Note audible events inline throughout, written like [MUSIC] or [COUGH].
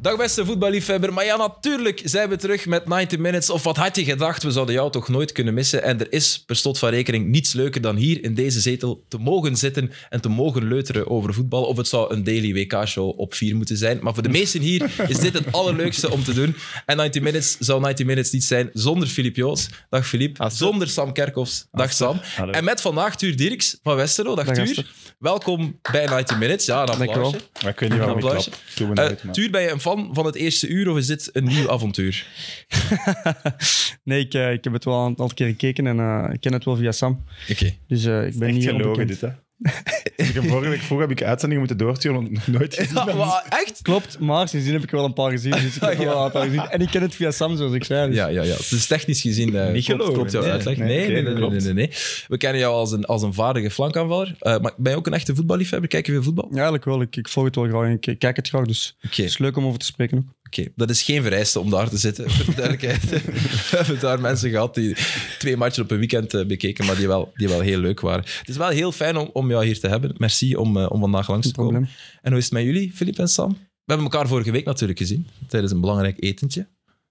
Dag beste voetballiefhebber. Maar ja, natuurlijk zijn we terug met 90 Minutes. Of wat had je gedacht? We zouden jou toch nooit kunnen missen. En er is per slot van rekening niets leuker dan hier in deze zetel te mogen zitten en te mogen leuteren over voetbal. Of het zou een daily WK-show op 4 moeten zijn. Maar voor de meesten hier is dit het allerleukste om te doen. En 90 Minutes zou 90 Minutes niet zijn zonder Filip Joos. Dag Filip. Zonder Sam Kerkhoffs. Dag Sam. Hallo. En met vandaag Tuur Dirks van Westerlo. Dag, Dag, Tuur. Esther. Welkom bij 90 Minutes. Ja, een Dankjewel. applausje. Maar ik weet niet waarom ik Applausje. klap. Doe me Eh, nou uit, maar. Tuur, ben je een fan van het eerste uur of is dit een nieuw avontuur? Nee, ik, eh, ik heb het wel een aantal keer gekeken en eh, ik ken het wel via Sam. [LAUGHS] Oké. Dus eh, ik ben Echt niet gelogen, onbekend. dit, hè? Dus [LAUGHS] ik heb vorige week vroeg heb ik uitzendingen moeten doorsturen, want nog nooit gezien. Ja, maar Ah, echt? Klopt, maar sindsdien heb ik wel een paar gezien. Dus ik [LAUGHS] heb Ja. wel een aantal gezien. En ik ken het via Sam, zoals ik zei. Dus. Ja, ja, ja. Het is technisch gezien. eh, klopt- gelogen. Klopt jouw Nee, uitleg? Nee, nee, nee, oké, nee, nee, dat nee, klopt. nee, nee. We kennen jou als een, als een vaardige flankaanvaller. Eh, maar ben je ook een echte voetballiefhebber? Kijk je veel voetbal? Ja, eigenlijk wel. Ik, ik volg het wel graag en ik, ik kijk het graag. Dus Oké. het is leuk om over te spreken ook. Oké, dat is geen vereiste om daar te zitten, voor de duidelijkheid. [LAUGHS] We hebben daar mensen gehad die twee matchen op een weekend eh, bekeken, maar die wel, die wel heel leuk waren. Het is wel heel fijn om, om jou hier te hebben. Merci om, eh, om vandaag langs Geen te komen. [LAUGHS] probleem. En hoe is het met jullie, Filip en Sam? We hebben elkaar vorige week natuurlijk gezien, tijdens een belangrijk etentje.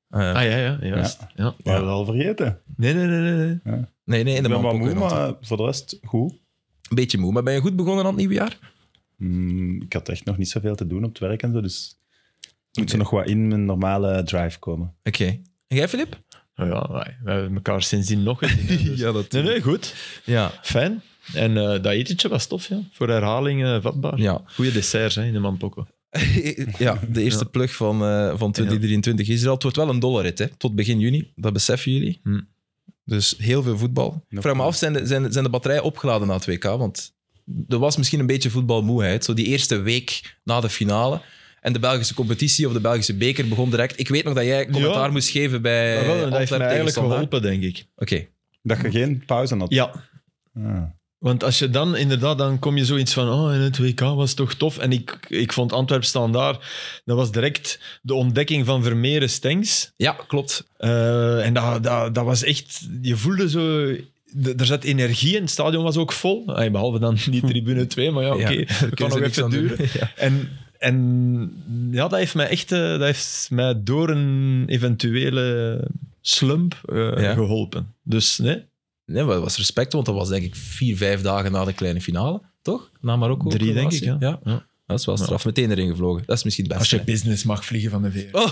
Eh, Ah ja, ja, juist. Ja. We hebben het al vergeten. nee, nee, nee, nee. nee. Ja. Nee, nee, in Ik de ben mand wel ook moe, weer, want- maar voor de rest goed. Een beetje moe, maar ben je goed begonnen aan het nieuwe jaar? Mm, ik had echt nog niet zoveel te doen op het werk en zo, dus moet ze nog wat in mijn normale drive komen. Oké. En jij, [LAUGHS] Filip? Nou ja, wij- we hebben elkaar sindsdien nog gezien. [LAUGHS] hè, dus- dat... Nee, nee, goed. Ja, Fijn. En eh, dat etentje was tof, ja. Voor herhalingen eh, vatbaar. ja. Goeie desserts hè, in de Mampoko. [LAUGHS] ja, de eerste plug van, eh, van 2023 Israël. Het wordt wel een dollarrit, hè? Tot begin juni. Dat beseffen jullie. Hm. Dus heel veel voetbal. Ja. Vraag me af, zijn de, zijn, de- zijn de batterijen opgeladen na het WK? Want er was misschien een beetje voetbalmoeheid. Zo die eerste week na de finale. En de Belgische competitie of de Belgische beker begon direct. Ik weet nog dat jij commentaar Ja. moest geven bij Maar wel, dat heeft Antwerpen tegen mij eigenlijk Standaard. geholpen, denk ik. Oké. Dat je geen pauze had. Ja. Ah. Want als je dan inderdaad, dan kom je zoiets van, oh, en het WK was toch tof. En ik, ik vond Antwerp staan daar. Dat was direct de ontdekking van Vermeeren Stengs. Ja, klopt. Eh, en dat, dat, dat was echt, je voelde zo, d- er zat energie in, het stadion was ook vol. Ah, behalve dan [LAUGHS] die tribune 2, maar ja, [LAUGHS] oké, Ja, daar dat kan kunnen ze nog niks even aan doen. duren. En, en ja, dat heeft mij echt eh, dat heeft mij door een eventuele slump eh, Ja. geholpen. Dus nee, Nee, maar dat was respect, want dat was denk ik vier, vijf dagen na de kleine finale. Toch? Na Marokko. drie denk ik. Kroatië. Ja. ja. Dat is wel straf. Meteen erin gevlogen. Dat is misschien het Als beste. je business mag vliegen van de VRT.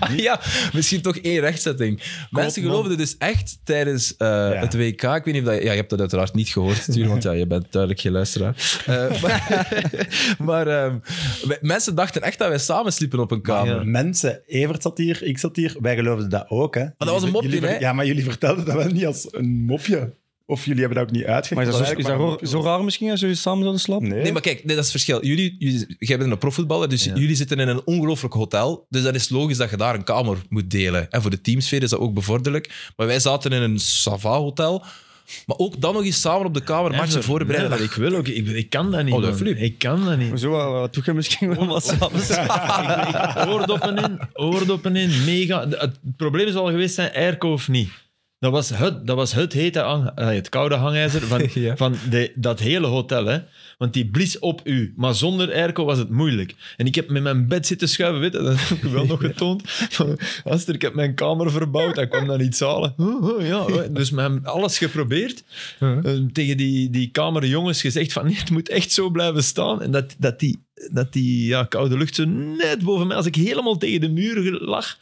Ah [LAUGHS] ja, misschien toch één rechtzetting. Mensen man. geloofden dus echt tijdens eh, het WK. Ik weet niet of dat, ja, je hebt dat uiteraard niet gehoord, Tuur, want ja, je bent duidelijk geen luisteraar. Eh, [LAUGHS] maar maar ehm, wij- mensen dachten echt dat wij samen sliepen op een kamer. Ja. Mensen, Evert zat hier, ik zat hier, wij geloofden dat ook. Hè. Maar dat was een mopje, hè? Ja, maar jullie vertelden dat wel niet als een mopje. Of jullie hebben dat ook niet uitgelegd. Maar is dat, zo, is eigenlijk dat raar- maar een mopje zo was. raar misschien als jullie samen zouden slapen? Nee, Nee, maar kijk, nee, dat is het verschil. Jullie, jullie, jij bent een profvoetballer, dus Ja. jullie zitten in een ongelooflijk hotel. Dus dat is logisch dat je daar een kamer moet delen. En voor de teamsfeer is dat ook bevorderlijk. Maar wij zaten in een Sava-hotel. Maar ook dan nog eens samen op de kamer matchen voorbereiden. Nee, maar ik wil ook, ik, ik kan dat niet. Oh, dat man. Filip. ik kan dat niet. Zo, eh, wat doe je misschien wel wat samen slapen? Oordoppen in, oordoppen in, mega. De- Het probleem zal geweest zijn, airco of niet. Dat was het, dat was het hete hang- eh, het koude hangijzer van, Ja. van de, dat hele hotel. Hè. Want die blies op u. Maar zonder airco was het moeilijk. En ik heb met mijn bed zitten schuiven, weet je, dat heb ik u wel nog getoond. Aster, ik heb mijn kamer verbouwd, hij kwam dan iets halen. Oh, oh, ja. oh. Dus we hebben alles geprobeerd. Eh, Tegen die, die kamerjongens gezegd van, nee, het moet echt zo blijven staan. En dat, dat die, dat die ja, koude lucht zo net boven mij, als ik helemaal tegen de muur lag...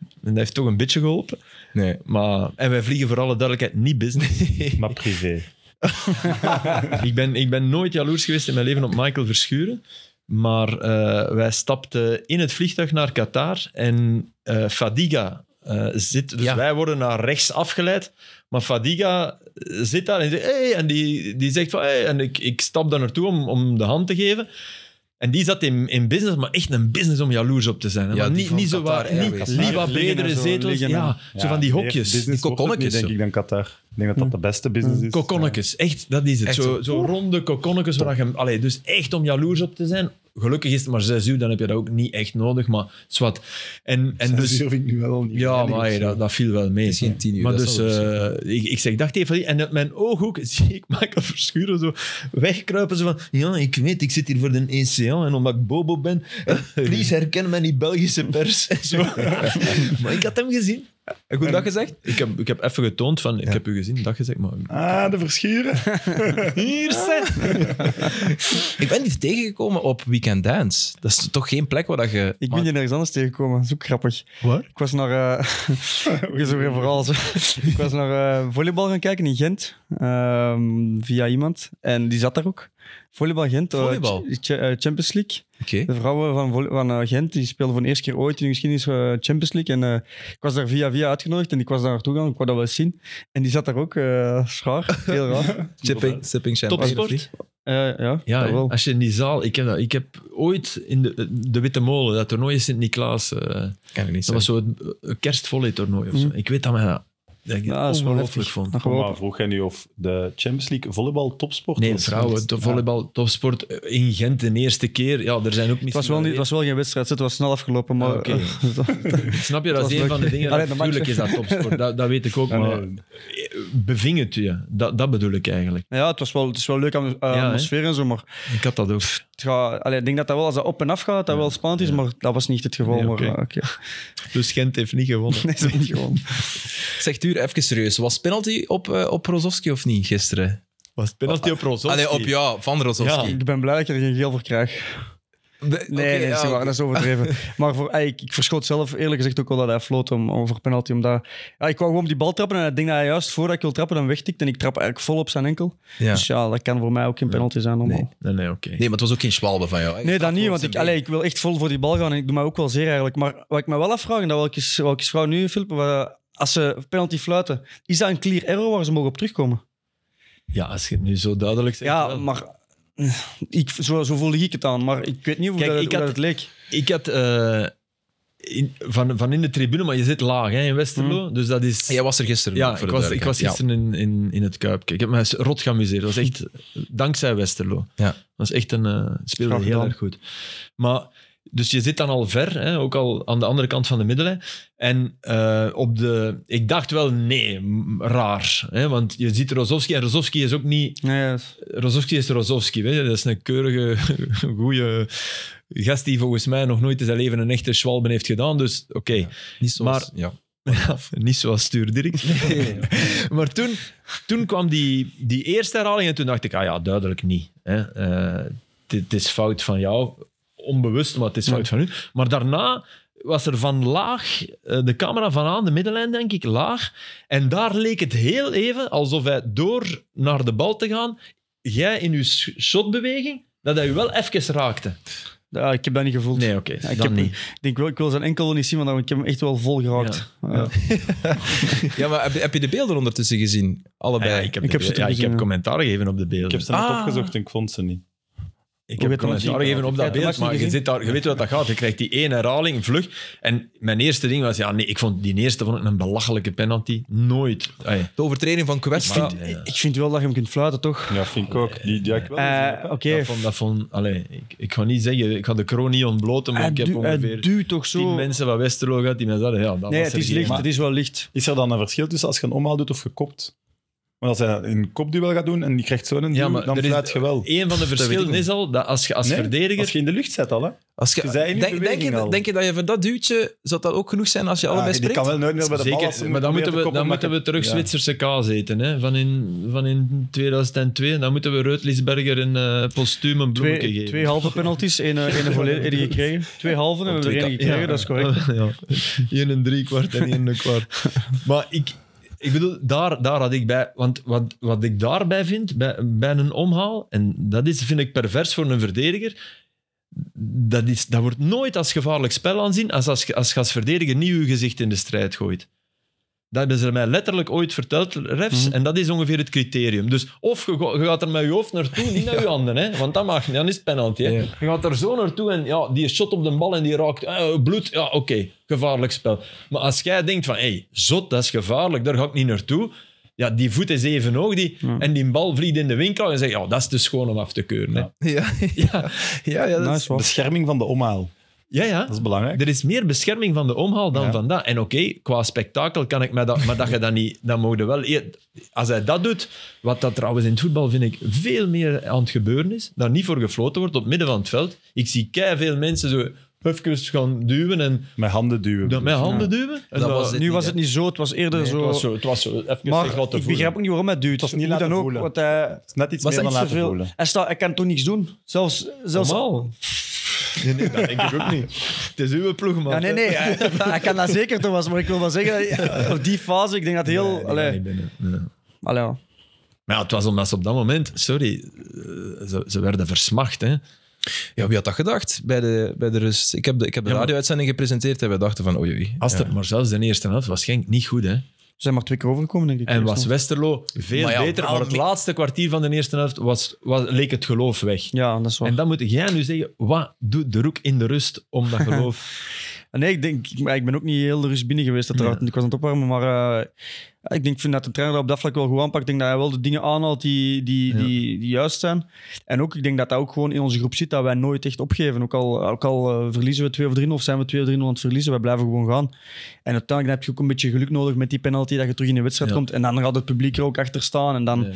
En dat heeft toch een beetje geholpen. Nee. Maar, en wij vliegen voor alle duidelijkheid niet business. maar privé. ik, ben, ik ben nooit jaloers geweest in mijn leven op Michael Verschuren. Maar eh, wij stapten in het vliegtuig naar Qatar en eh, Fadiga eh, zit. Dus Ja. wij worden naar rechts afgeleid. Maar Fadiga eh, zit daar en, zegt, hey, en die, die zegt van hey, en ik, ik stap daar naartoe om, om de hand te geven. En die zat in, in business, maar echt een business om jaloers op te zijn. hè. Ja, maar die niet, van niet zo Qatar waar, niet Airways. lief wat Liggen en bredere zo, zetels. liggen en- Ja, zo van die hokjes. Hm. meer business Die wordt het niet, kokonnetjes denk zo. ik, dan Qatar. Ik denk dat dat de beste business is. Kokonnetjes, echt, dat is het. Echt Zo, zo. zo ronde kokonnetjes. Waar je, allee, dus echt om jaloers op te zijn. gelukkig is het maar zes uur, dan heb je dat ook niet echt nodig. Maar zwart. En, en Zes dus, uur vind ik nu wel al niet. ja, weinig maar of hey, zo. dat, dat viel wel mee. is geen tien uur, Maar dat dus, zal wel eh, ik, ik zeg, dacht even, niet. en uit mijn ooghoek [LAUGHS] zie ik Michael Verschuren zo wegkruipen. Zo van, ja, ik weet, ik zit hier voor de ECA en omdat ik Bobo ben. [LAUGHS] En please herken mij niet Belgische pers. [LAUGHS] En zo. maar ik had hem gezien. Heb goed dat gezegd? Ik heb, ik heb even getoond van, ik heb u gezien, dat gezegd, maar... Ah, [LAUGHS] de verschuren. Hier, Seth! Ik ben die tegengekomen op Weekend Dance. Dat is toch geen plek waar dat je... Ik Maar- ben je nergens anders tegengekomen. Dat is ook grappig. Waar? Ik was naar... eh, [LAUGHS] ik was ook weer vooral zo. [LAUGHS] Ik was naar eh, volleybal gaan kijken in Gent. ehm, via iemand. En die zat daar ook. Volleybal Gent. eh, Volleybal? Ch- Ch- eh, Champions League. Oké. De vrouwen van, volle- van eh, Gent die speelden voor de eerste keer ooit in de geschiedenis eh, Champions League. En eh, ik was daar via via uitgenodigd en ik was daar naartoe gegaan. Ik wou dat wel eens zien. En die zat daar ook. eh schaar. Heel raar. [LAUGHS] Sipping, sipping champagne. of niet? Topsport? Eh, ja, Ja, dat hè. wel. als je in die zaal... Ik heb, dat, ik heb ooit in de, eh, de Witte Molen, dat toernooi in Sint-Niklaas... eh, Ken ik niet. dat was zo het eh, kerstvolley toernooi of zo. Mhm. Ik weet dat mij dat, dat ik Ja, dat dat is wel ongelooflijk heftig. vond. Nog wel. Maar vroeg jij nu of de Champions League volleybal topsport Nee, was? vrouwen, to- volleybal, topsport eh, in Gent de eerste keer. Ja, er zijn ook Het was, wel niet, het was wel geen wedstrijd, het was snel afgelopen. Maar, Ah, oké. [LAUGHS] [LAUGHS] Snap je, dat Het is was een van de leuk. dingen. Allee, Ah, dat- de Natuurlijk is match. dat topsport, dat, dat weet ik ook. Ja, Maar Ah, eh, nee. beving het je? Dat, dat bedoel ik eigenlijk. ja, het was wel, het is wel leuk aan de hè? atmosfeer en zo, maar Ik had dat ook. het gaat- allee, ik denk dat dat wel, als dat op en af gaat, dat dat wel spannend is, maar dat was niet het geval. Nee, maar, oké. eh, oké. [LAUGHS] Dus Gent heeft niet gewonnen. Nee, dat is niet [LAUGHS] gewoon. Zeg, Tuur, even serieus. Was penalty op, eh, op Rozovski of niet gisteren? Was penalty op Rozovski? Allee, op jou, van Rozovski. Ik ben blij dat ik er geen geel voor krijg. Nee, Ah. oké, Nee, nee, ja, dat, is niet waar, oké. dat is [LAUGHS] overdreven. maar voor, ey, ik, ik verschoot zelf eerlijk gezegd ook wel dat hij floot om, over penalty. Omdat, ja, ik wou gewoon op die bal trappen en ik denk dat hij juist voordat ik wil trappen dan wegtikt. En ik trap eigenlijk vol op zijn enkel. Ja. Dus ja, dat kan voor mij ook geen penalty zijn. Normaal. Nee. Nee. Nee, nee, oké. Nee, maar het was ook geen schwalbe van jou. hè? Je staat dat niet, gewoon want op ik, zijn allee, been. ik wil echt vol voor die bal gaan en ik doe mij ook wel zeer eigenlijk. Maar wat ik me wel afvraag, en dat welke, welke vrouw nu, Filip, wat- als ze penalty fluiten, is dat een clear error waar ze mogen op terugkomen? Ja, als je het nu zo duidelijk zegt. ja, wel. maar eh, ik, zo, zo voelde ik het aan, maar ik weet niet hoe, Kijk, dat, ik hoe had- dat het leek. Ik had eh, in, van, van in de tribune, maar je zit laag hè, in Westerlo. Dus dat is. Jij was er gisteren. ja, Mm. voor ik de was, ik was duidelijkheid. gisteren in, in, in het Kuipje. Ik heb me rot geamuseerd. Dat was echt dankzij Westerlo. Ja. Dat was echt een... eh speelde Graag heel gedaan. erg goed. Maar, dus je zit dan al ver, hè, ook al aan de andere kant van de middelen. En eh, op de... Ik dacht wel, nee, m- raar. Hè, want je ziet Rozovski en Rozovski is ook niet Nee, dat is- Rozovski is Rozovski. Weet je? Dat is een keurige, [LAUGHS] goede gast die volgens mij nog nooit in zijn leven een echte schwalben heeft gedaan. Dus oké, Ja. Niet zoals... Maar- [LAUGHS] ja. niet zoals Stuur Dirk. maar toen, toen kwam die, die eerste herhaling en toen dacht ik, ah ja, duidelijk niet. hè. Eh, Het het is fout van jou, onbewust, maar het is fout van u. Maar daarna was er van laag, eh, de camera van aan, de middenlijn denk ik, laag. En daar leek het heel even alsof hij door naar de bal te gaan, jij in je sh- shotbeweging, dat hij u wel even raakte. [LAUGHS] ja, ik heb dat niet gevoeld. Nee, oké, Ja, ik, dan heb, niet. ik denk wel, ik wil zijn enkel wel niet zien, want ik heb hem echt wel vol geraakt. Ja. [LAUGHS] ja, maar heb, je- heb je de beelden ondertussen gezien? Allebei. Ah, Ja, ik heb, Ik heb de- ze ja, ik teruggezien, heb ja. commentaar gegeven op de beelden. Ik heb ze net Ah. opgezocht en ik vond ze niet. Ik Hoe heb weet dat commentaar niet? gegeven op dat Heb je beeld, dat maar je, gezien? zit daar, je weet hoe dat gaat. Je krijgt die één herhaling vlug. En mijn eerste ding was, ja, nee, ik vond die eerste vond ik een belachelijke penalty. Nooit. Ai, De overtreding van Ah. Kwesta. Maar- Ik- Ik vind wel dat je hem kunt fluiten, toch? Ja, vind ik ook. Die, die had ik wel gezien. Eh, Oké, dat vond, dat vond, allee, ik, ik ga niet zeggen, ik ga de kroon niet ontbloten, maar hij, ik heb Eh, du- hij ongeveer tien duwt toch zo... mensen van Westerlo gehad die mij zeiden, ja, nee, dat was het er is geen. licht, Maar het is wel licht. Is er dan een verschil tussen als je een omhaal doet of gekopt? Want als hij een kopduel gaat doen en die krijgt zo'n Ja, duw, maar dan er is- fluit je wel. Een van de verschillen niet. is al dat als je als Nee, verdediger... Oh, Als je in de lucht zet al, hè? Als je, Je zei in die denk, denk, je, beweging dat- al. denk je dat je voor dat duwtje... Zou dat ook genoeg zijn als je Ja, allebei die springt? kan wel nooit meer bij de bal. als Zeker, hij maar dan probeert moeten te we, koppen, dan maar moeten je- we terug Ja. Zwitserse kaas eten. Hè? Van, in, van in 2002. Dan moeten we Reutlisberger een eh postuum een bloemetje Twee, geven. twee halve penalties, één eh, één [LAUGHS] een volledige gekregen. Twee halve en we hebben er één gekregen, dat is correct. ja. Eén en drie kwart en één en een kwart. Maar ik, ik bedoel, daar, daar had ik bij... Want wat, wat ik daarbij vind, bij, bij een omhaal, en dat is, vind ik pervers voor een verdediger, dat, is, dat wordt nooit als gevaarlijk spel aanzien als als, je- als, je als verdediger niet je gezicht in de strijd gooit. Dat hebben ze mij letterlijk ooit verteld, refs. Mhm. En dat is ongeveer het criterium. Dus of je, go- je gaat er met je hoofd [LAUGHS] naartoe, niet naar je handen. Hè? Want dat mag niet, dan is het penalty. Hè? Ja. Je gaat er zo naartoe en ja, die shot op de bal en die raakt eh, bloed. Ja, oké, gevaarlijk spel. Maar als jij denkt van, hé, hey, zot, dat is gevaarlijk, daar ga ik niet naartoe. Ja, die voet is even hoog die, Ja. en die bal vliegt in de winkel. En zeg ja, dat is dus gewoon om af te keuren. hè. Ja. [LAUGHS] Ja, ja, ja, ja, dat is- Nice, was. Bescherming van de omhaal, Ja, ja. dat is belangrijk. Er is meer bescherming van de omhaal dan Ja. van dat. En oké, qua spektakel kan ik me dat... Maar dat je dat niet... Dat mogen wel... eer- Als hij dat doet, wat dat trouwens in het voetbal, vind ik, veel meer aan het gebeuren is, daar niet voor gefloten wordt, op het midden van het veld. Ik zie veel mensen zo even gaan duwen en Met handen duwen. dat met handen duwen. En Dat was het Nu niet, was hè. het niet zo, het was eerder Het zo... was zo, het was zo even Maar zich laten ik voelen. begrijp ook niet waarom hij duwt. was niet Hoe laten dan ook, eh, voelen. want hij... Het is net iets Was meer dat niet dan laten zoveel? voelen. Hij, staat, hij kan toch niks doen? Zelfs... zelfs Normaal. Nee, nee, dat denk ik ook niet. Het is uw ploeg, man. ja, nee, nee. Hij, hij kan dat zeker, Thomas. Maar ik wil wel zeggen, dat- op die fase, ik denk dat heel... die allee, gaat niet binnen. Nee. allee, ja. Maar ja, het was omdat ze op dat moment... Sorry, eh, ze, ze werden versmacht, hè. Ja, wie had dat gedacht bij de, bij de rust? Ik heb de, ik heb de Ja, maar- radio-uitzending gepresenteerd en wij dachten van oei oei. Als het maar zelfs de eerste helft was Genk niet goed, hè. Ze zijn maar twee keer overgekomen, denk ik. En was Westerlo veel Maar ja, beter, maar het waarom- laatste kwartier van de eerste helft was, was, leek het geloof weg. Ja, dat is waar. En dan moet jij nu zeggen, wat doet de roek in de rust [LAUGHS] om dat geloof... Ah, Nee, ik, denk, maar ik ben ook niet heel rust binnen geweest, uiteraard. want Ik was aan het opwarmen, maar eh, ik denk, vind dat de trainer dat op dat vlak wel goed aanpakt. Ik denk dat hij wel de dingen aanhaalt die, die, Ja. die, die juist zijn. En ook, ik denk dat dat ook gewoon in onze groep zit, dat wij nooit echt opgeven. Ook al, ook al eh, verliezen we 2 of 3 of zijn we 2 of 3 aan het verliezen, wij blijven gewoon gaan. En uiteindelijk dan heb je ook een beetje geluk nodig met die penalty, dat je terug in de wedstrijd Ja. komt. En dan gaat het publiek er ook achter staan en dan,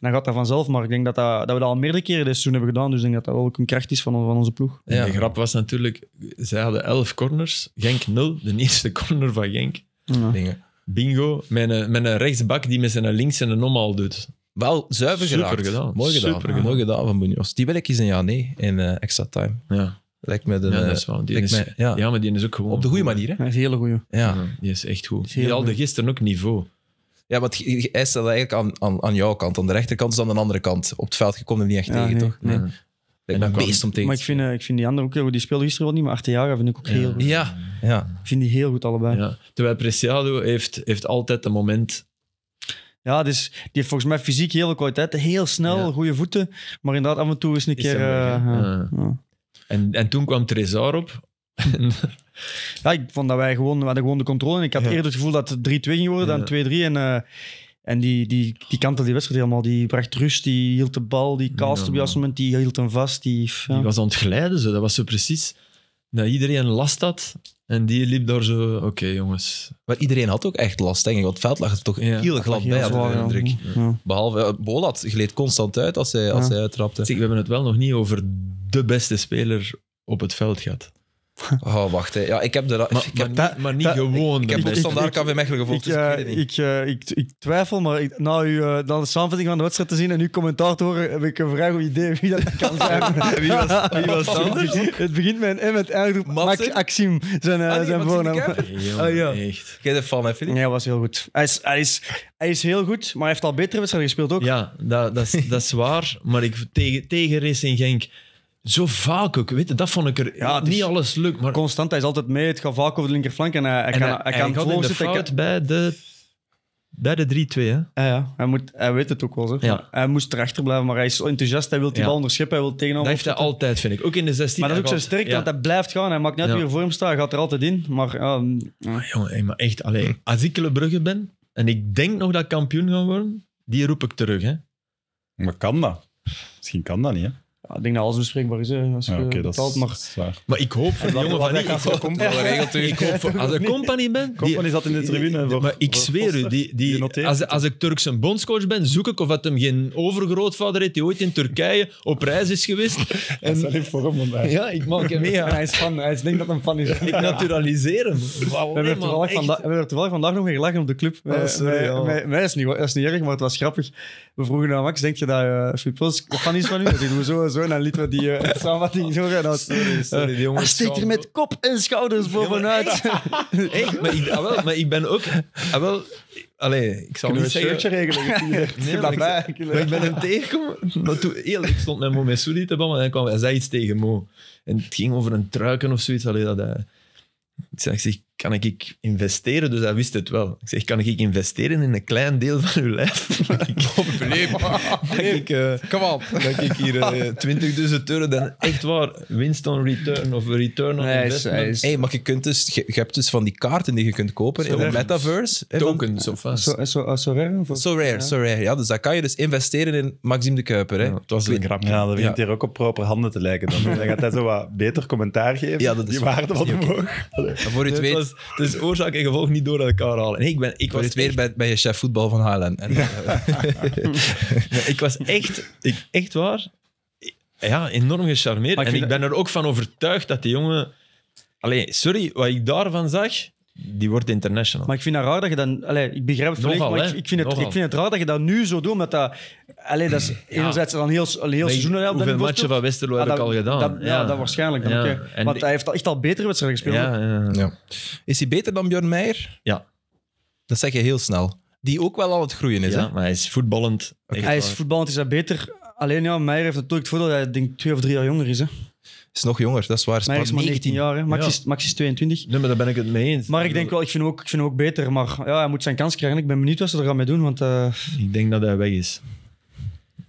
dan gaat dat vanzelf. Maar ik denk dat, dat, dat we dat al meerdere keren dit seizoen hebben gedaan, dus ik denk dat dat wel ook een kracht is van, van onze ploeg. Ja. De grap was natuurlijk, zij hadden elf corners, Genk nul, de eerste corner van Genk. Ja. Dingen. Bingo, met een, met een rechtsbak die met zijn links en een omhaal doet. Wel zuiver Super geraakt. gedaan. Mooi gedaan. Super gedaan. Mooi gedaan van Munoz. Die wil ik eens een ja nee in eh, extra time. Ja, Lijkt me de, ja dat is waar. Die lijkt is, me- ja. ja. maar die is ook gewoon... op de goede goed, hè. manier. Hè? Dat is een hele goeie. Ja. Ja, die is echt goed. heel Die hadden goed. gisteren ook niveau. ja, want je- je- hij staat eigenlijk aan, aan, aan jouw kant. Aan de rechterkant is aan de andere kant. Op het veld je komt hem niet echt Ja, tegen, nee, toch? nee. Ja. En Lijkt me dan een kwam- beest om tegen Maar te ik vind, eh, ik vind die andere ook heel goed. Die speelde gisteren wel niet, maar Arteaga vind ik ook Ja. heel spelen. goed. Ja, ja. Ik vind die heel goed allebei. Ja, Ja. Terwijl Preciado heeft, heeft altijd een moment... dus die heeft volgens mij fysiek heel kwaliteit. Heel snel, Ja. goede voeten. Maar inderdaad, af en toe is een Is keer... hem eh, weg, hè? ja. Ja. Ja. En, en toen kwam Trezor op. [LAUGHS] En- Ja, ik vond dat wij gewoon, we hadden gewoon de controle. En ik had Ja. eerder het gevoel dat het 3-2 ging worden Ja. dan 2-3. En, eh, en die, die, die kantte die wedstrijd helemaal. Die bracht rust, die hield de bal, die cast op Ja. juist moment, die hield hem vast. Die, ja. Die was aan het glijden. Zo. Dat was zo precies dat iedereen last had. En die liep daar zo... Oké, jongens. Maar iedereen had ook echt last, denk ik. Want het veld lag er toch Ja, heel glad bij, had ik zwaar, de ja. indruk. Ja. Behalve eh, Bolat gleed constant uit als hij, als Ja. hij uittrapte. Zeg, we hebben het wel nog niet over de beste speler op het veld gehad. Oh, wacht. Hè. Ja, ik heb de ra- Maar, ik maar heb, niet- dat- maar niet dat- gewoon ik de heb ik- op beste. standaard ik- KV Mechelen gevolgd, Ik, dus ik eh, weet het niet. ik, eh, ik, ik twijfel, maar ik, na, uw, eh, na de samenvatting van de wedstrijd te zien en uw commentaar te horen, heb ik een vrij goed idee wie dat kan zijn. wie was, wie was het anders? Het begint met een M, het eindigt op Matze? Max Axim, zijn, eh, Ah, nee, zijn Maxime de voornaam. Kuiper? Jongen, Ah, ja. Echt. Jij bent fan, hè, Filip? Nee, hij was heel goed. Hij is, hij, is, hij is heel goed, maar hij heeft al betere wedstrijden gespeeld ook. Ja, dat, dat, is, dat is waar. Maar ik, tegen, tegen Racing Genk, zo vaak ook. Weet je, dat vond ik er... Ja, het is- niet alles lukt, maar... Constant, hij is altijd mee. Het gaat vaak over de linkerflank en hij, hij en kan, hij, hij, hij kan gaat in de voorzetten, hij kan- fout bij de, bij de 3-2, hè. Ja, ja. Hij, moet, hij weet het ook wel. Zeg. Ja. Hij moest erachter blijven, maar hij is zo enthousiast. Hij wil die Ja. bal onderscheppen, hij wil Dat tegenhouden. heeft hij altijd, vind ik. Ook in de 16. Maar dat is ook Hij zo gaat- sterk, ja. want hij blijft gaan. Hij maakt net Ja. weer voor hem staan. Hij gaat er altijd in. Maar ehm, Maar jongen, hé, maar echt, Hm. alleen, als ik Le Brugge ben en ik denk nog dat ik kampioen ga worden, die roep ik terug. Hè. Maar kan dat? Misschien kan dat niet, hè? ja, ik denk dat alles bespreekbaar is. Hè, als je Ja, Oké, dat betaalt. is, Maar dat is waar. [LAUGHS] Maar ik hoop voor de jongen van ik, ik hoop- ik hoop voor- [LAUGHS] als ik compagnie ben. die- Company zat in de tribune. Voor, maar ik voor zweer u, Foster. die, Die die, noteert als, het. als ik Turks een bondscoach ben, zoek ik of dat hem geen overgrootvader heeft die ooit in Turkije op reis is geweest. [LAUGHS] Dat is En, wel in vorm vandaag. ja, ik maak hem mee. ja. hij is fan. Hij is denk dat hij een fan is. [LAUGHS] Ik naturaliseer hem. Wauw, We hebben, er man, toevallig echt. vanda- we hebben er toevallig vandaag nog mee gelachen op de club. Oh, Wij- sorry, wij- ja. wij- wij is niet, dat is niet erg, maar het was grappig. We vroegen aan Max, denk je dat eh Filip Pils fan is van u? Dat doen we zo en zo. En dan lieten we die eh, samenvatting zo gaan. Dat- sorry, die eh, jongen hij is steekt er schaam. met kop en schouders bovenuit. Echt, maar ik, ah, wel, maar ik ben ook... ah, wel, allee, ik zal Kunnen niet we een zeggen... shirtje regelen? Nee, Nee, maar ik- daarbij. Maar ik ben hem tegengekomen. Maar toen, eerlijk, ik stond met Mo Messoudi te babbelen en hij, kwam, hij zei iets tegen Mo. En het ging over een truiken of zoiets. Allee, dat hij, Ik zeg, ik zeg, kan ik investeren? Dus hij wist het wel. Ik zeg, kan ik investeren in een klein deel van uw lijf? [LAUGHS] Dat ik, dat ik, eh, Kom op. dat ik [LAUGHS] hier eh 20.000 euro dan echt waar winst on return of return on Nee, hij is- investment. hij is- Hey, maar je, kunt dus, je, je hebt dus van die kaarten die je kunt kopen in de Tokens. metaverse. hè, van- Tokens of wat? Zo, zo, zo rare? Of- So rare, so rare. Ja, dus dat kan je dus investeren in Maxime de Kuiper. Hè? Ja, het was een grap. Ja, dat begint Ja. hier ook op proper handen te lijken. Dan, dan gaat hij zo wat beter commentaar geven. Ja, dat is die waar. waarde Dat wat is niet omhoog. En voor je het Dus Het, weet, was, het is oorzaak en gevolg niet door elkaar halen. Nee, ik, ben, ik, voor was je het weer echt, bij, bij je chef voetbal van Haaland. En, [LAUGHS] ik was echt, ik, echt waar, ja, enorm gecharmeerd. Maar ik en ik vind ben er ook van overtuigd dat die jongen... Allee, sorry, wat ik daarvan zag, die wordt international. Maar ik vind dat raar dat je dan... Allee, ik begrijp het volledig, Nogal, maar ik, hè? ik, vind het, Nogal. ik vind het raar dat je dat nu zo doet, omdat dat... Allee, dat is enerzijds al een heel, een heel Nee, seizoen dat hij op dat hoeveel niveau matchen speelt. van Westerlo Ah, heb ik dat- al gedaan? dat- ja, dat waarschijnlijk. Dan, Ja, oké. en Want die- hij heeft al echt al betere wedstrijden gespeeld. Ja, ja. ja. Is hij beter dan Björn Meijer? Ja. Dat zeg je heel snel. Die ook wel aan het groeien is. Ja, maar hij is voetballend. echt Hij is waar. voetballend, is hij beter. Alleen ja, Meijer heeft natuurlijk het voordeel dat hij denk ik, twee of drie jaar jonger is. Hè. Hè? Is nog jonger, dat is waar. Is Meijer is pas maar 19 jaar, hè. Max, Ja. is, Max is 22. Nee, maar daar ben ik het mee eens. Maar ik denk wel, ik vind hem ook, ik vind hem ook beter. Maar ja, hij moet zijn kans krijgen. Ik ben benieuwd wat ze er gaan mee doen. Want eh, Ik denk dat hij weg is.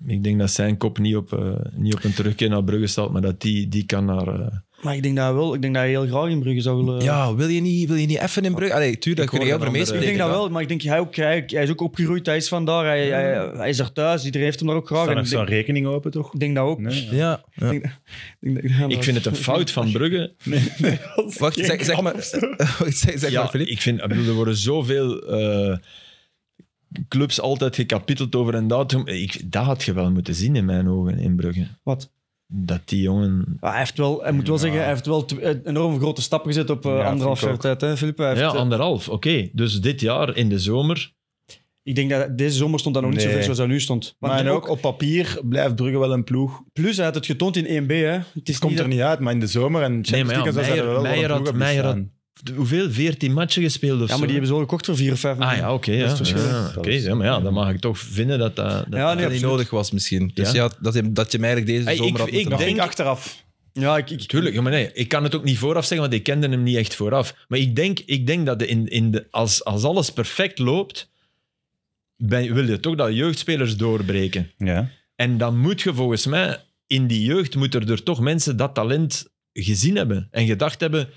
Ik denk dat zijn kop niet op, eh, niet op een terugkeer naar Brugge staat, maar dat die, die kan naar... eh, maar ik denk dat hij wel, ik denk dat hij heel graag in Brugge zou willen. Ja, wil je niet, wil je niet even in Brugge? Allee, tuurlijk, Ik daar kun je hoor over een Ik meespreken. andere- denk dat wel, maar ik denk hij, ook, hij, hij is ook opgegroeid, hij is vandaar, hij, hij, hij is er thuis, iedereen heeft hem daar ook graag. Staat En nog ik zo'n denk, rekening open, toch? ik denk dat ook. Nee. Ja. ja. Ik, denk dat- ik vind het een fout van Brugge. Wacht, zeg, zeg maar. [LAUGHS] Wacht, zeg, zeg maar, Ja, Philippe. ik vind, ik bedoel, er worden zoveel eh, clubs altijd gekapiteld over een datum. Ik, dat had je wel moeten zien in mijn ogen in Brugge. Wat? Dat die jongen... Ja, Ah, hij, heeft wel, hij moet wel zeggen, hij heeft wel tw- eh, enorm grote stappen gezet op eh, Ja, anderhalf vind jaar ik tijd, hè, Philippe. Hij heeft, Ja, eh, anderhalf, oké. Dus dit jaar in de zomer... ik denk dat deze zomer stond dat nog niet Nee. zo ver zoals hij nu stond. Want Maar en ook- ook op papier blijft Brugge wel een ploeg. Plus, hij had het getoond in 1B. Hè. Het is Het komt niet er dat- niet uit, maar in de zomer en Champions Nee, maar ja, League en zo zijn Meijer- er wel wel een Meijer had- ploeg op Meijer had- bestaan. Hoeveel? 14 matchen gespeeld of Ja, zo, maar die hè? hebben ze wel gekocht voor 4 of 5 Ah ja, oké. ja. Dat is het verschil. Ja, oké, ja, maar ja, dan mag ik toch vinden dat dat... dat- Ja, nee, Dat niet absoluut. nodig was misschien. Dus ja, Ja. dat, hem, dat je hem eigenlijk Hey, deze ik- zomer had ik moeten Dat halen. vind ik achteraf. Ja, ik, ik, Tuurlijk, ja, maar nee, ik kan het ook niet vooraf zeggen, want ik kende hem niet echt vooraf. Maar ik denk, ik denk dat de in, in de, als, als alles perfect loopt, ben, wil je toch dat jeugdspelers doorbreken. Ja. En dan moet je volgens mij, in die jeugd moeten er, er toch mensen dat talent gezien hebben. En gedacht hebben,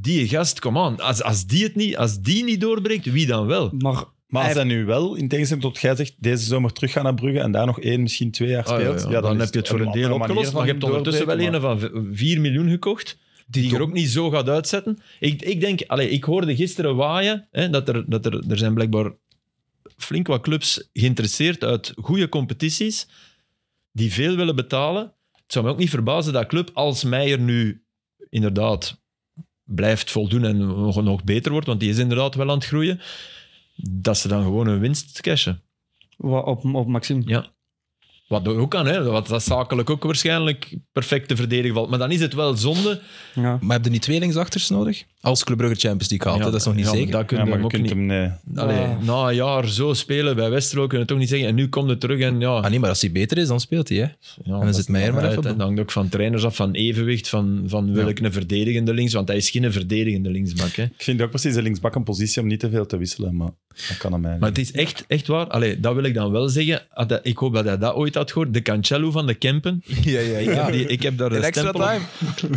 die gast, kom aan, als, als, die het niet, als die niet doorbreekt, wie dan wel? maar Maar als Hij- dat nu wel, in tegenstelling tot jij zegt, deze zomer teruggaan naar Brugge en daar nog één, misschien twee jaar Ah, ja, speelt, ja, ja, dan, is heb je het voor een deel andere manier opgelost. van Maar je hebt ondertussen wel doorbreken, een van v- 4 miljoen gekocht. die er ook niet zo gaat uitzetten. Ik, ik denk, allee, ik hoorde gisteren waaien hè, dat, er, dat er, er zijn blijkbaar flink wat clubs geïnteresseerd uit goede competities die veel willen betalen. Het zou me ook niet verbazen dat club als Meijer nu inderdaad blijft voldoen en nog, nog beter wordt, want die is inderdaad wel aan het groeien, dat ze dan gewoon hun winst cashen. wa- op, op Maxime. Wat ook kan, hè? wat dat zakelijk ook waarschijnlijk perfect te verdedigen valt. Maar dan is het wel zonde. Ja. Maar heb je niet twee linksachters nodig? Als Club Brugge Champions League haalt, Ja, hè, dat is nog niet ja, maar zeker. Dat kun Ja, je maar hem je ook kunt niet hem... eh, Nee. Allee, Ah. Na een jaar zo spelen bij Westerlo kunnen we toch niet zeggen. En nu komt het terug en ja. Ah nee, maar als hij beter is, dan speelt [LAUGHS] hij. Hè? ja dan dat zit Meijer maar uit, even op. hè. Dat hangt ook van trainers af, van evenwicht, van, van wil Ja. ik een verdedigende links. Want hij is geen verdedigende linksbak. Hè. Ik vind ook precies de linksbak een positie om niet te veel te wisselen, maar dat kan hem Maar eigenlijk. het is echt, echt waar. Allee, dat wil ik dan wel zeggen. Had hij- Ik hoop dat hij dat ooit had gehoord. De Cancelo van de Kempen. Ja, ja, Ik, heb, die, ik heb daar In de extra stempel op.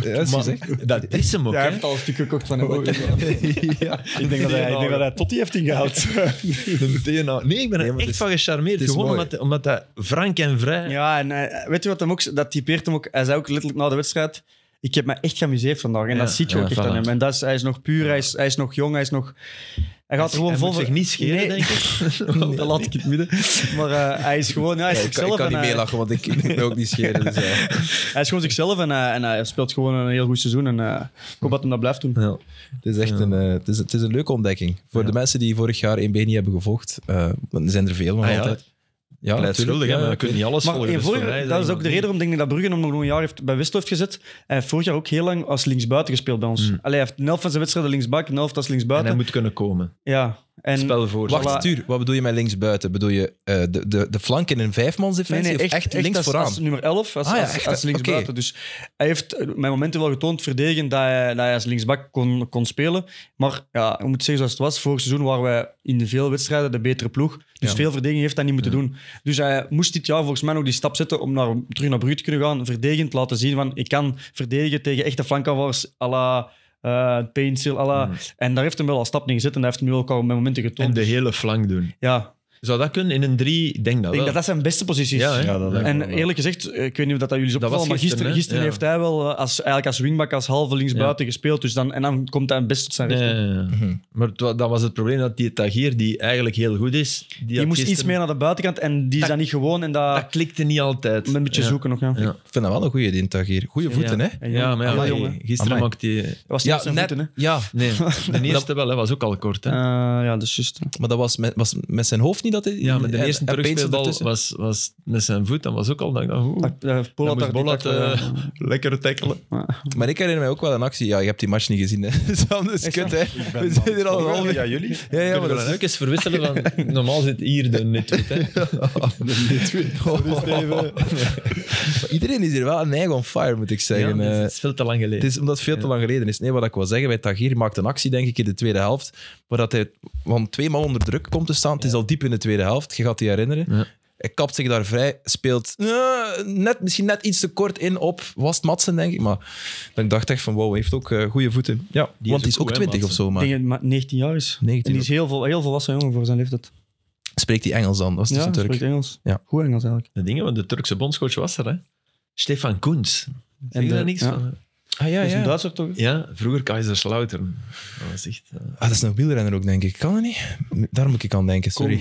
time. [LAUGHS] Ja, dat is Maar gezegd. dat is hem ook. hè. al een stuk gekocht [LAUGHS] van hem. ik, denk dat hij, ik denk dat hij tot die heeft ingehaald. [LAUGHS] Nee, ik ben er Nee, maar echt het is- van het gecharmeerd. is Gewoon mooi. omdat, omdat hij frank en vrij... Ja, en eh, weet je wat hem ook... Dat typeert hem ook... Hij zei ook letterlijk na de wedstrijd... Ik heb me echt geamuseerd vandaag. En Ja, dat ziet je ja, ook echt aan voilà. hem. En dat is, hij is nog puur, hij, is, hij is nog jong, hij is nog... Hij gaat er gewoon Hij vol moet zich voor- niet scheren, Nee, denk [LAUGHS] ik. [LAUGHS] Want Dat laat ik in het midden. Maar eh, hij is gewoon... ja, hij is Ik kan, zichzelf. ik kan en niet hij- meelachen, want ik, ik ben ook niet scheren. Dus, eh. Hij is gewoon zichzelf en, hij- en eh, hij speelt gewoon een heel goed seizoen. En eh, ik hoop dat hem dat blijft doen. Ja. Het is echt Ja. een, eh, het is, het is een leuke ontdekking. Voor Ja. de mensen die vorig jaar 1B niet hebben gevolgd, eh, want er zijn er veel nog Ah, ja. altijd. Ja, Pleit schuldig, hè, maar je kunt niet alles Maar volgen. in dus vorig- voor mij dat is ook de niet- reden waarom denk ik dat Brugge hem nog een jaar heeft bij Westerlo heeft gezet. Hij heeft vorig jaar ook heel lang als linksbuiten gespeeld bij ons. Allee, hij heeft een helft van zijn wedstrijden linksbak, een helft als Hmm. En hij linksbuiten. moet kunnen komen. Ja, En Spel voor. Wacht, Voilà. Tuur, wat bedoel je met linksbuiten? Bedoel je eh, de, de, de flank in een vijfmansdefensie nee, nee, of echt, links als, vooraan? als nummer 11, als, Ah ja, als, echt, als linksbuiten. oké. Dus hij heeft eh, mijn momenten wel getoond, verdedigend, dat hij, dat hij als linksbak kon, kon spelen. Maar ja, ik moet zeggen zoals het was. Vorig seizoen waren wij in de veel wedstrijden de betere ploeg. Dus Ja. veel verdediging heeft hij niet moeten doen. Dus hij moest dit jaar volgens mij nog die stap zetten om naar, terug naar Brugge te kunnen gaan. Verdedigend laten zien van, ik kan verdedigen tegen echte flankaanvallers à la... eh Painsil, à la- En daar heeft hem wel al stap in gezet en hij heeft hem nu ook al met momenten En getoond. de hele flank doen. Ja, Zou dat kunnen in een drie? Ik Denk dat ik denk wel. dat dat zijn beste posities Ja, hè? Ja, dat denk ik en wel. eerlijk gezegd, eh, ik weet niet of dat, dat jullie is Dat opgevallen, was maar gisteren, gisteren, hè? gisteren Ja. heeft hij wel eh, als, eigenlijk als wingback, als halve linksbuiten gespeeld. Dus dan, en dan komt hij best tot zijn recht. Ja, ja, ja. Mhm. Maar het wa- dan was het probleem dat die Tagier, die eigenlijk heel goed is, die, Die had moest iets gisteren- meer naar de buitenkant en die is dat niet gewoon. En dat, Dat klikte niet altijd. met een beetje Ja. zoeken nog. Ja. Ja. Ik vind dat wel een goede dintag hier. Goede voeten, ja. hè? En Ja, maar ja, Amai, nee, jongen. gisteren Amai. maakte hij... was niet Ja, op zijn net- voeten, hè. ja, Nee, de eerste wel, hè, was ook al kort. Hè. Eh, ja, dat is juist. maar dat was met, was met zijn hoofd niet dat hij... ja, maar de en- eerste en Peensel terugspeelbal ertussen? was, was met zijn voet, dat was ook al... Dat, ik dacht, oeh, Dat- eh, Polat dan moest daar- die Bollat dacht, eh, eh, lekker tackelen. Maar ik herinner mij ook wel een actie. Ja, je hebt die match niet gezien, hè? [LAUGHS] Sam, dat is Echt kut, waar? hè? We zitten hier al een half uur. Ja, jullie? Ja, ja, maar Kunnen we dat dan is... ook eens verwisselen van... Normaal zit hier de netwit, hè. [LAUGHS] Iedereen is hier wel een eigen on fire, moet ik Ja, zeggen. dus Eh, het is veel te lang Het geleden. is omdat het veel te lang geleden is. Nee, wat ik wil zeggen, bij Tagier maakt een actie, denk ik, in de tweede helft, waar dat hij van twee man onder druk komt te staan. Het is al diep in de tweede helft, je gaat je herinneren. Ja. Hij kapt zich daar vrij, speelt eh, net, misschien net iets te kort in op, was het Madsen, denk ik. Maar dan dacht ik echt van, wow, hij heeft ook eh, goede voeten. Ja, is want ook hij is ook goed, hè, 20 of Madsen. zo, Ik maar denk dat hij maar 19 jaar is. 19 en die is heel, vol, heel volwassen jongen voor zijn leeftijd. spreekt hij Engels dan? Dat is Ja, dus een hij Turk. spreekt Engels. Ja. Goed Engels eigenlijk. De dingen, want de Turkse bondscoach was er, hè. Stefan Koens. Zeg je de- daar niks ja. van? Ah, ja, Hij is een ja. Duitser toch? Ja, vroeger Kaiserslautern. Dat was echt... eh, Ah, dat is een wielrenner ook, denk ik. Kan dat niet? Daar moet ik aan denken, sorry.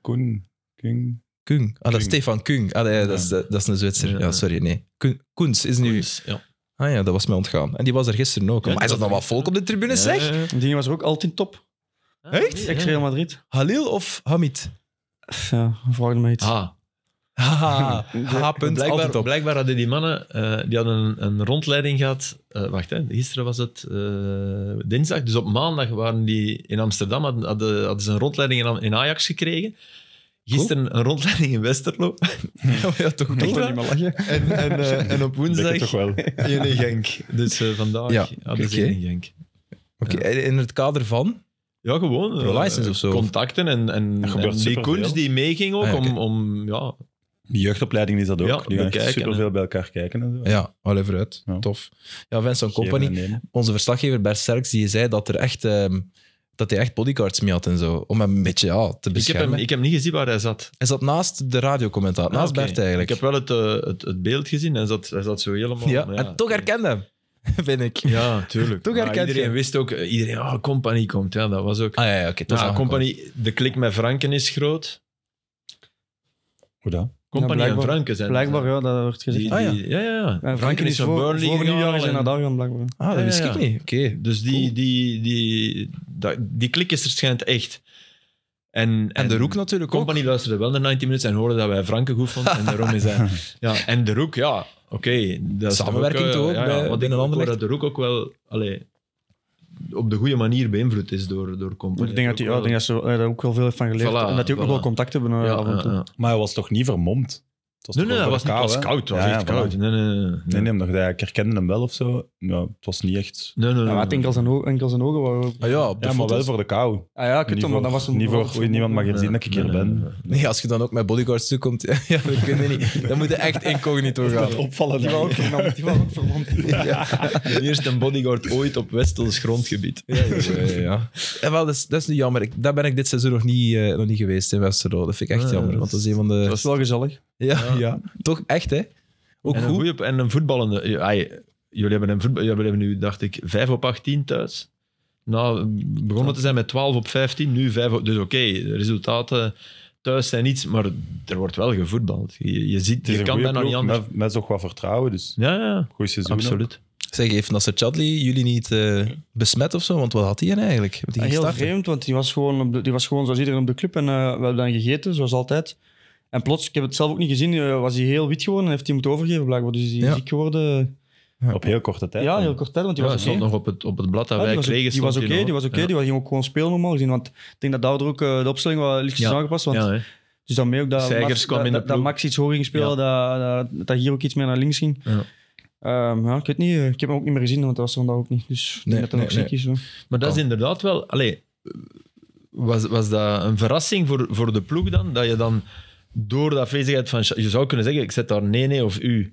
Koen. Koen. Kung. Ah, dat is Kung. Stefan Kung. Ah, nee, dat, is, dat is een Ja, Zwitser. Ja, ja. sorry, nee. Kun- Koens is nu... Koens, ja. Ah ja, dat was mij ontgaan. En die was er gisteren ook. Ja, maar is die dat dan wat was er volk op de tribune, zeg? Ja. Die jongen was er ook altijd top. Echt? Ex-Real Madrid. Halil of Hamid? [LAUGHS] Ja, vraag me iets. Ah, Haha, H. punt, altijd Blijkbaar, op. blijkbaar hadden die mannen eh, die hadden een, een rondleiding gehad. eh, wacht, hè, gisteren was het eh, dinsdag. Dus op maandag waren die in Amsterdam. Hadden, hadden, hadden ze een rondleiding in, Am- in Ajax gekregen. Gisteren een rondleiding in Westerlo. [LAUGHS] ja, toch Echt wel. waar? En, en, eh, [LAUGHS] en op Denk het toch woensdag [LAUGHS] wel. één in Genk. Dus eh, vandaag Ja, hadden ze oké. één in Genk. Oké, in het kader van... Ja, gewoon. Pro eh, license of zo. Contacten en, en, Er en gebeurt die superveel. Koens die meeging ook Ah, ja, oké. om, om ja, Die jeugdopleiding is dat ook. Ja, die gaan echt bekijken, superveel bij elkaar kijken. En zo. Ja, allee, vooruit. Ja. Tof. Ja, Vincent Geven Company, en nemen. onze verslaggever Bert Serks, die zei dat er echt... ehm, dat hij echt bodyguards mee had en zo. Om hem een beetje ja, te ik, heb hem, beschermen. ik heb niet gezien waar hij zat. Hij zat naast de radiocommentaar. Naast Ah, oké. Bert eigenlijk. Ik heb wel het, eh, het, het beeld gezien. Hij zat, hij zat zo helemaal... ja, maar en toch herkende hem. [LAUGHS] Vind ik. Ja, [LAUGHS] tuurlijk. Toch Maar herkent iedereen je. wist ook... eh, Iedereen, ah, Company komt. Ja, dat was ook... Ah ja, ja oké. het was ja, aangekondigd. company, de klik met Franken is groot. Hoe dan? Company Ja, en blijkbaar- Franken zijn... Blijkbaar, ja, dat wordt gezegd. Die, Ah, ja. die- ja, ja, ja. Ja, Franken is van Burnley Vorig jaar gegaan is hij en- naar daar gegaan, blijkbaar. Ah, Ja, dat wist ja, ik ja. niet. Oké. Dus die, Cool. die, die, dat- die klik is er schijnt echt. En, En de Roek natuurlijk ook. Company luisterde wel naar 90 Minutes en hoorde dat wij Franken goed vonden. En daarom is hij... Ja, en De Roek, ja, oké. dat is Samenwerking toch ook eh, ja, bij- ja, want binnen ik hoor Anderlecht? dat De Roek ook wel allee, op de goede manier beïnvloed is door, door Company. Ik denk dat hij ja, ik Ook denk wel- dat ze eh, daar ook wel veel heeft van geleerd. Voilà, en dat die ook voilà. nog wel contact hebben eh, Ja, af en toe. ja, ja. Maar hij was toch niet vermomd? Het was Nee, toch nee, wel dat was, niet, koud, was hè? koud. Het was Ja, echt voilà. koud. Nee, nee, nee. Nee, nee, omdat hij- ik herkende hem wel of zo. Ja, het was niet echt... nee, nee, Ja, nee, maar het enkel zijn, ogen, enkel zijn ogen waren ook- Ah ja, op de Ja, maar wel foto's. voor de kou. Ah ja, kut, Niet maar voor- dat was een... niet voor- was een- niemand mag- nee. je ziet dat ik hier Nee, ben. nee, nee. Nee, als je dan ook met bodyguards toekomt, [LAUGHS] ja, dat kunnen niet. Dan moet je echt incognito gaan. Opvallen Die waren [LAUGHS] ook vermomd. Die waren ook vermomd. De eerste bodyguard ooit op Westels grondgebied. [LAUGHS] Ja, ja, ja. En wel, dat is, dat is nu jammer. Ik, daar ben ik dit seizoen nog niet, eh, nog niet geweest in Westerlo. Dat vind ik echt Ja, jammer, dat want dat is is- een van de... Dat is wel gezellig. ja, ja. toch echt, hè? Ook en, een goed. goeie- en een voetballende. ja, ai, jullie, hebben een voetbal, jullie hebben nu, dacht ik, 5 op 18 thuis. Nou, begonnen te zijn met 12 op 15, nu 5 op... Dus oké, de resultaten thuis zijn iets, maar er wordt wel gevoetbald. Je, je ziet, Het is je een kan goede bijna niet ploeg, anders. met, met zo wat vertrouwen, dus Ja, ja, goed seizoen. absoluut. Zeg, heeft Nasser Chadli jullie niet eh, besmet of zo? Want wat had hij dan eigenlijk? Want die Ah, Heel ging starten. vreemd, want die was, gewoon op de- die was gewoon zoals iedereen op de club. En eh, we hebben dan gegeten, zoals altijd. En plots, ik heb het zelf ook niet gezien, eh, was hij heel wit geworden en heeft hij moeten overgeven blijkbaar. Dus hij is Ja. ziek geworden. Op heel korte tijd. Ja, dan. heel kort tijd, want die Ja, hij was oké. stond nog op het, op het blad dat Ja, wij Oh, die was ook- kregen. die was stond oké, hij die nog. was oké, die was- ging ook gewoon spelen normaal gezien. Want ik denk dat daardoor ook eh, de opstelling wel lichtjes Ja. aangepast. Ja, Want hè. Dus dan mee ook dat, Seigers Max, kwam dat, in de dat- dat ploeg. Max iets hoger ging spelen, dat, dat, dat hier ook iets meer naar links ging. Ja. Ehm, ja, ik weet niet, eh, ik heb hem ook niet meer gezien, want dat was er vandaag ook niet. Dus Nee, ik denk dat hij nog nee, ziek is. hoor. Maar dat is inderdaad wel... Allee, was, was dat een verrassing voor, voor de ploeg dan? Dat je dan door de afwezigheid van... Cha- Je zou kunnen zeggen, ik zet daar nee, nee of u.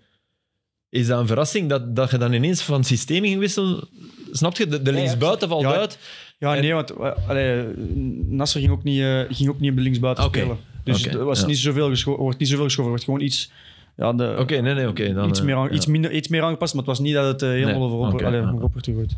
Is dat een verrassing dat, dat je dan ineens van systeem ging wisselen? Snap je? De, de linksbuiten valt Ja, uit. Ja, En- nee, want eh, allee, Nasser ging ook niet, eh, ging ook niet op de linksbuiten Oké. spelen. Dus Oké, er was ja. niet zoveel gescho- wordt niet zoveel geschoven, er wordt gewoon iets, ja, de, Oké, nee, nee, oké. dan, iets, eh, meer aan- ja. iets, minder, iets meer aangepast, maar het was niet dat het eh, helemaal Nee, overop, oké, allee, ja. overopperd gegooid.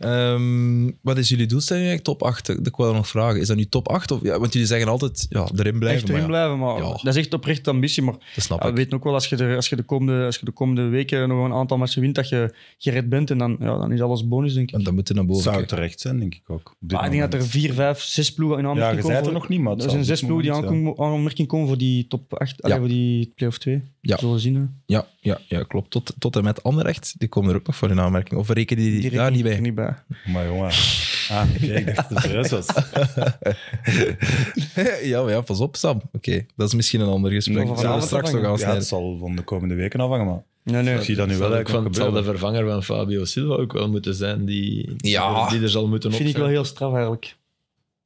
Ehm, wat is jullie doelstelling eigenlijk? Top 8? Ik wil nog vragen. Is dat nu top 8? Of, ja, want jullie zeggen altijd ja, erin blijven. Echt erin maar ja, blijven, maar Ja. dat is echt oprechte ambitie. Maar Dat snap Ja, we ik. weten ook wel, als je, de, als, je de komende, als je de komende weken nog een aantal matchen wint, dat je gered bent. En dan, ja, dan is alles bonus, denk ik. Want dan moeten we naar boven. Zou kijken. terecht zijn, denk ik ook. op dit Maar Ah, ik denk dat er moment. vier, vijf, zes ploegen in Ja, aanmerking je komen. zei het er voor- nog niet, maar het er zou zijn zes op dit ploegen die moment, aankom- aanmerking komen voor die top 8, Ja. voor die play-off 2. Ja. Zullen we zien. hè. Ja, ja, ja, klopt. Tot, tot en met Anderlecht. Die komen er ook nog voor in aanmerking. Of rekenen die, daar Die rekenen niet er bij? niet bij. Maar jongen. Ah, oké, ik dacht dat het serieus was. [LAUGHS] ja, maar ja, pas op, Sam. Oké, dat is misschien een ander gesprek. Of Dat we zullen we vanavond straks nog afhangen. Ja, aansnijden. het zal van de komende weken afhangen, maar Nee, nee. ik zie dat nu Zal wel ook van- eigenlijk zal wel de gebeuren. vervanger van Fabio Silva ook wel moeten zijn die, Ja. die er zal moeten op vind ik wel heel straf, eigenlijk.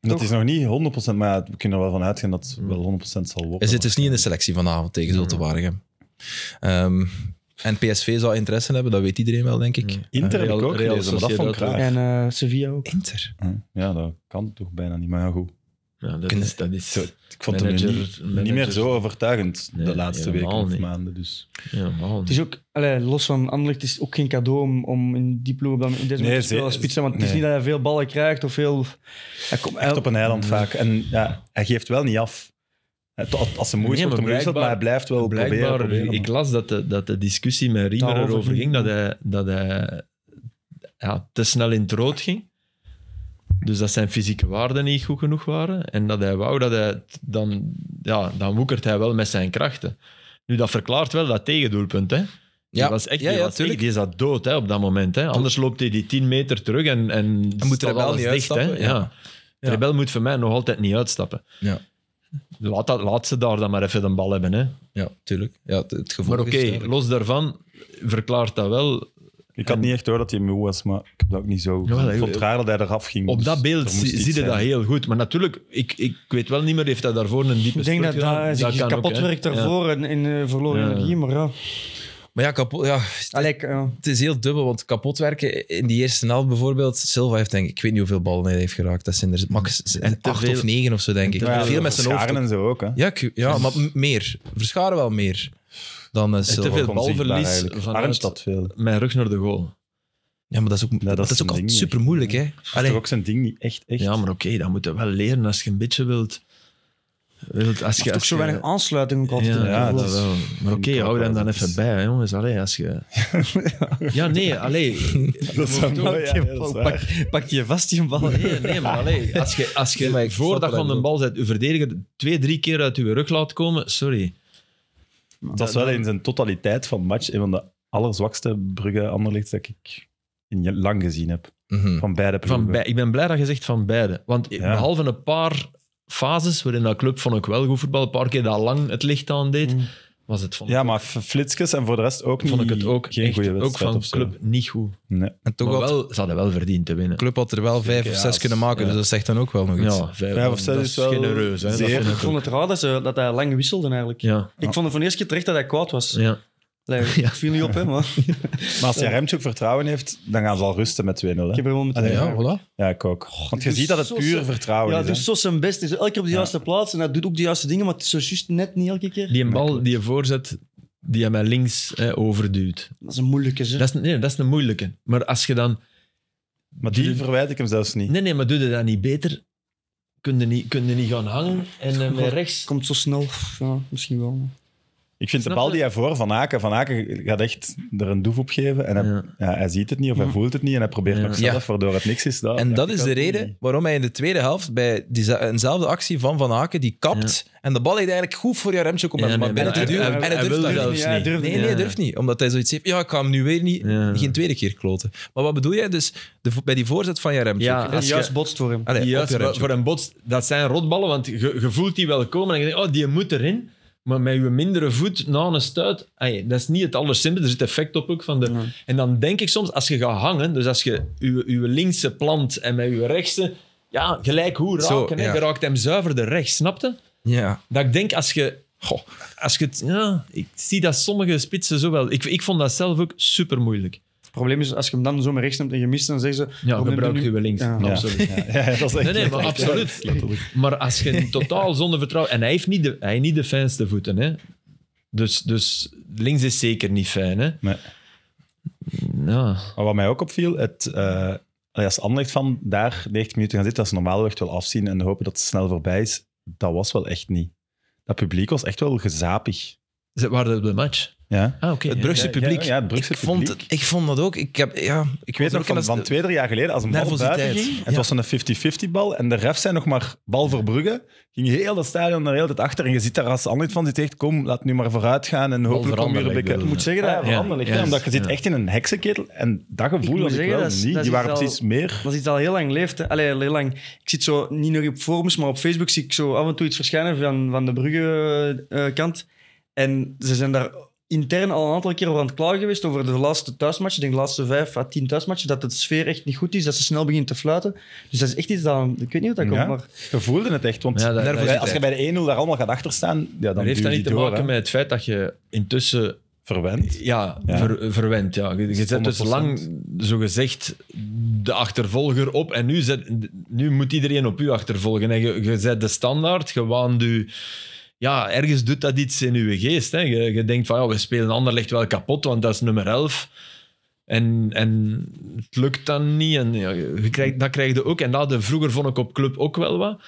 Dat Toch? is nog niet 100%, maar ja, we kunnen er wel van uitgaan dat het wel 100% zal worden. Hij zit dus niet in de selectie vanavond tegen Zulte Waregem. Ehm, en PSV zou interesse hebben, dat weet iedereen wel, denk ik. Inter heb ik Real- ook Real gelezen, maar dat Sociedad vond ik raar. En eh, Sevilla ook. Inter? Hm. Ja, dat kan toch bijna niet, maar ja, goed. Ja, dat is, dat is Zo, ik vond Manager- hem nu niet, manager- niet meer zo overtuigend Nee, de laatste weken helemaal of niet. maanden. Dus. helemaal Het niet. is ook, allee, los van Anderlecht, het is ook geen cadeau om, om in die ploeg op dat- in deze Nee, manier te spelen als ze- spits. hè, Want het is nee. niet dat hij veel ballen krijgt of veel... Hij komt Echt op een eiland vaak. En ja, hij geeft wel niet af. Hij- to- Als ze moeite Nee, wordt, maar dan moet je dat, maar hij blijft wel proberen. Blijkbaar, eh, proberen, ik maar- las dat de, dat de discussie met Riemer Daarover erover ging, ging, dat hij, dat hij ja, te snel in het rood ging. Dus dat zijn fysieke waarden niet goed genoeg waren. En dat hij wou dat hij... het- Dan, ja, dan woekert hij wel met zijn krachten. Nu, dat verklaart wel dat tegendoelpunt, hè. Ja. die was echt, Ja, die ja, was echt- tuurlijk. die zat dood hè, op dat moment. Hè. Anders loopt hij die 10 meter terug en, en moet staat de rebel alles niet hè. uitstappen, Ja. ja. De rebel moet voor mij nog altijd niet uitstappen. Ja. Laat, dat, laat ze daar dan maar even de bal hebben. Hè. Ja, tuurlijk. Ja, het, het gevoel Maar oké, is duidelijk. los daarvan verklaart dat wel. Ik had niet echt door dat hij moe was, maar ik heb dat ook niet zo. Jawel, ik vond het joh. raar dat hij eraf ging. Op dus dat beeld er moest zie iets zie je zijn. dat heel goed. Maar natuurlijk, ik, ik weet wel niet meer, heeft hij daarvoor een diepe Ik denk dat spurt gedaan? daar zich kan ook, kapot hè. werkt Ja. daarvoor en, en eh, verloren Ja. energie, maar ja. Maar ja, kapot, ja, Allee, ik, eh, het is heel dubbel, want kapot werken in die eerste helft bijvoorbeeld. Silva heeft denk ik, ik weet niet hoeveel ballen hij heeft geraakt. Dat zijn er max En te acht veel- of negen of zo, denk ik. Maar ja, veel met zijn Scharen hoofd. ook. en zo ook. Hè. Ja, ik- ja, maar m- meer. Verscharen wel meer dan eh, te Silva. veel Ook balverlies onzichtbaar eigenlijk. vanuit- Arnstad veel. Mijn rug naar de goal. Ja, maar dat is ook, dat dat is is ook een altijd ding, super moeilijk, hè? Dat is Allee, toch ook zijn ding niet echt. echt. Ja, maar oké, dat moet je wel leren als je een beetje wilt. wilt als je, toch als zo je- weinig aansluiting ook altijd. Ja, hè. ja, dat dat is- wel. Maar oké, ik ook hou wel. hem dan Dat is- even bij, hè, jongens. Allee, [LAUGHS] als je... Ja, nee, allee. [LAUGHS] dat is wel mooi. Ja, nee, dat is waar. pak, pak je vast die bal. Nee, nee, maar allee. Als je, als Nee, maar je ik voordat snap je wat aan hij de bal zet, je verdediger twee, drie keer uit je rug laat komen, sorry. Dat is wel in zijn totaliteit van match een van de allerzwakste Brugge Anderlecht dat ik in je- lang gezien heb. mhm. Van beide ploegen. Van bij, ik ben blij dat je zegt van beide. Want Ja. behalve een paar fases waarin dat club vond ik wel goed voetbal, een paar keer dat lang het licht aan deed, Mm. was het van... Ja, maar f- flitsjes en voor de rest ook niet. Vond ik het ook, geen echt, goede ook wedstrijd van of zo. club niet goed. Nee. En toch maar had wel, ze hadden wel verdiend te winnen. de club had er wel vijf of ja, zes kunnen maken, ja. dus dat zegt dan ook wel nog iets. Ja, vijf, Vijf of zes dat is wel genereus. Hè, dat zeer. vind Ik ik ook. vond het raar dat, ze, dat hij lang wisselde eigenlijk. Ja, Ik vond het voor de eerste keer terecht dat hij kwaad was. Ah. [LAUGHS] ja. Allee, Ik viel niet op, hè, [LAUGHS] maar ik Maar als Jaremchuk vertrouwen heeft, dan gaan ze al rusten met 2-0. hè. heb er wel meteen... Allee, Ja, voilà. Ja, ik ook. Want je doet ziet dat het zo puur zo- vertrouwen Ja, is. dus hè. zo zijn best. Dus elke keer op de Ja. juiste plaats en hij doet ook de juiste dingen, maar het is zo juist net niet elke keer. Die een bal die je voorzet, die je met links hè, overduwt. Dat is een moeilijke, zeg. Dat is, nee, dat is een moeilijke. Maar als je dan... Maar die Die- verwijt ik hem zelfs niet. Nee, nee, maar doe je dat niet beter? Kun je niet, kun je niet gaan hangen en eh, met rechts... Ah, komt zo snel. Ja, misschien wel. Ik vind de Snap bal je? die hij voor Van Aken... Van Aken gaat echt er een doef op geven. En hij, Ja. ja, hij ziet het niet of hij voelt het niet. En hij probeert Ja. nog zelf, waardoor het niks is. En dat ik is ook de niet. reden waarom hij in de tweede helft bij die, eenzelfde actie van Van Haken, die kapt en de bal ligt eigenlijk goed voor Jaremchuk om Ja, hem maar nee, binnen maar te hij- duwen. hij- En hij het wil durft zelfs niet. niet. Ja, hij durft Nee, niet. nee, Ja. durft niet. Omdat hij zoiets heeft, ja, ik ga hem nu weer niet, Ja. geen tweede keer kloten. Maar wat bedoel jij dus de vo- bij die voorzet van Jaremchuk? Ja, Allee, En als juist je- botst voor hem. op Juist, Jaremchuk. voor een botst, dat zijn rotballen, want je, je voelt die wel komen en je denkt, oh, die moet erin. Maar met je mindere voet na een stuit, ai, dat is niet het allersimpelste. Er zit effect op ook. Van de... Ja. En dan denk ik soms, als je gaat hangen, dus als je je, je linkse plant en met je rechtse, ja, gelijk hoe Zo, raken. hè. ja. Je raakt hem zuiverder rechts, snapte? Ja. Dat ik denk, als je... Goh, als je het, ja, ik zie dat sommige spitsen zo wel. Ik, ik vond dat zelf ook super moeilijk. Het probleem is, als je hem dan zo met rechts neemt en je mist, dan zeggen ze... Ja, "Waarom neem gebruik nu- je wel links. Ja. Ja. [LAUGHS] Absoluut. Ja, ja, dat is echt Nee, nee, maar absoluut. Maar als je in totaal zonder vertrouwen... En hij heeft niet de, hij heeft niet de fijnste voeten, hè. Dus, dus links is zeker niet fijn, hè. Nee. Ja. Maar wat mij ook opviel, het, eh, als Anderlecht van daar 90 minuten gaan zitten, dat ze normaal echt wel afzien en hopen dat het snel voorbij is, dat was wel echt niet. Dat publiek was echt wel gezapig. Ze waren op de match. Ja. Ah, oké. Het Brugse Ja, publiek. ja, het Brugse ik, vond, publiek. het- ik vond dat ook. Ik, heb, ja, Ik weet nog van, van twee, drie jaar geleden, als een bal Nervositeit. buiten ging, en het Ja. was een 50-50 bal, en de ref zei nog maar bal voor Brugge, ging heel dat stadion er heel de tijd achter, en je ziet daar als Anderlecht van zit echt, kom, laat nu maar vooruit gaan, en hopelijk voor kom je er een Anderlecht beetje... bedoel je? moet zeggen dat Ja, hij ja. Anderlecht, Ja, hè, omdat je zit ja. echt in een heksenketel, en dat Ik moet gevoel had ik zeggen, wel dat is- niet. dat is Die waren wel- precies meer... Dat is iets dat al heel lang leeft. Hè. Allee, al heel lang. Ik zit zo niet nog op forums, maar op Facebook zie ik zo af en toe iets verschijnen van, van de Brugge-kant. en ze zijn daar intern al een aantal keer over aan het klagen geweest over de laatste thuismatchen. Ik denk de laatste vijf à tien thuismatchen. Dat de sfeer echt niet goed is, dat ze snel beginnen te fluiten. Dus dat is echt iets dat... Ik weet niet hoe dat komt, Ja. maar... Je voelde het echt, want Ja, dat- nervositeit. dat- als je bij de 1-0 daar allemaal gaat achterstaan, ja, dan Maar heeft duw dat je niet te door, maken hè. met het feit dat je intussen Verwend. ja, Ja. Ver, verwend. Ja. Je, je zet dus 100%. lang, zogezegd, de achtervolger op. En nu, zet, nu moet iedereen op u achtervolgen. En je, je zet de standaard, je waant u... Ja, ergens doet dat iets in uw geest. Hè. Je, je denkt van, ja, we spelen Anderlecht wel kapot, want dat is nummer 11. En, en het lukt dan niet. En, ja, je krijgt, dat krijg je ook. En dat de, vroeger vond ik op club ook wel wat.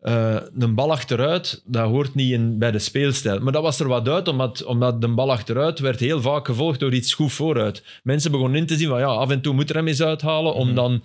Eh, een bal achteruit, dat hoort niet in, bij de speelstijl. Maar dat was er wat uit, omdat, omdat de bal achteruit werd heel vaak gevolgd door iets goed vooruit. Mensen begonnen in te zien van ja, af en toe moet er hem eens uithalen. Mhm. Om dan,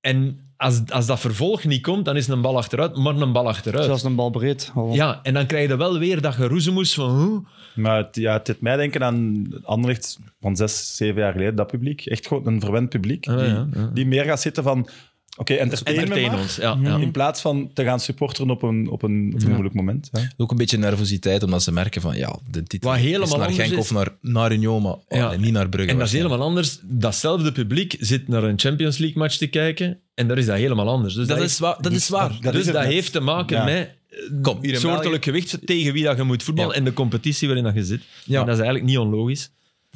en als, als dat vervolg niet komt, dan is een bal achteruit, maar een bal achteruit. Zelfs een bal breed. al. Ja, en dan krijg je wel weer dat geroezemoes van hoe. Maar het, ja, het deed mij denken aan Anderlecht van zes, zeven jaar geleden, dat publiek. Echt gewoon een verwend publiek, Ah, die, ja, ja. die meer gaat zitten van... Oké, entertain, me Entertain maar, ons. Ja, ja. In plaats van te gaan supporteren op een, op een, op een moeilijk moment. Ja. Ook een beetje nervositeit, omdat ze merken van ja, de titel Wat helemaal is naar anders Genk is- of naar, naar Union, maar Ja. allee, niet naar Brugge. En dat is helemaal anders. Datzelfde publiek zit naar een Champions League match te kijken en daar is dat helemaal anders. Dus dat, Dat is, is, wa- dat is waar. dat dus is er dat net. heeft te maken Ja. met eh, Kom, hier in soortelijk gewicht tegen wie dat je moet voetballen Ja. en de competitie waarin dat je zit. Ja. En dat is eigenlijk niet onlogisch.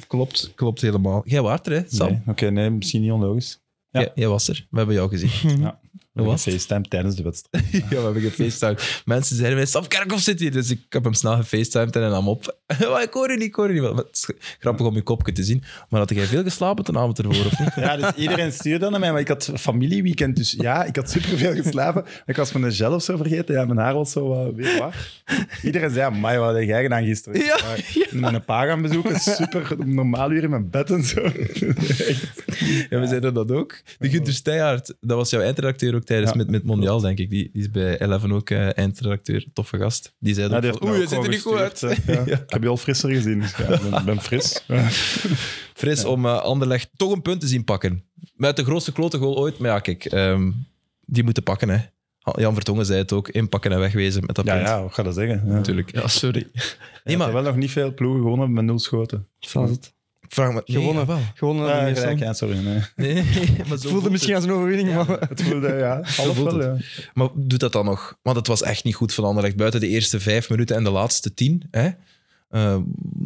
Klopt, klopt helemaal. Jij waart er, hè, Sam? Nee, Oké, nee, misschien niet onlogisch. Ja. Jij, jij was er. We hebben jou [LAUGHS] gezien. Mhm. Ja. Wat? Wat? FaceTime tijdens de wedstrijd. ja, we hebben gefacetimed. Mensen zeiden mij, Sam Kerkhoff zit hier. Dus ik heb hem snel gefacetimed en hij nam op. [LAUGHS] Maar ik hoor je niet, ik hoor je niet. Maar het is grappig om je kopje te zien. Maar had jij veel geslapen de avond ervoor, of [LAUGHS] niet? Ja, dus iedereen stuurde dan naar mij, maar ik had familieweekend, dus ja, ik had superveel geslapen. Ik was mijn gel of zo vergeten, ja, mijn haar was zo eh, weer waar. Iedereen zei, amai, wat heb jij gedaan gisteren? Ja, Maar Mijn pa gaan bezoeken, super om normaal uur in mijn bed en zo. Ja, we zeiden dat ook. De Gunther Steyaert, dat was jouw eindredacteur ook tijdens Ja, met, met Mondiaal, denk ik. Die, die is bij Eleven ook eh, eindredacteur. Toffe gast. Die zei Ja, ook Nou, die heeft van, oei, mij ook je ziet er niet goed gewoon uit. gestuurd, eh, ja. Ik heb je al frisser gezien, dus ja, ik ben, ben fris. Fris om eh, Anderlecht toch een punt te zien pakken. Met de grootste klote goal ooit. Maar ja, kijk, ehm, die moeten pakken, hè. Jan Vertongen zei het ook. Inpakken en wegwezen met dat Ja, punt. ja, wat ga dat zeggen? Ja. Natuurlijk. Ja, sorry. Nee, Nee, maar wel nog niet veel ploegen gewonnen met nul schoten. Zo is het. ik vraag me... nee, Gewonnen. wel. Gewoon Ja, eh, Ah, gelijk, ja, sorry. Nee. Nee, nee, maar zo Het voelde voelt misschien het. als een overwinning, maar... Het voelde, ja, half voelt wel, ja. Maar doet dat dan nog? Want het was echt niet goed van Anderlecht. Buiten de eerste vijf minuten en de laatste tien. Hè? Eh,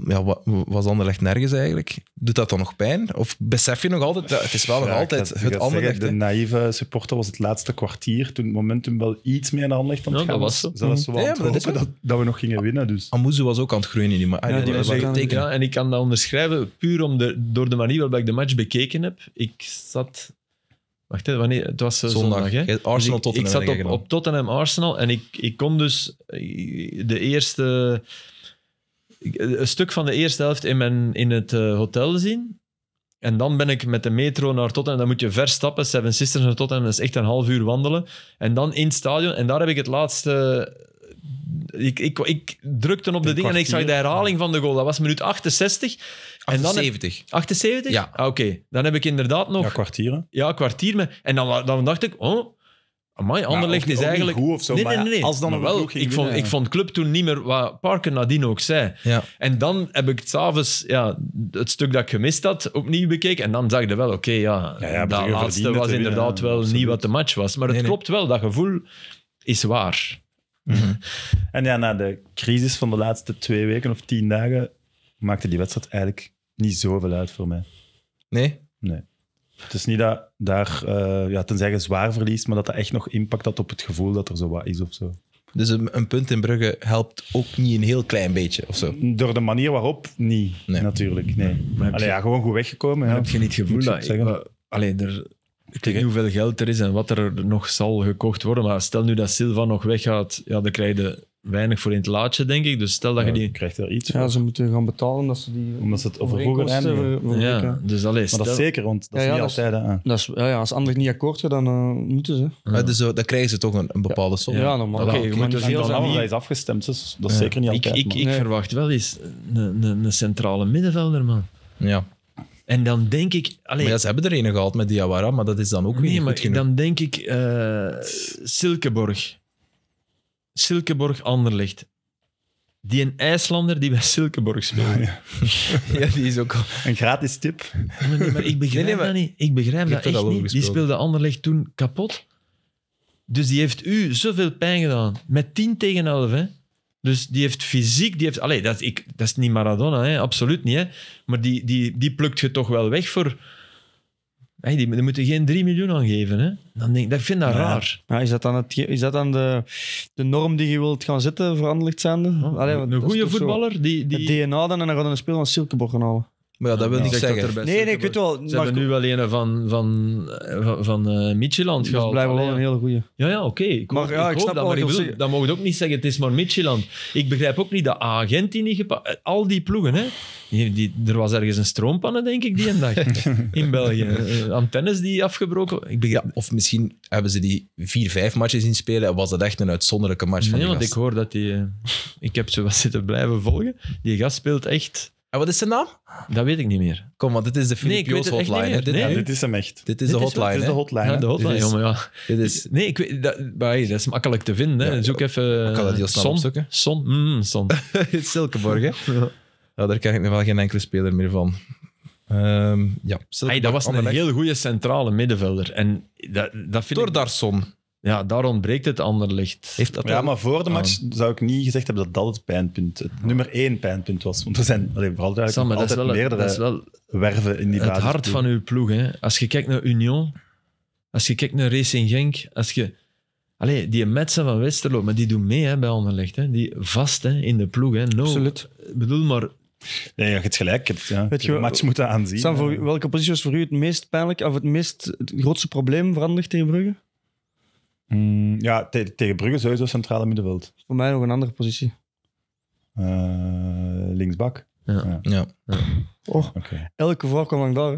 ja, wa- was Anderlecht nergens eigenlijk? Doet dat dan nog pijn? Of besef je nog altijd... dat- het is wel nog Ja, ik altijd had- ik het had Anderlecht. hè? zeggen, De naïeve supporter was het laatste kwartier, toen het momentum wel iets meer naar Anderlecht aan het Ja, gaan dat was zo. Zelfs zo Ja, aan het maar dat is hopen dat, dat we nog gingen winnen, dus. Amuzu was ook aan het groeien in die... ma- Ah, Ja, nee, die dat was was ook aan een het- teken. Ja, en ik kan dat onderschrijven puur om de, door de manier waarop ik de match bekeken heb. Ik zat... Wacht, hè, wanneer, het was eh, zondag, Zondag. hè? Jij- Arsenal Dus ik- Tottenham. heb Ik jij zat op, gedaan. op Tottenham Arsenal en ik, ik kon dus eh, de eerste ik- een stuk van de eerste helft in, mijn, in het eh, hotel zien. En dan ben ik met de metro naar Tottenham. Dan moet je ver stappen. Seven Sisters naar Tottenham. Dat is echt een half uur wandelen. En dan in het stadion. En daar heb ik het laatste... Ik, ik, ik drukte op de dingen en ik zag de kwartier. herhaling van de goal. Dat was minuut 68. En dan heb- 78. 78? Ja. Ah, Oké, dan heb ik inderdaad nog Ja, ja, kwartieren. kwartier. Mee. En dan, wa- dan dacht ik, oh, amai, Anderlecht Maar ook- is ook niet eigenlijk... goed of zo, nee, maar nee, nee. als dan maar een wel, ploeg ging ik, vond, winnen, ik ja. vond club toen niet meer wat Parker nadien ook zei. Ja. En dan heb ik s'avonds ja, het stuk dat ik gemist had opnieuw bekeken. En dan zag je wel, oké, ja, Ja, ja, dat Brugge laatste verdiende was te winnen, inderdaad wel absoluut. niet wat de match was. Maar het Nee, nee. klopt wel, dat gevoel is waar. En ja, na de crisis van de laatste twee weken of tien dagen maakte die wedstrijd eigenlijk niet zoveel uit voor mij. Nee? Het is niet dat daar, eh, ja, tenzij je zwaar verliest, maar dat dat echt nog impact had op het gevoel dat er zo wat is of zo. Dus een, een punt in Brugge helpt ook niet een heel klein beetje of zo. Door de manier waarop, niet, Nee. natuurlijk. Nee. Maar heb Allee, je- ja, gewoon goed weggekomen. Ja. Heb je niet het gevoel Moet je dat... het zeggen? eh, allee, er, ik weet niet hoeveel geld er is en wat er nog zal gekocht worden, maar stel nu dat Silva nog weggaat, ja, dan krijg je weinig voor in het laadje, denk ik. Dus stel dat je Ja, die... je krijgt er iets Ja, voor. ze moeten gaan betalen dat ze die Omdat ze het over vroeger overeenkomsten eindigen. ver- verbreken. Ja, dus allee, Maar stel... dat is zeker, want dat is Ja, ja, niet dat is- altijd. hè. Dat is, ja, ja, als Anderlecht niet akkoord gaat, dan eh, moeten ze. Maar dus, zo- dan krijgen ze toch een, een bepaalde som. Ja, normaal. Oké, Ja, je het moet kan er niet zien veel dan zijn. af. Allemaal is afgestemd, dus dat is Ja. zeker niet Ik, altijd. ik, ik Nee. verwacht wel eens een, een, een centrale middenvelder, man. Ja. En dan denk ik... Allee, Maar ja, ze hebben er een gehaald met Diawara, maar dat is dan ook weer nee, niet maar goed genoeg. dan denk ik eh, Silkeborg. Silkeborg Anderlecht. Die een IJslander die bij Silkeborg speelt. [LAUGHS] Ja, die is ook al... maar. Een gratis tip. Maar, nee, maar ik begrijp Nee, nee, maar- dat niet. Ik begrijp Je dat hebt er echt al over niet. Die gesproken. speelde Anderlecht toen kapot. Dus die heeft u zoveel pijn gedaan. Met 10 tegen 11, hè. Dus die heeft fysiek... Die heeft, allee, dat, ik, dat is niet Maradona, hè. Absoluut niet, hè. Maar die, die, die plukt je toch wel weg voor... Hey, die, die moeten geen 3 miljoen aan geven, hè. Dan denk, ik- dat, ik vind dat Ja. raar. Ja, is dat dan, het, ge- is dat dan de, de norm die je wilt gaan zetten voor Anderlecht zijnde? Allee, want Oh, een dat is goede toch zo voetballer die... die Het DNA dan en dan gaat hij een speel van Silkeborg gaan halen. Maar ja, dat wil Ja, niet zegt dat zeggen. er bij Nee, nee, ik weet Silkeborg- wel. Ze hebben nu wel een van, van, van, van eh, Midtjylland Dus dat is gehaald. blijkbaar wel Allee, een ja. hele goede. Ja, ja, oké. Ik, Maar hoop- ja, ik ik snap hoop wel dat, maar wat je ik wilt bedoel, zeggen. dat mogen we ook niet zeggen, het is maar Midtjylland. Ik begrijp ook niet dat agent die niet gepakt... Al die ploegen, hè. Die, die- er was ergens een stroompanne, denk ik, die een [LAUGHS] dag. In België. Eh, antennes die afgebroken... Ik begrijp... Ja, of misschien hebben ze die vier, vijf matches zien spelen en was dat echt een uitzonderlijke match van Nee, die want ik gast. hoor dat die... eh, ik heb ze wat [LAUGHS] zitten blijven volgen. Die gast speelt echt... En wat is zijn naam? Dat weet ik niet meer. Kom, want dit is de Filip ik weet Joos het echt hotline. niet hè. Dit, meer. Nee. Ja, hè? dit is hem echt. dit is de Dit is- hotline. Dit is de hè. hotline. Ja, hè. de hotline, Dit is- jongen, ja. Dit is... Nee, ik weet... Dat, maar hey, dat is makkelijk te vinden, hè. Ja, Zoek even... eh, Ik kan dat heel snel Son. opzoeken. Son. Mm, Son. Silkeborg, [LAUGHS] hè? Ja. daar ken ik nog wel geen enkele speler meer van. Ehm, ja, Hey, Silkeborg, dat was een Anderlecht. heel goede centrale middenvelder. En dat, dat vind ik... Tordarson. Ja, daar ontbreekt het Anderlicht. Heeft dat Ja, maar voor de match zou ik niet gezegd hebben dat dat het pijnpunt, het nummer één pijnpunt was. Want er zijn allee, vooral duidelijk Ah. Sam, maar dat is altijd wel, het- meerdere dat is wel werven in die het basis. hart van uw ploeg. Hè. Als je kijkt naar Union, als je kijkt naar Racing Genk, als je... Allee, die Metsen van Westerlo, maar die doen mee hè, bij Anderlecht. Hè. Die vast hè, in de ploeg. Hè. No, Absoluut. Ik bedoel maar... Nee, je hebt gelijk. Het, ja. Weet je de wel- match moet dat aanzien. eh. Sam, voor, eh, Ja. u- welke positie was voor u het meest pijnlijk of het, meest, het grootste probleem veranderd tegen Brugge? Mm, ja, te- tegen Brugge sowieso centrale middenveld. Voor mij nog een andere positie. Eh, linksbak. Ja. Oh, Oké. elke vraag kwam lang daar. hè.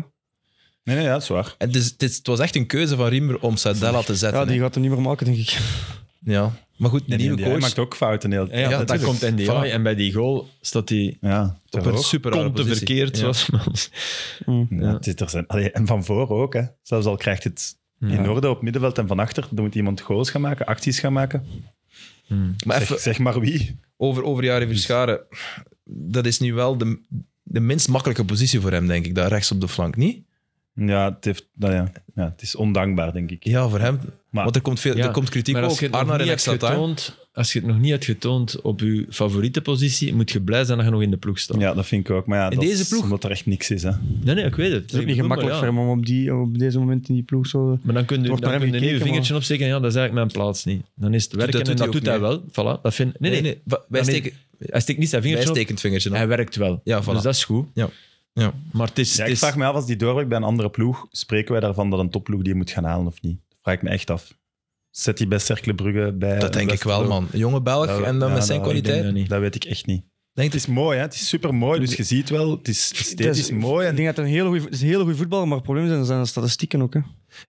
Nee, nee, ja, dat is waar. En het, is- het is- het was echt een keuze van Riemer om Sadella te zetten. Ja, die hè. gaat hem niet meer maken, denk ik. [LAUGHS] ja. Maar goed, de En nieuwe die- hij coach... maakt ook fouten. Heel, Ja, Ja, dat natuurlijk. komt NDI. Voilà. En bij die goal staat hij ja, Op toch een ook. super rare komt te positie. verkeerd. Ja. Zoals Mans. Mm. Ja, het is er zijn. Allee, en van voor ook. Hè. Zelfs al krijgt het in orde op middenveld en van achter, dan moet iemand goals gaan maken, acties gaan maken. Maar even Zeg, zeg maar wie. over, over Jari Verscharen. Dat is nu wel de, de minst makkelijke positie voor hem, denk ik. Daar rechts op de flank, niet? Ja, het, heeft, nou ja, ja, het is ondankbaar, denk ik. Ja, voor hem. Maar- Want er komt, veel, Ja, er komt kritiek Maar als je, ook. het nog Arnaar niet en hebt extra time. getoond, als je het nog niet hebt getoond op je favoriete positie, moet je blij zijn dat je nog in de ploeg staat. Ja, dat vind ik ook. Maar ja, In dat deze is ploeg? Omdat er echt niks is. Hè. Nee, nee, ik weet het. Het is ook Ik niet bedoel, gemakkelijk maar voor ja. hem om op, die, op deze moment in die ploeg zo... eh, Maar dan kun je, Wordt dan naar kun hem je nu je gekeken, vingertje opsteken en ja, dat is eigenlijk mijn plaats niet. Dan is het werken dat en doet dat hij doet ook hij wel. Voilà, dat vind, nee, Nee, nee, nee. wa- Wij Dan steken, Hij steekt niet zijn wij vingertje op, steken het vingertje op. hij werkt wel. Ja, voilà. Dus dat is goed. Ja. Ja. Maar het is... Ja, het ik is vraag me af, als die doorwerkt bij een andere ploeg, spreken wij daarvan dat een topploeg die moet gaan halen of niet? Dat vraag ik me echt af. Zet die bij Cercle Brugge bij... Dat denk ik wel, Westerlo? man. Een jonge Belg Dat- en dan ja, met zijn dat- ik denk kwaliteit. dat niet. Dat weet ik echt niet. Denk Het het is mooi, hè? het is super mooi. Dus je ziet wel, het is Dat esthetisch mooi. Ik En denk dat het een hele goede, is een hele goede voetballer, maar het probleem zijn, zijn de statistieken ook. Hè.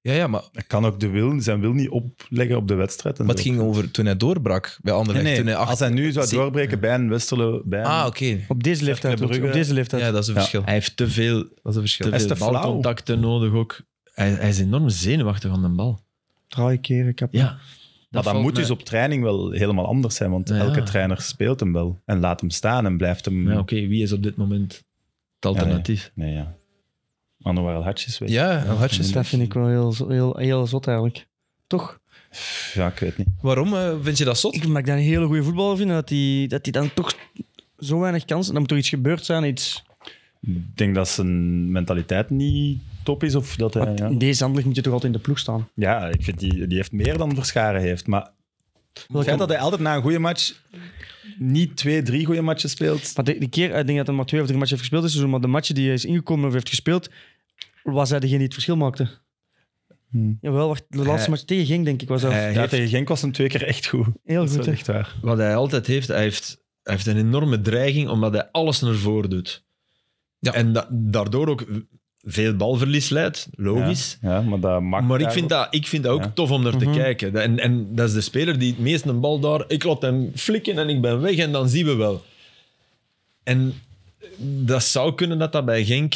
ja, ja, maar, hij kan ook de wil, zijn wil niet opleggen op de wedstrijd. En maar het zo. ging over toen hij doorbrak bij Nee, Anderlecht. nee, Toen hij acht- Als hij nu zou Zie- doorbreken bij een Westerlo, bij een... Ah, oké. Op deze leeftijd. Club ook, Op Brugge. deze leeftijd. Ja, dat is een Ja. verschil. Hij heeft te veel, Dat is een verschil. te is veel te flauw. balcontacten nodig ook. Hij, hij is enorm zenuwachtig aan de bal. Draai keren, kap. Ja. maar dat valt moet mij- dus op training wel helemaal anders zijn, want Ja. elke trainer speelt hem wel en laat hem staan en blijft hem... Ja, oké, wie is op dit moment het alternatief? Nee, ja. Anouar Hatjes weet je. Ja, El Hadjes. Dus Dat vind ik wel heel, heel, heel zot eigenlijk. Toch? Pff, Ja, ik weet niet. Waarom eh, vind je dat zot? Ik maak dat een hele goede voetballer vinden dat die, dat die dan toch zo weinig kansen. Dan moet toch iets gebeurd zijn. Iets. Ik denk dat zijn mentaliteit niet top is. Of dat hij, Want ja. in deze handeling moet je toch altijd in de ploeg staan. ja, ik vind die, die heeft meer dan Verscharen heeft. Maar het feit dat hij altijd na een goede match niet twee, drie goede matches speelt. Maar de, de keer, ik denk dat hij maar twee of drie matchen heeft gespeeld is, maar de matchen die hij is ingekomen of heeft gespeeld, was hij degene die het verschil maakte. Hmm. Jawel, wacht, de laatste Hij- match tegen Genk, denk ik, was dat. Ja, tegen Genk was hem twee keer echt goed. heel Dat is goed, wel hè? echt waar. Wat hij altijd heeft, hij heeft, hij heeft een enorme dreiging omdat hij alles naar voren doet. Ja. En da- daardoor ook veel balverlies leidt, logisch. Ja, maar dat mag Maar ik daar vind, ook. dat, ik vind dat ook Ja. tof om naar te Mhm. kijken. En, en dat is de speler die het meest een bal daar... Ik laat hem flikken en ik ben weg en dan zien we wel. En dat zou kunnen dat dat bij Genk...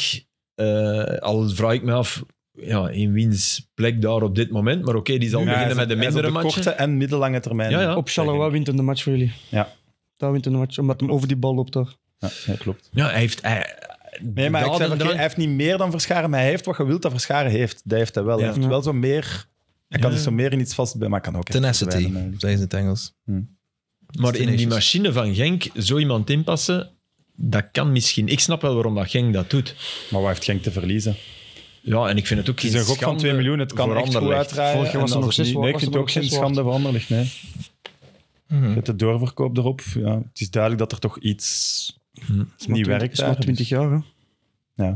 eh, al vraag ik me af ja, in wiens plek daar op dit moment. Maar oké, die zal Ja, hij beginnen is met de op- hij is op mindere matchen. korte en middellange termijn. Ja, ja. Op Charleroi wint hem de match voor jullie. Ja. Daar wint hem de match, omdat hem over die bal loopt daar. Ja, ja, klopt. Ja, hij heeft... Hij, Nee, maar ik zeg, dadendrang- oké, hij heeft niet meer dan Verscharen, maar hij heeft wat je wilt dat Verscharen heeft. Dat heeft hij wel. Hij Ja. heeft wel zo meer... Hij kan Ja. dus zo meer in iets vast... Maar hij kan ook echt Tenacity, verdwijnen, zeggen eigenlijk. ze in het Engels. Maar in die Tenacious. machine van Genk zo iemand inpassen, dat kan misschien. Ik snap wel waarom dat Genk dat doet. Maar wat heeft Genk te verliezen? Ja, en ik vind het ook Het is geen een gok van schande 2 miljoen, het kan voor echt goed Anderlecht. uitdraaien. Vorig jaar was En er nog als zes het niet- Nee, ik waard- vind was het er nog ook geen zes schande voor Anderlecht, nee. Mhm. Met de doorverkoop erop, ja. Het is duidelijk dat er toch iets Maar niet twi- werkt Mhm. is maar daar. 20 jaar, hè.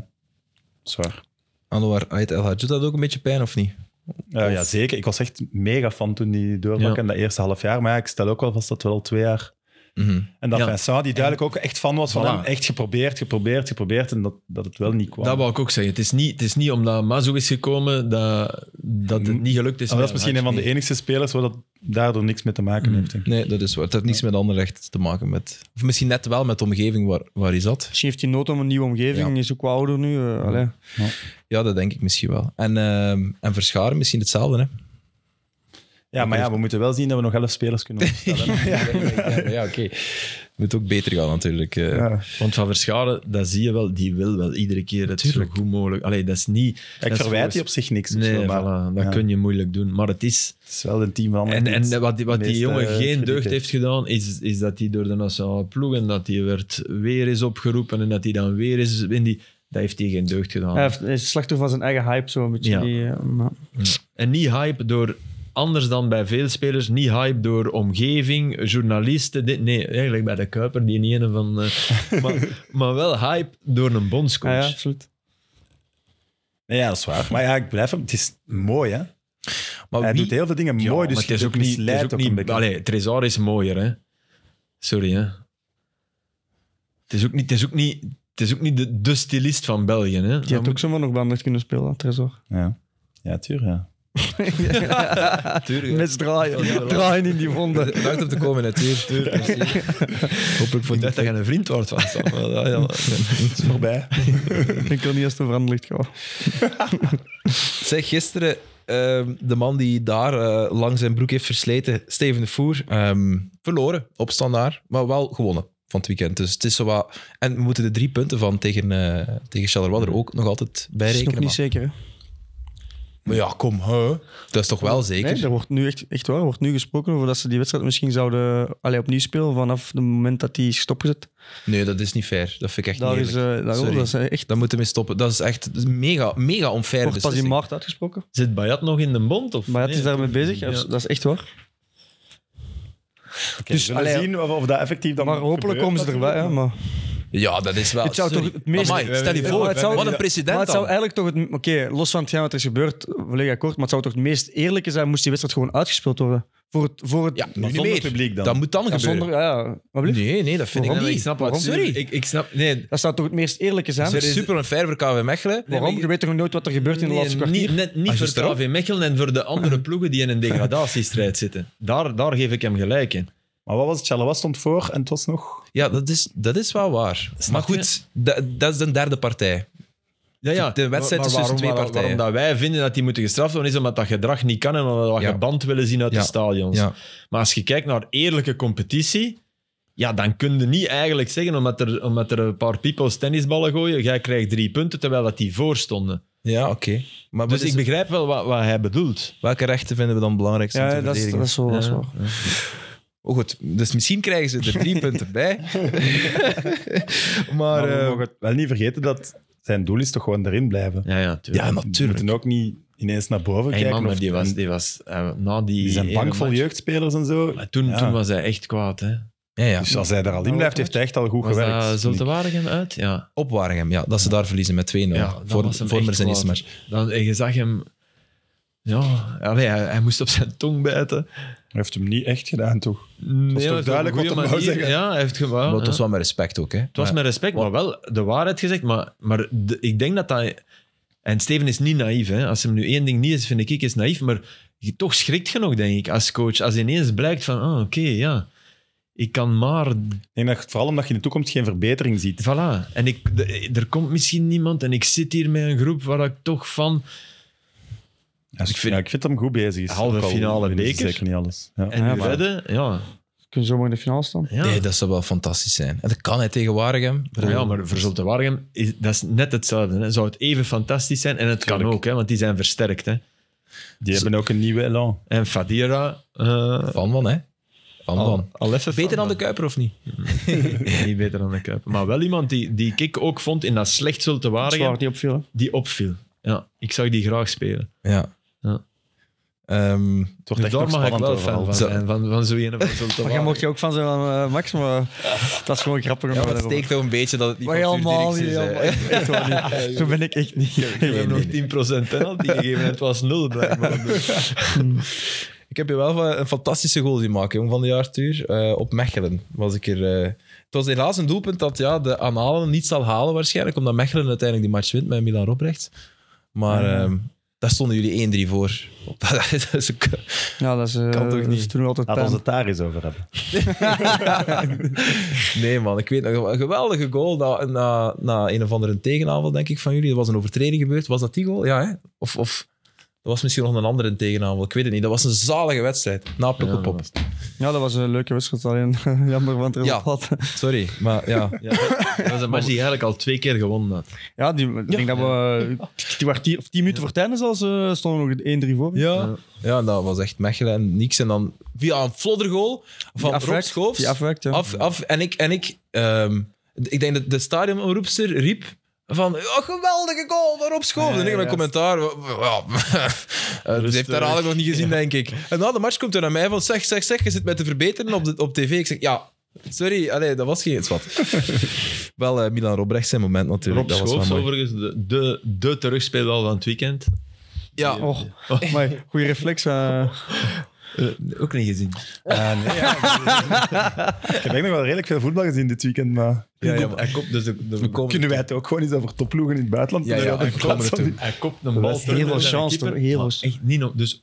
Zwaar. Anouar Ait El Hadj, doet dat ook een beetje pijn of niet? Eh, Ja, ja, zeker. Ik was echt mega fan toen die doorbrak Ja. in dat eerste half jaar. Maar ja, ik stel ook wel vast dat we al twee jaar... Mhm. En dat Ja. Vincent, die duidelijk ook echt fan was van Voilà. hem, echt geprobeerd, geprobeerd, geprobeerd. En dat, dat het wel niet kwam. Dat wou ik ook zeggen. Het is niet, het is niet omdat Mazou is gekomen dat, dat het niet gelukt is. Ah, Maar dat met is misschien een van Hatch. de enigste spelers waar dat daardoor niks mee te maken Mhm. heeft. denk ik. Nee, dat is waar. Het heeft niks met Anderlecht te maken. Met, of misschien net wel met de omgeving waar, waar hij zat. Misschien heeft hij nood om een nieuwe omgeving, Ja. is ook wat ouder nu. eh, allee. Ja, dat denk ik misschien wel. En, ehm, en Verscharen misschien hetzelfde, hè? Ja, maar ja, we moeten wel zien dat we nog elf spelers [LAUGHS] kunnen opstellen. ja. ja, oké. Moet ook beter gaan, natuurlijk. eh. Ja. Want van Verscharen, dat zie je wel, die wil wel iedere keer het zo goed mogelijk. Allee, dat is niet... dat Ik is verwijt volgens- die op zich niks. of Nee, zo, maar voilà, dat ja. kun je moeilijk doen. Maar het is... Het is wel een team van En, iets. en wat die, wat die meeste jongen geen krediet deugd eh, heeft. heeft gedaan, is, is dat hij door de nationale ploeg en dat hij werd weer is opgeroepen en dat hij dan weer is in die... Dat heeft hij geen deugd gedaan. Hij heeft- hij is slachtoffer van zijn eigen hype, zo een beetje. Ja. Die, eh, maar- En niet hype door, anders dan bij veel spelers, niet hype door omgeving, journalisten. Dit, nee, eigenlijk bij de Kuiper, die ene van. eh, maar, maar wel hype door een bondscoach. Ah, Ja, ja, absoluut. Nee, ja, dat is waar. Maar ja, ik blijf hem. Het is mooi, hè? Maar Hij wie- doet heel veel dingen Oh, Ja, mooi, maar dus het is je ook niet. Het is misleidt ook een niet beetje. allee, Trezor is mooier, hè? Sorry, hè? Het is ook niet, het is ook niet, het is ook niet de, de stilist van België, hè? Die had ook zomaar nog bij Anderlecht kunnen spelen, Trezor. Ja, ja tuurlijk. Ja. Tuurlijk. Met draaien. [LAUGHS] Draaien in die wonden. [LAUGHS] Bedankt om te komen, natuurlijk. Hopelijk vond dat je een vriend wordt van Sam. Maar dat- ja, maar- Het is [LAUGHS] voorbij. Ik denk er niet eens te veranderd gaan. Zeg, gisteren ehm, de man die daar eh, lang zijn broek heeft versleten, Steven de Voer, ehm, verloren op standaard, maar wel gewonnen van het weekend. Dus het is zowat... En we moeten de drie punten van tegen, eh tegen Charleroi er ook nog altijd bij Dat is nog rekenen. niet Maar. zeker, hè? maar ja, kom, hè. dat is toch wel zeker? Nee, er wordt nu echt, echt waar, er wordt nu gesproken over dat ze die wedstrijd misschien zouden allee, opnieuw spelen vanaf het moment dat die is stopgezet. Nee, dat is niet fair. Dat vind ik echt Daar niet is, eh eerlijk. daar, Sorry. dat is echt, Daar moeten we mee stoppen. Dat is echt dat is een mega, mega onfair wordt pas in beslissing. maart uitgesproken. Zit Bayat nog in de bond? Of? Maar ja, het is Nee. daarmee bezig, dat is- Ja. dat is echt waar. dus we zullen allee, zien of, of dat effectief dan Maar hopelijk gebeurt, komen ze erbij. Hè, natuurlijk. maar. Ja, dat is wel... Het zou toch sorry. het meest- Amai, stel je Ja, voor, maar het zou- wat een maar precedent Maar het zou dan. eigenlijk toch, het- oké, los van hetgeen wat er is gebeurd, volledig akkoord, maar het zou toch het meest eerlijke zijn moest die wedstrijd gewoon uitgespeeld worden. Voor het, voor het Ja, nu Maar niet zonder meer. publiek dan. Dat moet dan ja, gebeuren. zonder... Ja, ja. Wat blieft? Nee, nee, dat vind Waarom? ik Ik niet. snap wat Sorry. Ik, ik snap... Nee, Dat zou toch het meest eerlijke zijn? Dat is super unfair voor KV Mechelen. Nee, Waarom? maar- Je weet toch nooit wat er gebeurt in de Nee, laatste niet- kwartier? Net niet Ah, voor juist daarop. KV Mechelen en voor de andere ploegen die in een degradatiestrijd zitten. Daar, daar geef ik hem gelijk in. Maar wat was het? Charleroi stond voor en het was nog... Ja, dat is, dat is wel waar. maar je? goed, dat, dat is de derde partij. Ja, ja. De wedstrijd Maar- is tussen maar waarom- twee waar- partijen. Waarom dat wij vinden dat die moeten gestraft worden, is omdat dat gedrag niet kan en omdat we Ja. geband willen zien uit Ja. de stadions. Ja. Maar als je kijkt naar eerlijke competitie, ja, dan kun je niet eigenlijk zeggen, omdat er, omdat er een paar people's tennisballen gooien, jij krijgt drie punten, terwijl dat die voor stonden. Ja, oké. Maar Dus wat is- ik begrijp wel wat, wat hij bedoelt. welke rechten vinden we dan belangrijk? Ja, dat is, dat is wel, dat is wel. Oh, goed. Dus misschien krijgen ze er [LAUGHS] drie punten bij. maar... Maar we eh, mogen het wel niet vergeten dat zijn doel is toch gewoon erin blijven. Ja, ja, ja, We natuurlijk. moeten ook niet ineens naar boven Hey, kijken. man, maar of- die was, die was eh, na die... die zijn ene bang vol match- jeugdspelers en zo. Maar toen, Ja. toen was hij echt kwaad, hè. Ja, ja. Dus als hij daar al in blijft, heeft hij echt al goed Was gewerkt. dat vind ik. Zultewaardigem uit? Ja. Op Waregem, ja. Dat ze daar verliezen met 2-0. Ja, dan voor was hem voor echt maar zijn eerste kwaad. match. Dan, en je zag hem... Ja, allee, hij, hij moest op zijn tong bijten. Hij heeft hem niet echt gedaan, toch? Nee, toch maar op duidelijk een wat goede hem wou manier. zeggen? Ja, hij heeft gewoon... Maar ja. het was wel met respect ook, hè. Het was met respect, maar wel de waarheid gezegd. Maar, maar de- ik denk dat dat... En Steven is niet naïef. Hè. Als hem nu één ding niet is, vind ik, ik is naïef. Maar je- toch schrikt je nog, denk ik, als coach. Als ineens blijkt van, ah, oké, ja. Ik kan maar... Ik denk dat, vooral omdat je in de toekomst geen verbetering ziet. Voilà. En ik, de- er komt misschien niemand en ik zit hier met een groep waar ik toch van... Ja, ik, vind, ja, ik vind dat hem goed bezig is. Halve Ook al finale winnen ze beker. Zeker niet alles. Ja. En Ja, nu maar- redden, ja. Kunnen zomaar in de finale staan? ja. Nee, dat zou wel fantastisch zijn. En dat kan hij tegen Waregem. Maar ja, maar voor Zulte Waregem is dat is net hetzelfde. Hè. Zou het even fantastisch zijn? En het kan Tuurlijk. ook, hè, want die zijn versterkt. Hè. Die hebben ook een nieuwe elan. En Fadira... eh, Van van, hè. Van al- Oh. van. al even Beter van dan de Kuiper, of niet? Nee, [LAUGHS] niet beter dan de Kuip. Maar wel iemand die, die ik ook vond in dat slecht Zulte Dat is waar, Waregem, niet opviel. hè. die opviel. Ja, ik zou die graag spelen. Ja. Ja. Ehm, Het wordt Dus echt daar nog mag ik spannend wel fan overal. van Zo. zijn, van, van zo ene van Zulte Maar jij Waregem. mocht je ook van zijn van eh, Max, maar eh, Oh, dat is gewoon grappig om ja, maar te het horen. steekt toch een beetje dat het niet Maar van Stuur helemaal Dirks niet, is, hè. helemaal- echt, [LAUGHS] echt waar niet. Zo ben ik echt niet. Ik heb hem nog 10% penalty gegeven en het was nul blijkbaar. Ik heb je wel een fantastische goal zien maken, jong, van de jaar Tuur. Eh, op Mechelen was ik er... eh, Het was helaas een doelpunt dat ja, de aanhalen niet zal halen waarschijnlijk, omdat Mechelen uiteindelijk die match wint met Milan Robrecht. Maar ehm, daar stonden jullie 1-3 voor. dat [LAUGHS] is een k- Ja, dat is, eh, Kan toch dat is niet? toen altijd Laten pijn. we het daar eens over hebben. Nee, man, ik weet nog. Een geweldige goal na, na, na een of andere tegenaanval, denk ik, van jullie. Er was een overtreding gebeurd. Was dat die goal? Ja, hè? Of, of dat was misschien nog een andere tegenaanval. Ik weet het niet. Dat was een zalige wedstrijd. Na Pukkelpop. Ja, dat was een leuke wedstrijd. Alleen [LAUGHS] jammer van het resultaat. Ja, Sorry, maar ja. Ja, dat [LAUGHS] was een match die eigenlijk al twee keer gewonnen had. die, ik denk dat we eh, die kwartier, of tien minuten voor het einde zelfs eh, stonden we nog 1-3 voor. Ja. ja, dat was echt Mechelen en niks. En dan via een floddergoal Die van Rob afwerkt- Schoofs. Die afwerkt, ja. af, af, en ik, en ik, ehm, ik denk dat de stadionomroepster riep van, oh, geweldige goal van Rob Schoofs. Ja, en ik heb een ja, commentaar, ja, [LAUGHS] eh, die heeft daar eigenlijk nog niet gezien, denk ik. En na de match komt er naar mij van, zeg, zeg, zeg, je zit mij te verbeteren op, de, op tv. Ik zeg, ja, sorry, allee, dat was geen zwart. [LAUGHS] wel eh, Milan Robrecht zijn moment natuurlijk. dat Rob was wel mooi. Schoofs, overigens, de, de, de terugspeelbal van het weekend. Ja, Och, maar goede reflex. eh. ook niet gezien. Ah, nee, ja, ik- ik heb echt nog wel redelijk veel voetbal gezien dit weekend, maar... ja, ja, Hij kop- hij kopt dus de, de, we komen- Kunnen wij het ook gewoon eens over topploegen in het buitenland? Ja, ja, Kunnen we dat en in komen plaats van er die- Hij kopt een bal. was terug heel naar veel zijn chance, keeper, toch? Heel maar veel- Echt niet op. Dus,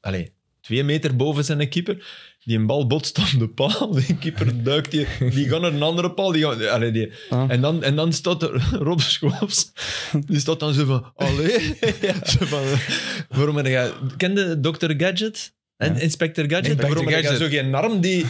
allee, twee meter boven zijn keeper. Die een bal botst op de paal. [LAUGHS] Die keeper duikt. Die, die gaat naar een andere paal. Die gaat, allee, die, Ah. en, dan, en dan staat er [LAUGHS] Rob Schoofs. Die staat dan zo van... Allee? Zo van, waarom heb jij... Kende Dr. Gadget? En Inspector Gadget? Inspector waarom heb jij zo Gadget. geen arm die...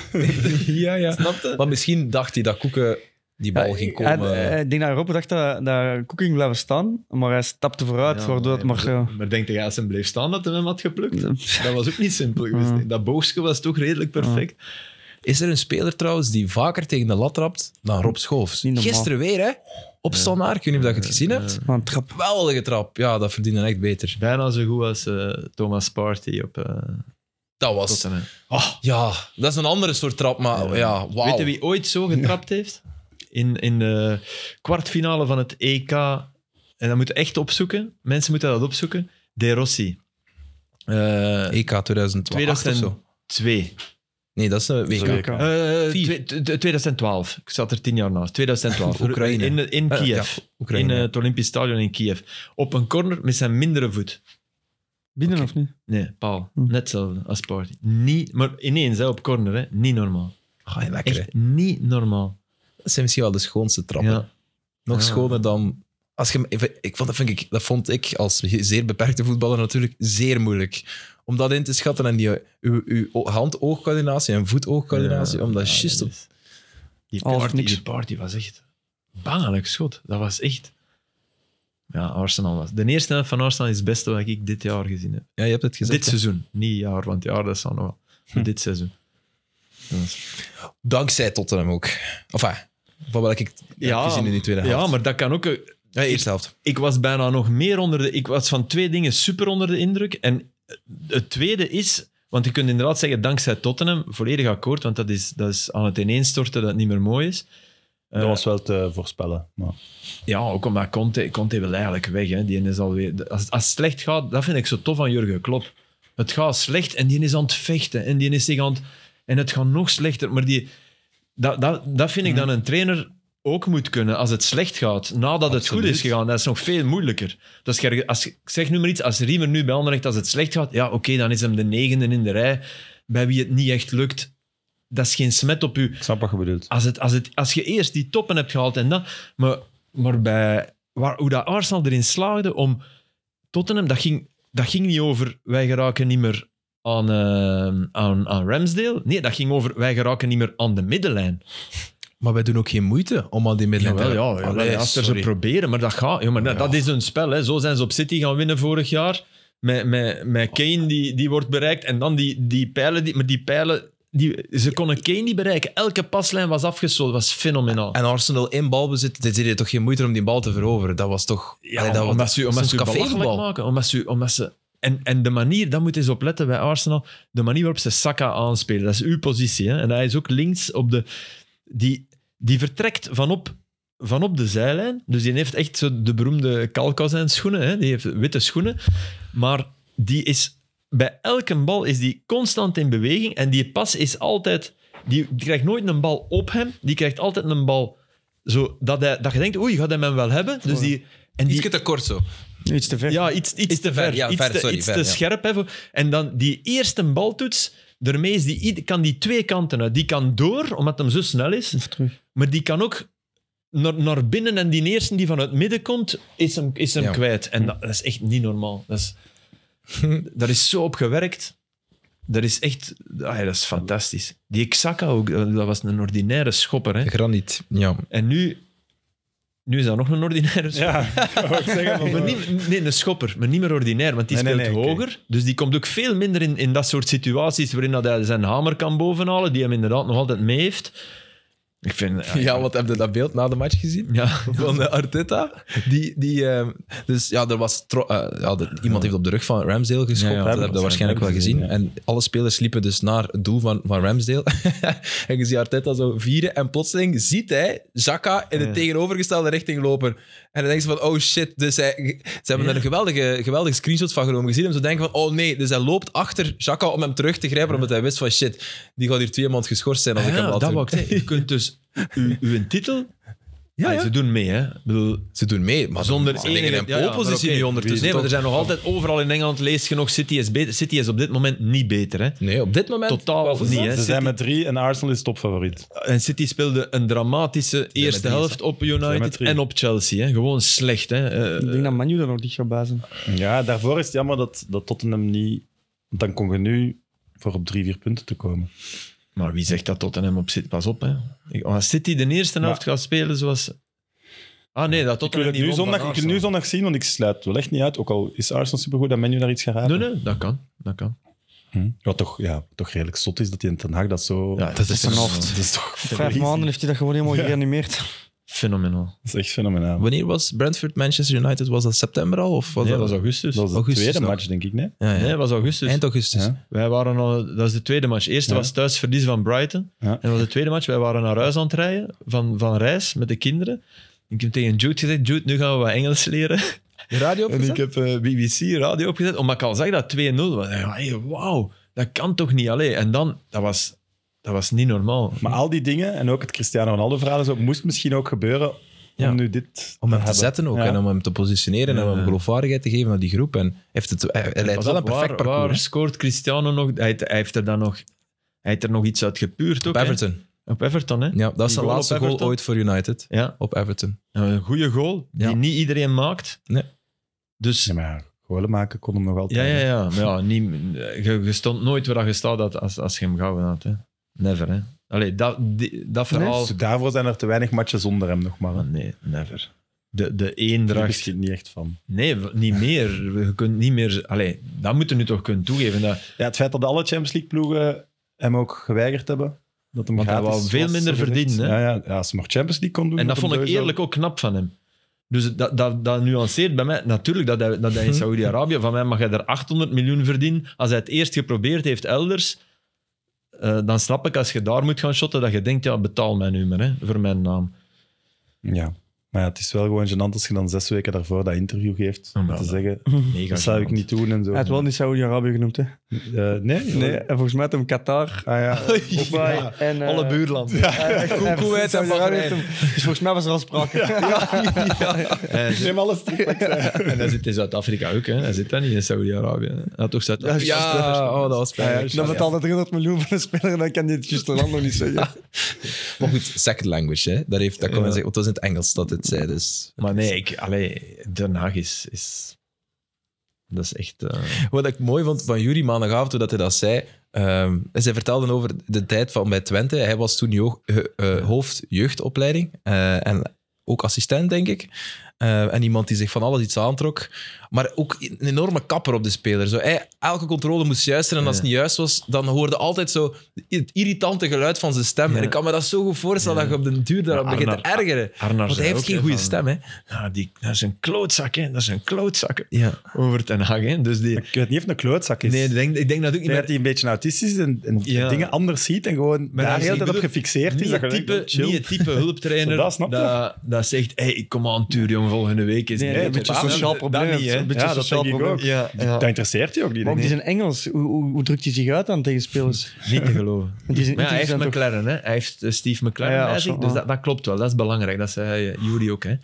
[LAUGHS] ja, ja. Snapte? Maar misschien dacht hij dat Koeken die bal Ja, eh, ging komen. hij- hij- Ik denk dat Rob dacht dat, dat Cooking blijven staan, maar hij stapte vooruit, Ja, waardoor het maar... eh, Maar denk je, als hem bleef staan, dat hij hem had geplukt? Dat was ook niet simpel geweest. Ja. hè. Dat boogstje was toch redelijk perfect. Is er een speler trouwens die vaker tegen de lat trapt dan Rob Schoofs? Niet normaal. Gisteren weer, hè? Op Standaard, ik weet niet of dat je het gezien hebt. maar een trap. Geweldige trap. Ja, dat verdiende echt beter. Bijna zo goed als eh, Thomas Party op eh Dat was... Tottenham. Ja, dat is een andere soort trap, maar ja, wauw. Weet je wie ooit zo getrapt heeft? In, in de kwartfinale van het EK. En dat moet je echt opzoeken. E Mensen moeten dat opzoeken. De Rossi. Eh, EK 2012 of zo. Twee. Nee, dat is een WK. Dat is een WK. Eh, Vier. twee- t- t- 2012. Ik zat er tien jaar naast. 2012. Oekraïne. In, in Eh, ja, Kiev. in Oekraïne. eh, het Olympisch Stadion in Kiev. Op een corner met zijn mindere voet. Binnen of niet? Nee, paal. Hm. Net hetzelfde als Party. Niet, maar ineens, hè, op corner. Hè. Niet normaal. Ga je Ah, lekker, hè. Echt niet normaal. Dat zijn misschien wel de schoonste trappen. Ja. Ah. Nog Ja. schoner dan... Als je, hem- ik- ik vond, dat, vind ik, dat vond ik als zeer beperkte voetballer natuurlijk zeer moeilijk. Om dat in te schatten en die, uw, uw hand-oogcoördinatie en voet-oogcoördinatie, om dat Ja, juist dat op... is- Die Alles of party, niks. die party was echt bangelijk schot. Dat was echt... Ja, Arsenal was... De eerste helft van Arsenal is het beste wat ik dit jaar gezien heb. Ja, je hebt het gezegd. dit hè. Hm. seizoen. Niet jaar, want jaar dat zou nog wel. Maar Dit seizoen. Dat was- Dankzij Tottenham ook. Enfin, van welke ik ja, heb gezien in die tweede helft. ja, maar dat kan ook... eh, Ja, eerste helft. Ik was bijna nog meer onder de... Ik was van twee dingen super onder de indruk. En eh, het tweede is... Want je kunt inderdaad zeggen, dankzij Tottenham, volledig akkoord, want dat is, dat is aan het ineenstorten dat het niet meer mooi is. Dat Eh, was wel te voorspellen. Maar Ja, ook omdat Conte, Conte wil eigenlijk weg. Hè. Die is alweer, als, als het slecht gaat, dat vind ik zo tof aan Jurgen Klopp. Het gaat slecht en die is aan het vechten. En die is zich aan het... En het gaat nog slechter. Maar die, dat, dat, dat vind ik dat een trainer ook moet kunnen als het slecht gaat. Nadat het goed is gegaan, dat is nog veel moeilijker. Dus als, je- als, je- ik zeg nu maar iets, als Riemer nu bij Anderlecht, als het slecht gaat, ja oké, dan is hem de negende in de rij bij wie het niet echt lukt. Dat is geen smet op u ik snap wat je bedoelt. als, het, als, het, als je eerst die toppen hebt gehaald en dat. Maar, maar bij, waar, hoe dat Arsenal erin slaagde om Tottenham, dat ging, dat ging niet over wij geraken niet meer aan, eh, aan, aan Ramsdale. Nee, dat ging over wij geraken niet meer aan de middenlijn. Maar wij doen ook geen moeite om al die middelen Jawel, ja, ja, Allee, als er ze sorry. proberen, maar dat gaat. Ja, maar dat, Ja. dat is hun spel. Hè. Zo zijn ze op City gaan winnen vorig jaar. Met, met, met Kane, die, die wordt bereikt. En dan die, die pijlen. Die, maar die pijlen, die, ze konden Kane niet bereiken. Elke paslijn was afgesloten. Dat was fenomenaal. En Arsenal in balbezit, dit deed je toch geen moeite om die bal te veroveren. Dat was toch... Ja, Allee, dat was- omdat, ze, omdat soms ze u belachelijk cafévoetbal. maken. Omdat ze, omdat ze, en, en de manier, daar moet je eens op letten bij Arsenal, de manier waarop ze Saka aanspelen. Dat is uw positie. Hè? En hij is ook links op de... Die, die vertrekt vanop, vanop de zijlijn. Dus die heeft echt zo de beroemde kalkazijn schoenen. Hè? Die heeft witte schoenen. Maar die is... Bij elke bal is die constant in beweging. En die pas is altijd... Die, die krijgt nooit een bal op hem. Die krijgt altijd een bal... Zo, dat, hij, dat je denkt, oei, gaat hij hem wel hebben? Dus die, en die, Ietsje te kort zo. Iets te ver. ja, iets, iets te ver. ja, iets ver, te, sorry, iets ver, te ja. scherp. Hè, voor- en dan die eerste baltoets, daarmee is die, ied- kan die twee kanten uit. Die kan door, omdat hem zo snel is. Of terug. Maar die kan ook naar, naar binnen. En die eerste die van het midden komt, is hem, is hem Ja. kwijt. En dat, dat is echt niet normaal. [LAUGHS] Dat is, daar is zo op gewerkt. Dat is echt... ah ja, dat is fantastisch. Die Xhaka ook, eh, dat was een ordinaire schopper. Hè. Graniet, ja. En nu... Nu is dat nog een ordinaire schopper. [LAUGHS] Ja, ik zeggen. eh, Maar niet, nee, een schopper, maar niet meer ordinair, want die Nee, nee, speelt nee, oké. hoger. Dus die komt ook veel minder in, in dat soort situaties waarin dat hij zijn hamer kan bovenhalen, die hem inderdaad nog altijd mee heeft. Ik vind... Ja, Ja, wat heb je dat beeld na de match gezien? ja. [LAUGHS] Van eh, Arteta. Die, die, ehm, dus ja, er was tro- eh, ja, de- iemand heeft op de rug van Ramsdale geschopt. Eh, Ja, ja, dat dat heb je was- waarschijnlijk dat wel heb ik gezien. gezien, En alle spelers liepen dus naar het doel van, van Ramsdale. [LAUGHS] en je ziet Arteta zo vieren. En plotseling ziet hij Zaka in de Ja. tegenovergestelde richting lopen. En dan denkt ze van, oh shit. Dus hij, ze hebben Ja. er een geweldige, geweldige screenshot van genomen. Je ziet hem zo denken van, oh nee. Dus hij loopt achter Zaka om hem terug te grijpen. Omdat hij wist van, shit, die gaat hier twee maanden geschorst zijn als ik hem Ah Ja, laat dat doen. wou [LAUGHS] ik zeggen. Je kunt dus uw, uw titel... Ja, Ja, ja. Ze doen mee, hè. Ik bedoel, Ze doen mee, maar zonder ze liggen enige- in ja, ja, maar poolpositie oké. nu ondertussen. Nee, maar er toch? zijn nog altijd overal in Engeland leest je nog City is beter. City is op dit moment niet beter, hè. Nee, op dit moment Totaal niet, hè. Ze City- zijn met drie en Arsenal is topfavoriet. En City speelde een dramatische eerste drie, helft op Zijn met United drie. en op Chelsea. Hè. Gewoon slecht. Hè. Eh, Ik denk dat Manu er nog dicht gaat bij zijn. Ja, daarvoor is het jammer dat, dat Tottenham niet... want Dan kon je nu voor op drie, vier punten te komen. Maar wie zegt dat Tottenham op City? Pas op, hè. Ik- Als City de eerste Maar- helft gaat spelen zoals... Ah nee, dat Ik wil Tottenham het nu niet won van zondag, ik wil nu Arsenal. zondag zien, want ik sluit het wel echt niet uit. Ook al is Arsenal supergoed, dat menu daar iets gaat raken. Nee, nee, dat kan. Dat kan. Hm. Wat toch, ja, toch redelijk zot is dat hij in Den Haag dat zo... Ja, dat is [LAUGHS] dat fenomenaal. is toch Vijf crazy. maanden heeft hij dat gewoon helemaal gereanimeerd. Fenomenaal. Dat is echt fenomenaal. Wanneer was Brentford Manchester United? Was dat september al? Of was Nee, dat... dat was augustus. Dat was de Augustus tweede nog. match, denk ik, nee? Ja, ja. Nee, dat was augustus. Eind augustus. Ja. Wij waren al... Dat is de tweede match. Eerste Ja. was thuis verlies van Brighton. Ja. En dat was de tweede match. Wij waren naar huis aan het rijden van, van reis met de kinderen. Ik heb tegen Jude gezegd, Jude, nu gaan we wat Engels leren. De radio En eh, opgezet? ik heb eh, BBC radio opgezet, omdat ik al zag dat 2-0 was. En, hey, Wauw, dat Dat kan toch niet? Allee. En dan, dat was, dat was niet normaal. Maar al die dingen, en ook het Cristiano Ronaldo-verhaal, zo, moest misschien ook gebeuren om Ja. nu dit Om hem te hebben. zetten ook Ja. en om hem te positioneren en om hem Ja. geloofwaardigheid te geven aan die groep. En hij heeft het, hij, hij leidt Pas wel een op, perfect waar, waar parcours. scoort Cristiano nog? Hij, hij heeft er dan nog, hij heeft er nog iets uit gepuurd hè. Op ook. hè? Everton. Op Everton, hè? Ja, dat is Die zijn goal laatste op goal Everton? ooit voor United. Ja. Op Everton. Een goede goal die Ja. niet iedereen maakt. Nee. Dus Ja, maar ja, golen maken kon hem nog altijd. Ja, ja, ja. Maar ja, niet, je, je stond nooit waar je staat had als, als je hem gehouden had. Hè. Never, hè. Allee, dat, die- dat verhaal... Dus daarvoor zijn er te weinig matchen zonder hem nog maar. Ah, hè. nee, never. De, de Daar eendracht... is hij niet echt van. Nee, w- niet meer. Je kunt niet meer... Allee, dat moeten we nu toch kunnen toegeven. Dat, Ja, het feit dat alle Champions League ploegen hem ook geweigerd hebben. Dat hem Want hij gratis wou veel was, minder zo gezegd. verdienen, hè? Ja, ja, ja, als hij nog Champions League kon doen. en dat kon vond ik sowieso- eerlijk ook knap van hem. Dus dat, dat, dat nuanceert bij mij natuurlijk dat hij, dat hij Mhm. in Saudi-Arabië... Van mij mag hij er 800 miljoen verdienen. Als hij het eerst geprobeerd heeft elders... eh, dan snap ik als je daar moet gaan shotten dat je denkt, ja, betaal mijn nummer hè, voor mijn naam. Ja. Maar ja, het is wel gewoon gênant als je dan zes weken daarvoor dat interview geeft. Oh, Om maar te dat- zeggen, Mega Mhm. dat zou ik gênant. niet doen en zo. Hij had wel niet Saudi-Arabië genoemd, hè? Eh, nee? Nee, en volgens mij had hem Qatar, Ah ja. [LAUGHS] Dubai en... eh, Alle [LAUGHS] buurlanden. en- en- Koeweit en Saudi-Arabië Bahrein. heeft hem- Dus volgens mij was er al sprake. Hij zit- Neem alles [LAUGHS] terug. en hij zit in Zuid-Afrika ook. Hè. Hij zit dan niet in Saudi-Arabië. hè. Hij had toch Zuid-Afrika. Ja, [LAUGHS] oh, dat was pijnlijk. Dan betaalt hij 300 miljoen voor een speler en dan kan hij het juiste land nog niet zeggen. Maar goed, second language, hè. Daar heeft, dat kon Ja. men zeggen, want het was in het Engels dat het zei, dus... Maar nee, ik, allee, Den Haag is, is... Dat is echt... eh, Wat ik mooi vond van Jury maandagavond, toen dat hij dat zei. ehm, zij vertelden over de tijd van bij Twente. Hij was toen jo- eh, eh, hoofd jeugdopleiding eh, en ook assistent, denk ik. Eh, en iemand die zich van alles iets aantrok. Maar ook een enorme kapper op de speler. Zo, hij, elke controle moest juist zijn. En als het niet juist was, dan hoorde altijd zo het irritante geluid van zijn stem. Ja. En ik kan me dat zo goed voorstellen dat je op den duur daarop Ja, begint te Arnar- ergeren. Arnar Want hij zei heeft ook, geen hè, goede van- stem, hè. ah, die, dat is een klootzak, hè. Dat is een klootzak hè. Ja. over Den Haag. Hè. Dus die... Ik weet niet of het een klootzak is. Nee, ik denk, ik denk dat Ik ook niet denk meer... dat hij een beetje autistisch is en, en Ja. dingen anders ziet en gewoon dat daar is- heel de ik tijd op bedoel, gefixeerd is. Niet Dat je het, type, denkt, oh, chill. niet het type hulptrainer Dat snap je. dat, dat zegt, hey, kom aan, tuur, jong, volgende week is Nee, het nee, beter." een beetje Dat- sociaal probleem. Dat niet, hè. Een beetje Ja, dat sociaal denk ik probleem. ook. Ja, ja. Dat interesseert je ook niet. Maar denk die ik. zijn Engels. Hoe, hoe, hoe drukt hij zich uit aan tegenspelers? Niet te geloven. Want die zijn Maar ja, hij heeft intelligent toch? McLaren, hè? Hij heeft eh, Steve McLaren Ja, ja, bij zo, zich, ja. dus dat, dat klopt wel. Dat is belangrijk. Dat zei eh, Jury ook, hè?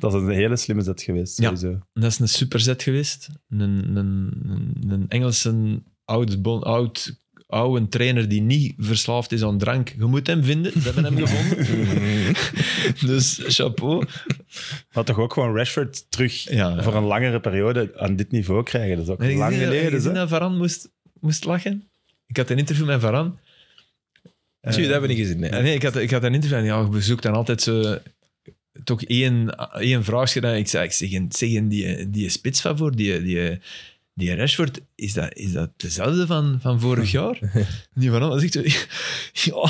Dat is een hele slimme zet geweest, Ja. sowieso. Dat is een superzet geweest. Een, een, een, een Engelse oud, bon, oud, oude trainer die niet verslaafd is aan drank. Je moet hem vinden. Ze hebben [LAUGHS] hem gevonden. dus chapeau. Maar toch ook gewoon Rashford terug Ja, ja. voor een langere periode aan dit niveau krijgen. Dat is ook En ik lang zie dat- geleden. Ik zie hè. dat Varane moest, moest lachen. Ik had een interview met Varane. Zie je, dat hebben we niet gezien, nee. Ja, Nee, ik had, ik had een interview en ja, bezoek dan altijd zo, toch één, één vraagje. Dan, ik zei, ik zeg, en- zeg en die, die spits van voor, die, die, die Rashford, is dat, is dat dezelfde van, [LAUGHS] van vorig jaar? Die van alles zegt zo,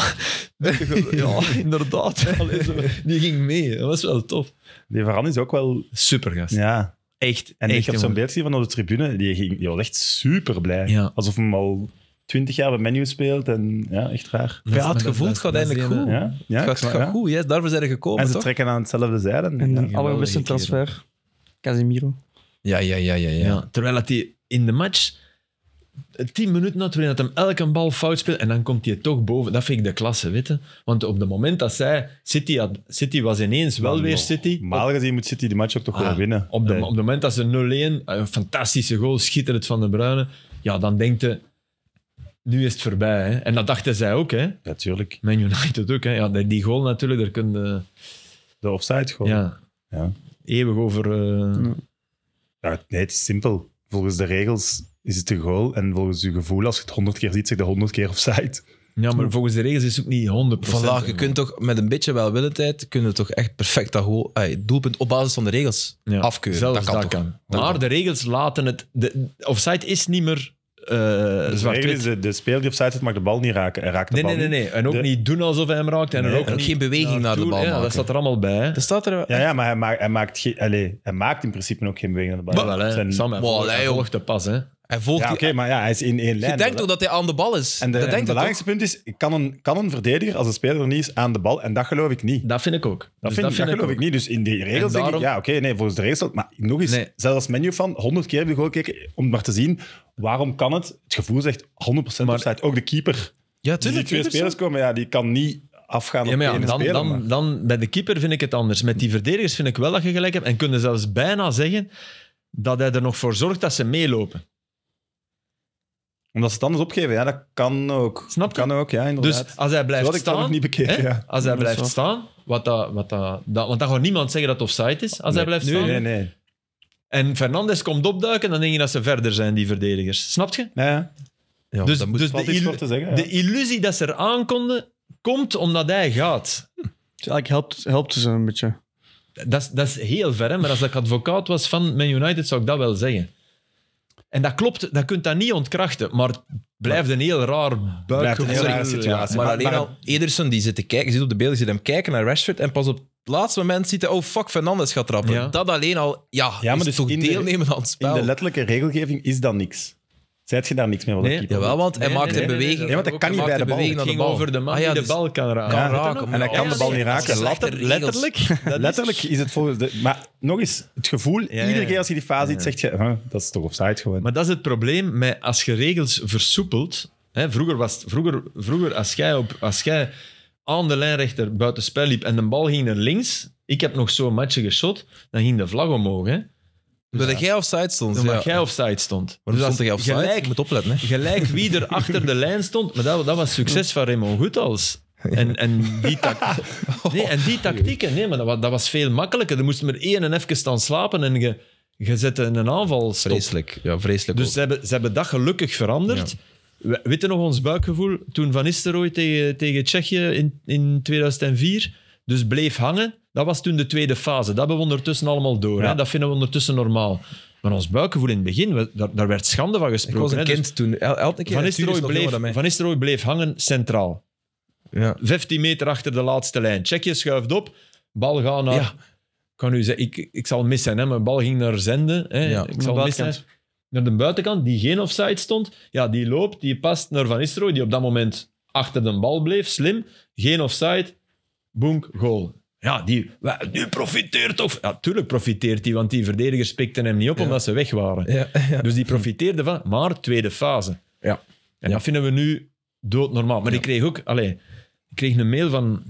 [LAUGHS] ja, ja, [LAUGHS] inderdaad. Allee, zo, die ging mee, dat was wel tof. Die Varane is ook wel... Super gast. Ja. Echt, En echt. ik heb zo'n jongen. beeld gezien van op de tribune. Die, ging, die was echt super blij. Ja. Alsof hem al twintig jaar bij menu speelt. En ja, echt raar. Dat Ja, is- het maar dat- gevoel dat- gaat dat is eigenlijk die goed. ene- Ja, ja, Het ik gaat, snap- gaat ja. goed, yes, daarvoor zijn ze gekomen, En ze toch? trekken aan hetzelfde zijde. En ja. de allerbeste transfer, Casemiro. Ja, ja, ja, ja. ja. Ja. terwijl dat hij in de match... eh, Tien minuten na waarin dat hem elke bal fout speelt en dan komt hij toch boven. Dat vind ik de klasse, weet je. Want op het moment dat zij... City, had, City was ineens wel Maar weer nog- City. Normaal gezien moet City die match ook toch Ah, wel winnen. Eh, Op, de, Nee. op het moment dat ze 0-1, een fantastische goal, schitterend van de Bruyne. Ja, dan denkt hij... Nu is het voorbij, hè. En dat dachten zij ook, hè. Ja, tuurlijk. Man United ook, hè. Ja, die die goal natuurlijk, daar kunnen... De offside gewoon. Oh. Ja. Ja, eeuwig over... eh, Ja, nee, het is simpel. Volgens de regels is het een goal. En volgens je gevoel, als je het honderd keer ziet, zeg je honderd keer [LAUGHS] offside. Ja, maar volgens de regels is het ook niet 100%. Voilà, je kunt toch met een beetje welwillendheid kunnen toch echt perfect dat goal, ey, doelpunt op basis van de regels Ja. afkeuren. Zelfs dat kan toch? Maar de regels laten het... De, offside is niet meer eh Dus de regel is, zwart-wit. de, de speler die offside zit, mag de bal niet raken. Hij raakt de Nee, bal nee, nee, niet. nee. En ook De- niet doen alsof hij hem raakt. En er Nee, ook en ook niet geen beweging naar de naartoe. bal Ja, maken. dat staat er allemaal bij. hè. Er staat er... Ja, ja, maar hij maakt, hij maakt, geen- allee, hij maakt in principe ook geen beweging aan de bal. Jawel, hè. Zijn- Sam, hij Wow, volgt- hij Leo. volgt de pas, hè. Hij volgt Ja, oké, die- maar ja, hij is in één lijn. Je denkt toch dat hij aan de bal is? En de- dat en denkt het dat belangrijkste punt is, kan een, kan een verdediger, als een speler er niet is, aan de bal? En dat geloof ik niet. Dat vind ik ook. Dus Dat, vind, ik- dat geloof ik, ook. niet. Dus in die regels denk daarom- ik, ja, oké, nee, volgens de regels. Maar nog eens, Nee. zelfs als menu van 100 keer heb ik gewoon gekeken om maar te zien waarom kan het. Het gevoel zegt 100% maar, offside. Ook de keeper. Ja, Dus die tuurlijk. twee spelers komen, ja, die kan niet afgaan Ja, op maar ja, één dan, speler. maar- dan, dan bij de keeper vind ik het anders. Met die verdedigers vind ik wel dat je gelijk hebt. En kunnen zelfs bijna zeggen dat hij er nog voor zorgt dat ze meelopen. Omdat ze het anders opgeven, ja, dat kan ook. Snap je? Kan ook, ja, inderdaad. Dus als hij blijft Zo had ik dat staan... nog niet bekeken, hè, ja. Als hij Dat is blijft staan... Wat dat, wat dat, dat- want dan gaat niemand zeggen dat het offside is als Nee. hij blijft Nee, staan. Nee, nee. En Fernandes komt opduiken, dan denk je dat ze verder zijn, die verdedigers. Snap je? Ja, ja. Ja, dus dat moet- dus valt de, iets illu- voor te zeggen, ja. de illusie dat ze er aankonden, komt omdat hij gaat. Dus eigenlijk helpt, helpt ze een beetje. Dat is, dat is heel ver, hè? maar als ik advocaat was van Man United, zou ik dat wel zeggen. En dat klopt, dat kunt dat niet ontkrachten, maar het blijft een heel raar Blijft een buikgevoel. heel rare situatie. maar, Maar- alleen maar- al Ederson die zit te kijken, zit op de beelden, zit hem kijken naar Rashford en pas op het laatste moment ziet hij, oh fuck, Fernandes gaat trappen. Ja. Dat alleen al, ja, Ja, maar is dus toch in de- deelnemen aan het In spel. de letterlijke regelgeving is dat niks. Zijt je daar niks mee wat de Nee, keeper Jawel, doet? want hij Nee, maakt nee, een nee, nee, beweging. nee, Ja, want hij kan niet maakt bij een de bal. beweging Het aan ging bal. over de man Ah, ja, die dus de bal kan raken. kan Ja, raken, en maar hij kan ja, de bal niet dat is raken. slechte regels. Letterlijk. Dat is- Letterlijk is het volgens de... Maar nog eens, het gevoel, ja. iedere keer als je die fase ziet, zeg je, huh, dat is toch offside gewoon. Maar dat is het probleem met als je regels versoepelt. Hè, vroeger was het, vroeger, vroeger als, jij op, als jij aan de lijnrechter buitenspel liep en de bal ging naar links. Ik heb nog zo'n matchje geschot, dan ging de vlag omhoog. Hè, Doordat jij offside stond. omdat ja. jij offside stond. Dus Waarom als stond jij offside? Gelijk, Je moet opletten, hè. gelijk wie [LAUGHS] er achter de lijn stond. Maar dat, dat was succes van Raymond Goethals. En, en, die tact- nee, en die tactieken, nee, maar dat, wa- dat was veel makkelijker. Er moest maar één en even staan slapen en je, je zette een aanval stop. Vreselijk. Ja, vreselijk Dus ook. ze hebben, ze hebben dat gelukkig veranderd. We, weet je nog ons buikgevoel toen Van Nistelrooy tegen, tegen Tsjechië in, in 2004 dus bleef hangen? Dat was toen de tweede fase. Dat hebben we ondertussen allemaal door. Ja. Hè? Dat vinden we ondertussen normaal. Maar ons buikgevoel in het begin, we- daar, daar werd schande van eh, Ik gesproken. was een hè. Dus kind toen. El- elke keer Van het duur is Nistelrooy nog bleef, jonger dan mij. Van Nistelrooy bleef hangen centraal. Ja. 15 meter achter de laatste lijn. Tsjechië schuift op. Bal gaat naar... Ja. Ik kan u zeggen, ik, ik zal missen. Hè? Mijn bal ging naar Zende. Hè? Ja, ik zal de missen. buitenkant. Naar de buitenkant, die geen offside stond. Ja, die loopt, die past naar Van Nistelrooy, die op dat moment achter de bal bleef. Slim. Geen offside. Boenk, goal. Ja, die, wa- die profiteert of... Ja, tuurlijk profiteert hij, want die verdedigers pikten hem niet op Ja. omdat ze weg waren. Ja, [LAUGHS] ja. Dus die profiteerde van, maar tweede fase. Ja. En dat vinden we nu doodnormaal. Maar ik kreeg ook, allee, ik kreeg een mail van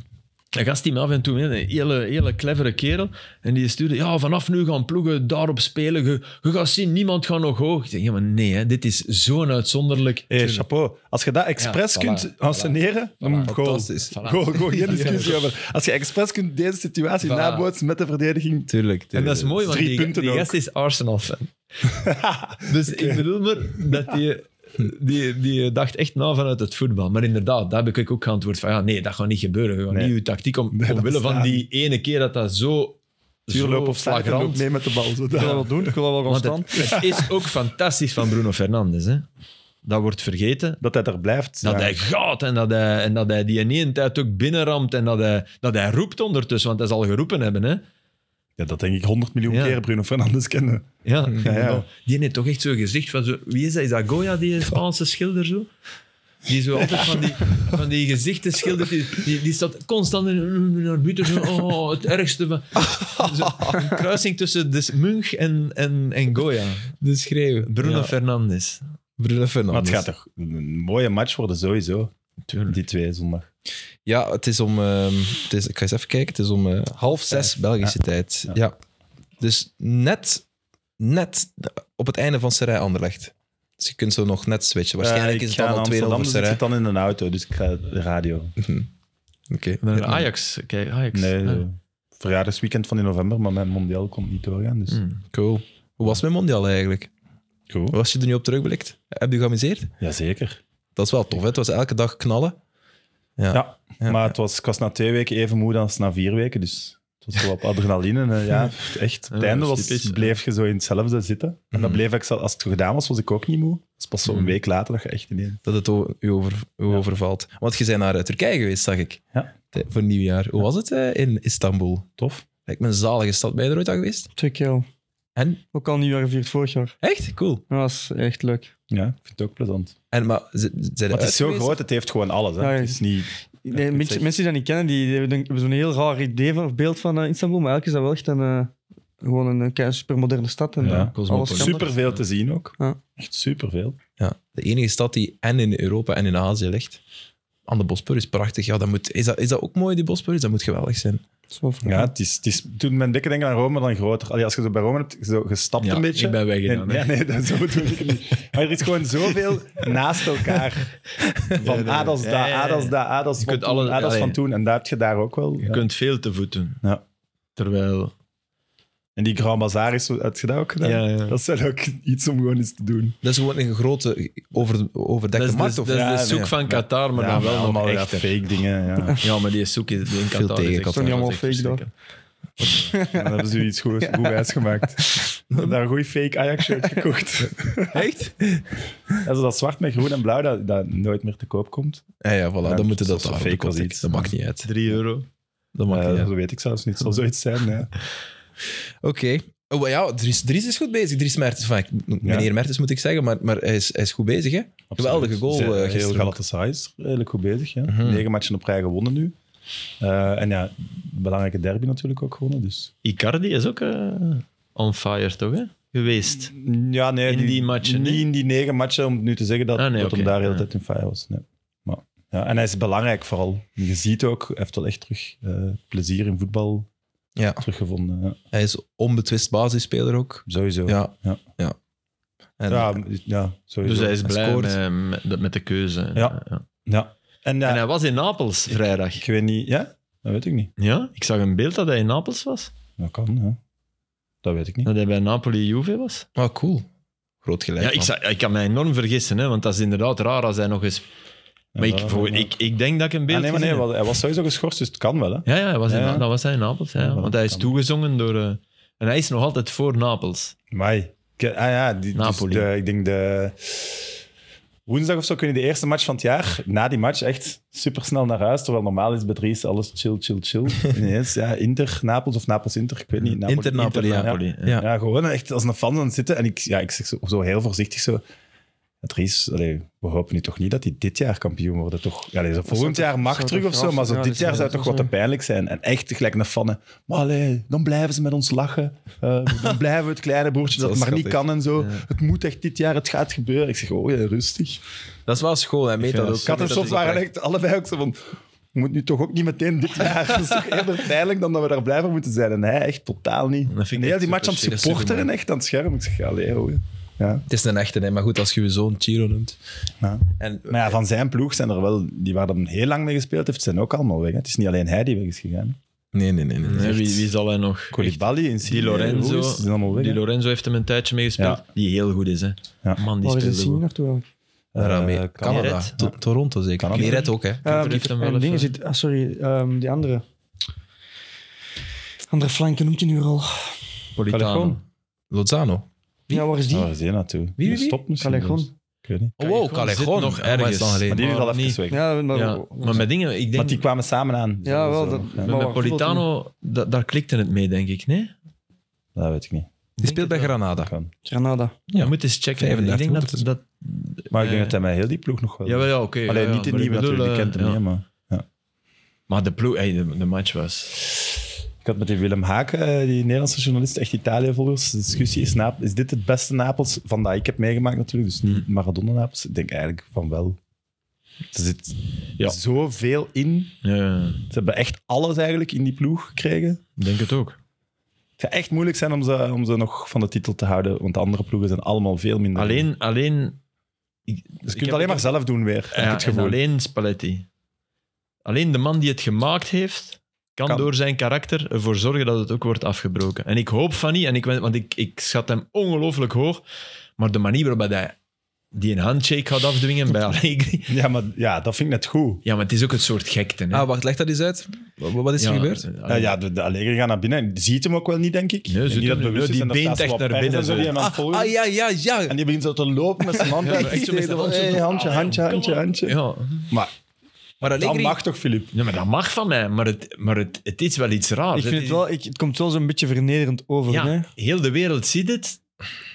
een gast die me af en toe mailde, een hele, hele clevere kerel. En die stuurde, ja, vanaf nu gaan ploegen daarop spelen. Je, je gaat zien, niemand gaat nog hoog. Ik zeg, ja, maar nee, hè, dit is zo'n uitzonderlijk... Hé, chapeau. Als je dat expres voilà, kunt mm, voilà. anseneren, dan goal. Fantastisch. Goal, goal, geen discussie over. Als je expres kunt deze situatie Voilà. nabootsen met de verdediging... Tuurlijk. En dat is mooi, want Drie die, punten die ook. gast is Arsenal-fan. [LAUGHS] dus ik bedoel maar dat die, die, die dacht echt na vanuit het voetbal. Maar inderdaad, daar heb ik ook geantwoord van, ja, nee, dat gaat niet gebeuren. Je gaat Nee. niet uw tactiek om, Nee, dat omwille van bestaat die ene keer dat dat zo, zo Zuurloop of slagrand. flagrant... mee met de bal. Zo Ik wil daar. dat wel doen, ik wil dat wel gaan Want staan. het, het [LAUGHS] is ook fantastisch van Bruno Fernandes. Hè? Dat wordt vergeten. Dat hij er blijft. Dat ja. hij gaat en dat hij, en dat hij die in één tijd ook binnenramt en dat hij, dat hij roept ondertussen, want hij zal geroepen hebben. Hè? Ja, dat denk ik 100 miljoen Ja. keer Bruno Fernandes kennen. Ja, Ja, ja. Mm. Oh, die heeft toch echt zo'n gezicht van zo... Wie is dat? Is dat Goya, die Spaanse schilder zo? Die zo altijd van die, van die gezichten schildert. Die, die, die staat constant in, naar buiten zo... Oh, het ergste van... Zo, een kruising tussen dus Munch en, en, en Goya. De schreeuwen. Bruno Ja. Fernandes. Bruno Maar het Fernandes. gaat toch een mooie match worden, sowieso. Die twee zondag. Ja, het is om... ehm, het is, ik ga eens even kijken. Het is om eh, half zes Belgische tijd. Ja. Dus net, net op het einde van Serij Anderlecht. Dus je kunt zo nog net switchen. Waarschijnlijk Eh, is het ik ga dan naar al 2-0 Amsterdam, voor dus ik Serij. zit dan in een auto, dus ik ga de radio. Hm. Oké. Naar Ajax. Kijk, Ajax. Nee, Ah. eh, verjaardagsweekend van in november, maar mijn mondiaal komt niet doorgaan. Dus. Mm. Cool. Hoe was mijn mondial eigenlijk? Cool. Hoe was je er nu op terugblikt? Heb je geamuseerd? Jazeker. Dat is wel tof, hè? Het was elke dag knallen. Ja. Ja, Ja. maar het was, ik was na twee weken even moe dan als na vier weken, dus het was wel op adrenaline. En, eh, ja, echt. Op het Ja, einde dat is was, typisch, ja. bleef je zo in hetzelfde zitten. En dan bleef ik, zelf- als het gedaan was, was ik ook niet moe. Het is pas zo'n Mhm. week later dat je echt ineens... Dat het o- u, over, u Ja. overvalt. Want je bent naar eh, Turkije geweest, zag ik. Ja. Te- Voor nieuwjaar. Hoe was het eh, in Istanbul? Tof. Lijkt me een zalige stad. Ben je er ooit aan geweest? Twee keer al. En? Ook al nieuwjaar gevierd vorig jaar. Echt? Cool. Dat was echt leuk. Ja, ik vind het ook plezant. En, maar, ze- ze- zijn Maar het is zo uitgewezen? groot, het heeft gewoon alles. Hè. Ja, ja. Het is niet... Nee, ik mensen, zeg- mensen die dat niet kennen, die, die hebben hebben zo'n heel raar idee van, of beeld van eh, Istanbul, maar eigenlijk is dat wel echt een, eh, gewoon een, eh, kei supermoderne stad. En, Ja, eh, cosmopoliet. alles kan er. Superveel te zien ook. Ja. Echt superveel. Ja, de enige stad die en in Europa en in Azië ligt. Aan de Bosporus, prachtig. Ja, dat moet, is, dat, is dat ook mooi, die Bosporus? Dat moet geweldig zijn. Dat is wel fijn. Mhm. Ja, het is, het is, toen mijn dikke denken aan Rome dan groter. Allee, als je zo bij Rome hebt zo gestapt Ja, een beetje. ik ben weggedaan, Nee, hè. ja, nee, dat, zo bedoel ik niet. Maar er is gewoon zoveel naast [LAUGHS] elkaar. Van nee. Adels Ja, daar, ja, ja. Adels daar, Adels Je van kunt toen, alle- Adels van allee. toen. En daar heb je daar ook wel. Je ja. kunt veel te voeten. Ja. Terwijl... En die Grand Bazaar is, zo- heb je dat ook gedaan? Ja, ja. Dat is wel ook iets om gewoon eens te doen. Dat is gewoon een grote over, overdekte Dat is, markt. de, of dat is Ja, de nee. zoek van Qatar, maar ja, dan maar wel nog allemaal ja, echter. fake dingen. [LAUGHS] Ja. Maar Ja, maar die zoek is in Qatar. tegen is echt Qatar. zo- Toch niet allemaal dat is echt fake, zeker. dan hebben ze iets goed, goed [LAUGHS] wijsgemaakt. Ik heb daar een goeie fake Ajax-shirt gekocht. [LAUGHS] Echt? En zo dat zwart met groen en blauw dat, dat nooit meer te koop komt. Ja, ja, voilà. dat dan moeten is dat zo daar fake op de als kotek. iets. Dat maakt niet uit. 3 euro. Dat maakt Eh, niet uit. Dat weet ik zelfs niet. Het zal zoiets zijn. [LAUGHS] Ja. Oké. Oh, maar ja, Dries, Dries is goed bezig. Dries Mertens. Enfin, ik- Meneer Mertens moet ik zeggen, maar, maar hij, is, hij is goed bezig. Hè? Geweldige goal, eh, Heel gisteren ook. Galatasaray is redelijk goed bezig. Ja. Mhm. Negen matchen op rij gewonnen nu. Eh, en ja, belangrijke derby natuurlijk ook gewonnen. Dus. Icardi is ook eh, on fire, toch? Hè? Geweest. Ja, nee, In die matchen, Niet hè? in die negen matchen, om nu te zeggen dat, Ah, nee, dat hem oké, daar de hele ja. tijd in fire was. Nee. Maar, ja, en hij is belangrijk vooral. Je ziet ook, hij heeft wel echt terug eh, plezier in voetbal Ja. teruggevonden. ja. Hij is onbetwist basisspeler ook. Sowieso. Ja, Ja. Ja. ja. En, ja, sowieso. Dus hij is blij scoort. met, met- met de keuze. Ja. Ja. En, ja, En hij was in Napels vrijdag. ik weet niet... Ja? Dat weet ik niet. Ja, ik zag een beeld dat hij in Napels was. Dat kan, ja. Dat weet ik niet. Dat hij bij Napoli Juve was. Ah, cool. Groot gelijk. Ja, ik, man. zag- ik kan mij enorm vergissen, hè, want dat is inderdaad raar als hij nog eens... Maar ik, Ja, voor, maar- ik, ik denk dat ik een Ah, beeld nee, maar nee, gezien heb. wel, hij was sowieso geschorst, dus het kan wel. Hè? Ja, ja, hij was in, Ja. dat was hij in Napels. Ja, Ja, wel, want hij is kan. toegezongen door... eh, en hij is nog altijd voor Napels. Mai. Ik- Ah ja, die, dus Napoli. de- ik denk de... Woensdag of zo kun je de eerste match van het jaar, na die match, echt supersnel naar huis. Terwijl normaal is bij Dries alles chill, chill, chill. Ineens, ja, Inter, Napels of Napels-Inter, ik weet niet. Napoli- Inter, Napoli, ja. Napoli. Ja. Ja. Ja. Ja, gewoon echt als een fan aan het zitten. En ik, ja, ik zeg zo, zo heel voorzichtig zo... Dries, allee, we hopen nu toch niet dat hij dit jaar kampioen wordt. Toch, allee, zo volgend toch- jaar mag zou terug toch of zo, maar zo graag- ja, dit dat zou jaar zou toch toch wat te zijn. pijnlijk zijn. En echt gelijk naar fannen. Maar allee, dan blijven ze met ons lachen. Eh, [LAUGHS] dan blijven we het kleine broertje dat Zo het maar niet schattig. kan en zo. Ja. Het moet echt dit jaar, het gaat gebeuren. Ik zeg, oh ja, rustig. Dat is wel school. Hij meet vind dat dat dus ook. Kat en Dat is Sof waren oprecht. echt allebei ook zo van... "Je Moet nu toch ook niet meteen dit jaar. [LAUGHS] Dat is toch eerder pijnlijk dan dat we daar blij voor moeten zijn. En hij echt totaal niet. Dat vind ik En heel echt die match aan het super chill, supporteren en superman. echt aan het scherm. Ik zeg, allee, hoor. Ja. Het is een echte, hè. maar goed, als je je zoon Chiro noemt. Ja. En, Maar ja, van zijn ploeg zijn er wel... Die waar dan heel lang mee gespeeld heeft, zijn ook allemaal weg. Hè. Het is niet alleen hij die weg is gegaan. nee, nee, nee. nee, Nee, Echt. wie, wie zal hij nog... Koulibaly, Insigne, Die Lorenzo. Ruiz, die zijn allemaal weg. Die hè. Lorenzo heeft hem een tijdje meegespeeld. Die heel goed is, hè. Ja. Man, die Waar is speelde het zien goed. naartoe eigenlijk? Daarom mee. Eh, Canada. Canada. To- Toronto zeker. Canada. Miret ook, hè. Inter Ehm, heeft hem wel en dingen even- zit, ah, sorry, ehm, die andere. Andere flanken noemt je nu al. Politano. Callejon. Lozano. Ja, waar is Oh, die? Ah, Waar is die naartoe? wie, wie? Stop misschien. Callejon. dus. Ik weet niet. Oh, wow, Callejon zit Callejon. nog Nog ergens. ergens. Lang Maar geleden. die is al Maar even weg. Ja, maar, Ja, maar met dingen, ik denk... Want die kwamen samen aan. Ja, wel, dat- Ja, Met, Maar met waar Politano, da- daar klikte het mee, denk ik, nee? Dat weet ik niet. Die speelt bij Granada. Kan. Granada. Ja. Je moet eens checken. 35 Ik denk dat... minuten. dat Maar ik eh, denk dat hij met heel die ploeg nog wel... Ja, wel, ja, oké. ja, Alleen ja, niet de maar ik nieuwe bedoel, natuurlijk, die kent eh, hem ja. niet, maar... Maar de, ploeg, hey, de, de match was... Ik had met die Willem Haken, eh, die Nederlandse journalist, echt Italië-volgers, de discussie is, Nap- is dit het beste Napels van dat ik heb meegemaakt natuurlijk, dus Hmm. niet Maradona-Napels. Ik denk eigenlijk van wel. Er zit Ja. zoveel in. Ja, Ze hebben echt alles eigenlijk in die ploeg gekregen. ik denk het ook. Het gaat echt moeilijk zijn om ze, om ze nog van de titel te houden, want de andere ploegen zijn allemaal veel minder. Alleen... alleen dus je ik kunt heb- het alleen maar zelf doen weer, heb ik ja, het en gevoel. alleen Spalletti. Alleen de man die het gemaakt heeft, kan, Kan. door zijn karakter ervoor zorgen dat het ook wordt afgebroken. En ik hoop van niet, en ik, wen- want ik, ik schat hem ongelooflijk hoog, maar de manier waarop hij die een handshake gaat afdwingen bij Allegri... Ja, maar ja, dat vind ik net goed. Ja, maar het is ook een soort gekte. Hè? Ah, wacht, leg dat eens uit. Wat, wat is er Ja, gebeurd? eh, Ah, Ja, ja, de, de Allegri gaat naar binnen. Ziet hem ook wel niet, denk ik. Nee, ziet niet hem dat niet. bewust Ja, is, die en daar beent staan echt zo wat naar pers en binnen, zo, die zo. hem aan het Ah, volgen ja, ja, ja. En die begint zo te lopen met zijn hand. eh, Ja, maar echt zo met zijn hand zo. Hey, handje, handje, handje, handje. Ja, Maar Maar Dat Allegri... mag toch, Filip? Ja, maar dat mag van mij, maar het, maar het, het is wel iets raars. Ik vind Het het, is- wel, ik, het komt wel zo'n beetje vernederend over. Hè? "Ah, Ja, heel de wereld ziet het.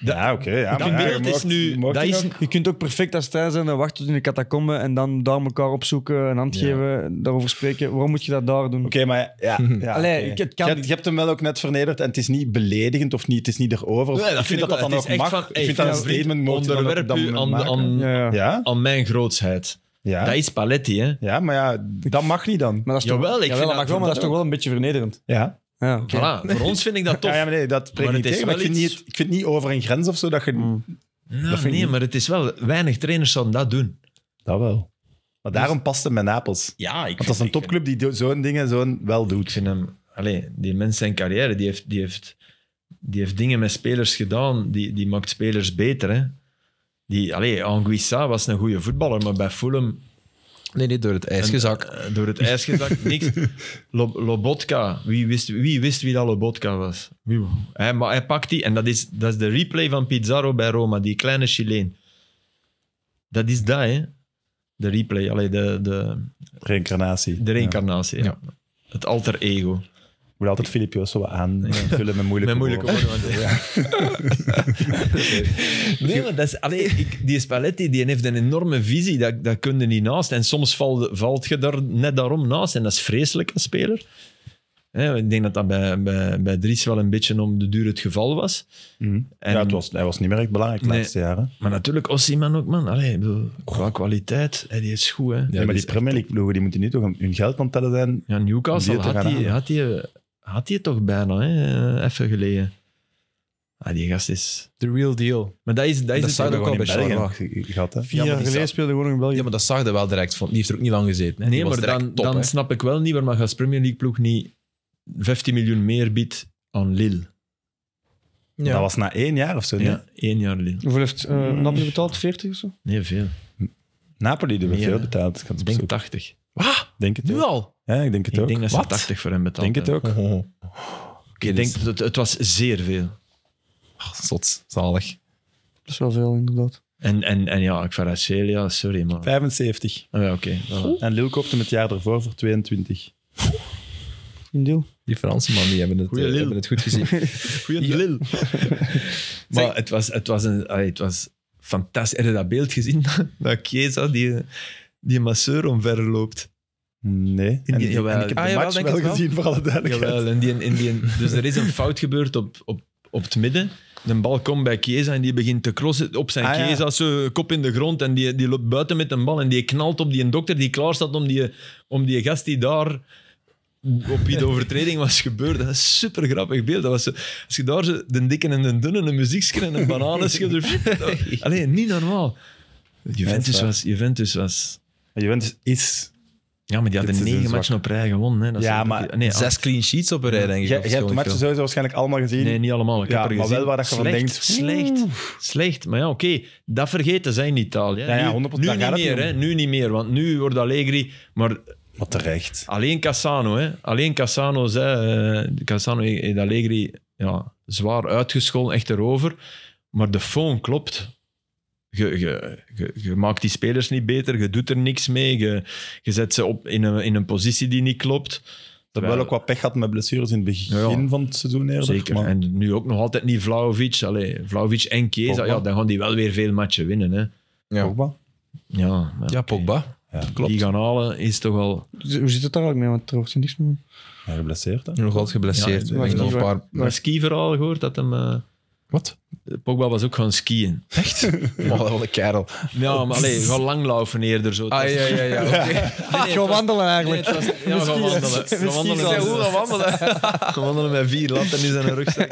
Ja, oké. ja, Dat maar ja, beeld je is mocht- nu- je mocht dat die is- nog- Je kunt ook perfect als tijd zijn en wachten tot in de catacombe en dan daar elkaar opzoeken, een hand Ja. geven, daarover spreken. Waarom moet je dat daar doen? Oké, maar ja. ja Allee, oké. ik- het je, kan hebt, niet. je hebt hem wel ook net vernederd en het is niet beledigend of niet, het is niet erover. Nee, ik vind, dat ik dat wel. dan Het ook is echt mag. van, ik hey, vind dat een vriend, statement moet je dan ook op Onderwerp dat u moment aan, maken. aan, Ja, ja. Ja, aan mijn grootsheid. ja, Dat is paletti, hè. ja, maar ja, dat mag niet dan. Maar dat is toch, Jawel, ik vind dat dat mag wel, maar dat is ook. toch wel een beetje vernederend. Ja. Ja, oké. Voilà, voor ons vind ik [LAUGHS] dat tof. Ja, ja, maar nee, dat spreekt Maar niet het is tegen. Maar ik wel vind, iets- niet, ik vind niet over een grens of zo dat je... Nou, Dat vind ik nee, niet. maar het is wel... Weinig trainers zouden dat doen. Dat wel. Maar daarom past hem met Napels. Ja, ik Want dat is een topclub die do- zo'n dingen zo'n wel Ik doet. vind hem... Allee, die mens zijn carrière, die heeft, die heeft, die heeft dingen met spelers gedaan. Die, die maakt spelers beter, hè. Die, allee, Anguissa was een goede voetballer, maar bij Fulham... Nee, nee, door het ijs gezakt. eh, door het ijs [LAUGHS] gezakt, niks. Lo- Lobotka, wie wist, wie wist wie dat Lobotka was? Wie- Hij, maar hij pakt die, en dat is, dat is de replay van Pizarro bij Roma, die kleine Chileen. Dat is dat, hè? De replay, allee, de, de, Reïncarnatie. de reïncarnatie. ja. Het alter ego. Ik moet altijd Filip Joost zo wat aanvullen met moeilijke Met moeilijke woorden. woorden. want- [LAUGHS] nee, maar dat is, allee, ik, die Spalletti die heeft een enorme visie. Dat, dat kun je niet naast. En soms valt, valt je daar net daarom naast. En dat is vreselijk als speler. Hè, ik denk dat dat bij, bij, bij Dries wel een beetje om de duur het geval was. Mhm. En- Ja, het was, hij was niet meer echt belangrijk de Nee. laatste jaren. Maar natuurlijk Ossiman ook, man. Allee, ik bedoel, qua kwaliteit, hè, die is goed. Hè. Nee, maar die Premier League ploegen, die moeten nu toch hun- hun geld aan het tellen zijn. Ja, Newcastle Die te had gaan die, halen. had, die, had die het toch bijna, hè? eh, even geleden. Ah, die gast is... The real deal. Maar dat is, dat is Dat het staat toch ook gewoon al in bij België. Charleroi. België ge- gehad, hè? Vier Ja, maar jaar die geleden staat- speelde gewoon nog in België. Ja, maar dat zag je wel direct. Vond. Die heeft er ook niet lang gezeten. Hè. Nee, Die was maar direct dan, top, dan hè. snap ik wel niet waarom als Premier League ploeg niet 15 miljoen meer biedt aan Lille. Ja. Dat was na één jaar of zo. nee? Ja, één jaar Lille. Hoeveel heeft eh, Mm. Napoli betaald? 40 of zo? Nee, veel. Napoli die hebben Nee, veel hè. betaald. Ik had Ik het denk opzoeken. 80. Ah, denk het nu ook. al? Ja, ik denk het Ik ook. denk dat ze Wat? 80 voor hem betaald denk het hebben. ook. Oh, Ik denk dat het, het was zeer veel. [LAUGHS] zot. Zalig. Dat is wel veel, inderdaad. En, en, en ja, Kvaratskhelia, sorry man. 75. Oh, ja, oké. voilà. En Lille koopte hem het jaar ervoor voor 22. In deal. Die Fransenman, die hebben het, Goeie eh, Lille. hebben het goed gezien. Ja. maar het was, het was een... allee, het was fantastisch. Heb je dat beeld gezien? [LAUGHS] dat Chiesa, die, die masseur omver loopt. Nee. En, die- ik- jawel. en ik heb Ah, de jawel, match denk wel het wel. gezien, voor alle duidelijkheid. Jawel, en die, en die, dus er is een fout gebeurd op, op, op het midden. De bal komt bij Chiesa en die begint te crossen op zijn Ah, ja. Chiesa, zo, kop in de grond. En die, die loopt buiten met een bal en die knalt op die dokter die klaar staat om die, om die gast die daar op wie de overtreding was gebeurd. Dat is een super grappig beeld. Dat was zo- als je daar zo de dikke en de dunne, een muziekje en een [LAUGHS] bananenschilder... Allee, niet normaal. dat is Juventus waar. was... Juventus was Juventus is... ja, maar die Dit hadden seizoen negen zwak. matchen op rij gewonnen. Hè. Dat is Ja, ook- maar nee, Zes clean sheets op een rij, denk ik. Jij of jij zo, hebt weet de matchen ik sowieso waarschijnlijk allemaal gezien. Nee, niet allemaal. Ik Ja, heb er maar gezien. wel waar dat je van slecht, denkt, Slecht, slecht. Maar ja, oké, dat vergeten zij in Italië. Ja, ja, Nu- 100%, Nu, daar niet gaat het meer, niet om. hè. nu niet meer, want nu wordt Allegri... Maar Maar terecht. alleen Cassano, hè. Alleen Cassano zei... eh, Cassano heeft Allegri ja, zwaar uitgescholden, echt erover. Maar de phone klopt. Je, je, je, je maakt die spelers niet beter, je doet er niks mee, je, je zet ze op in, een, in een positie die niet klopt. Dat wel ook wat pech had met blessures in het begin Ja, ja. van het seizoen eerder. Zeker. maar- En nu ook nog altijd niet Vlaovic. Allee, Vlaovic en Chiesa, Pogba. ja, dan gaan die wel weer veel matchen winnen. Hè. Ja. Pogba? Ja, maar Ja, Pogba. Die gaan halen is toch al... Dus Hoe zit het daar eigenlijk mee? Want er wordt niks meer. Ja, geblesseerd, hè? Nog altijd geblesseerd. Ja, Ik denk nog een paar... Maar ski-verhaal gehoord dat hem... eh, Wat? Pogba was ook gaan skiën. Echt? [LAUGHS] Oh, wat een kerel. Ja, maar allee, gaan langlaufen eerder. Zo. Ah, ja, ja, [LAUGHS] ja. oké. Ik ga wandelen Nee, eigenlijk. het was, ja, gaan wandelen. Misschien Gaan wandelen, zelfs. met- [LAUGHS] gaan wandelen met vier latten in zijn rugzak.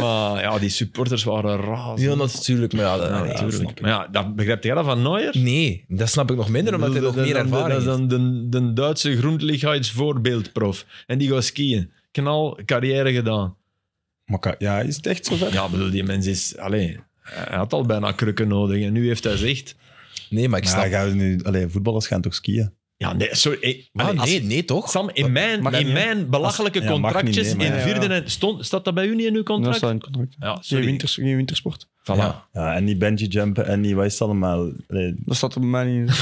Maar ja, die supporters waren razend. Ja, natuurlijk. Maar ja, dat- Ja, nee, natuurlijk. maar ja, dat, begrijp jij dat van Neuer? Nee, dat snap ik nog minder, omdat hij Dat- nog dat- meer dat- ervaring Dat is heeft. dan de, de Duitse groenligheidsvoorbeeldprof. En die gaat skiën. Knal, carrière gedaan. Maar ka- ja, is het echt zover? Ja, bedoel, die mens is... Allee, hij had al bijna krukken nodig. En nu heeft hij zicht. Nee, maar ik Maar snap... gaan we nu, allee, voetballers gaan toch skiën? Ja, nee, sorry. eh, Ah, allee, nee, als- nee, toch? Sam, in mijn, Mag in niet, hè? mijn belachelijke Als- ja, mag contractjes niet, nee, in maar ja, ja. vierde... en- Stond, staat dat bij u niet in uw Dat contract? staat in het contract. Ja, Geen, sorry. winters, geen wintersport. Voilà. Ja. Ja, en niet bungee jumpen en niet wat is het allemaal? Allee, Dat staat er bij mij niet in.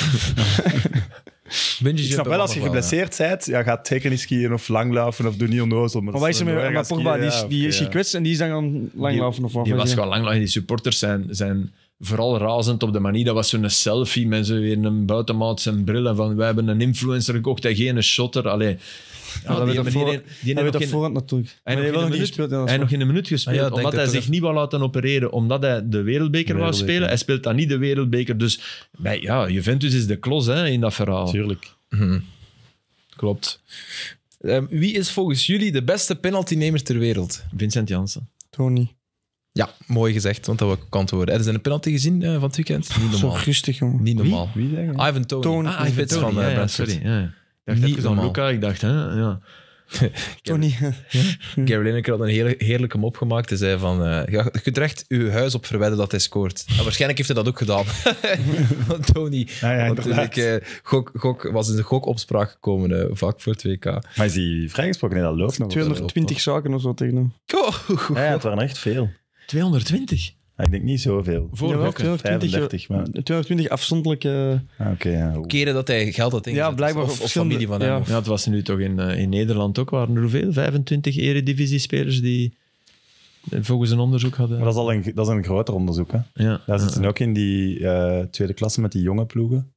Benji Ik snap wel, als je geblesseerd bent, ja, gaat zeker niet skiën of langlaufen of doe niet onnozel. Maar, Maar wat is er dat met wel maar gaan Pogba? Die, is- skiën, ja, die is oké, ja. gekwetst en die is dan gaan langlaufen of wat? Die weet was je. gewoon lang lang. Die supporters zijn, zijn vooral razend op de manier. Dat was zo'n selfie met zo weer een buitenmaat zijn bril. En van, wij hebben een influencer gekocht en geen shotter. Allee. Ja, dat die weet op meneer- voor- die heeft Hij nog weet dat geen- voorhand natuurlijk. Hij Maar heeft die heeft wel nog geen nog niet gespeeld. ja, dat Hij is heeft nog waar. geen minuut gespeeld, Ah ja, ik denk omdat hij dat zich dat- niet wil laten opereren. Omdat hij de wereldbeker wou Wereldbeker. spelen. Hij speelt dan niet de wereldbeker. Dus bij, ja, Juventus is de klos hè, in dat verhaal. Tuurlijk. Klopt. Ehm, wie is volgens jullie de beste penaltynemer ter wereld? Vincent Janssen. Tony. Ja, mooi gezegd, want dat wil ik ook antwoorden. Hebben ze een penalty gezien eh, van het weekend? Niet Zo normaal. rustig, jongen. Niet normaal. Wie zeg je? Ivan Tony. Tony. Ah, Ivan Tony, van, eh, ja, ja, Brentford. sorry. Ja. Ik dacht Niet even aan normaal. Luca. Ik dacht, hè, ja. Tony. [LAUGHS] Gary Lineker had een hele, heerlijke mop gemaakt. Hij zei van, eh, ja, je kunt er echt je huis op verwedden dat hij scoort. En waarschijnlijk heeft hij dat ook gedaan. [LAUGHS] Want Tony, Ja, ja, natuurlijk, inderdaad. eh, gok, gok, was in de gokopspraak gekomen eh, vaak voor het WK. Maar is die vrijgesproken? Nee, dat loopt nog. 220 zaken of zo tegen hem. Oh, Ja, ja, het waren er echt veel. 220. Maar ik denk niet zoveel. Voor Jawel, Lukken. 35, maar... 220 afzonderlijke... Ah, Oké, ja. oeh. keren dat hij geld had ingezet. Ja, blijkbaar Of, op of verschillende- familie van hem. ja. of- Ja, het was nu toch in, eh, in Nederland ook. Waren er hoeveel? 25 eredivisiespelers die eh, volgens een onderzoek hadden. Maar dat is al een, dat is een groter onderzoek, hè. ja. Daar zitten ook in die eh, tweede klasse met die jonge ploegen.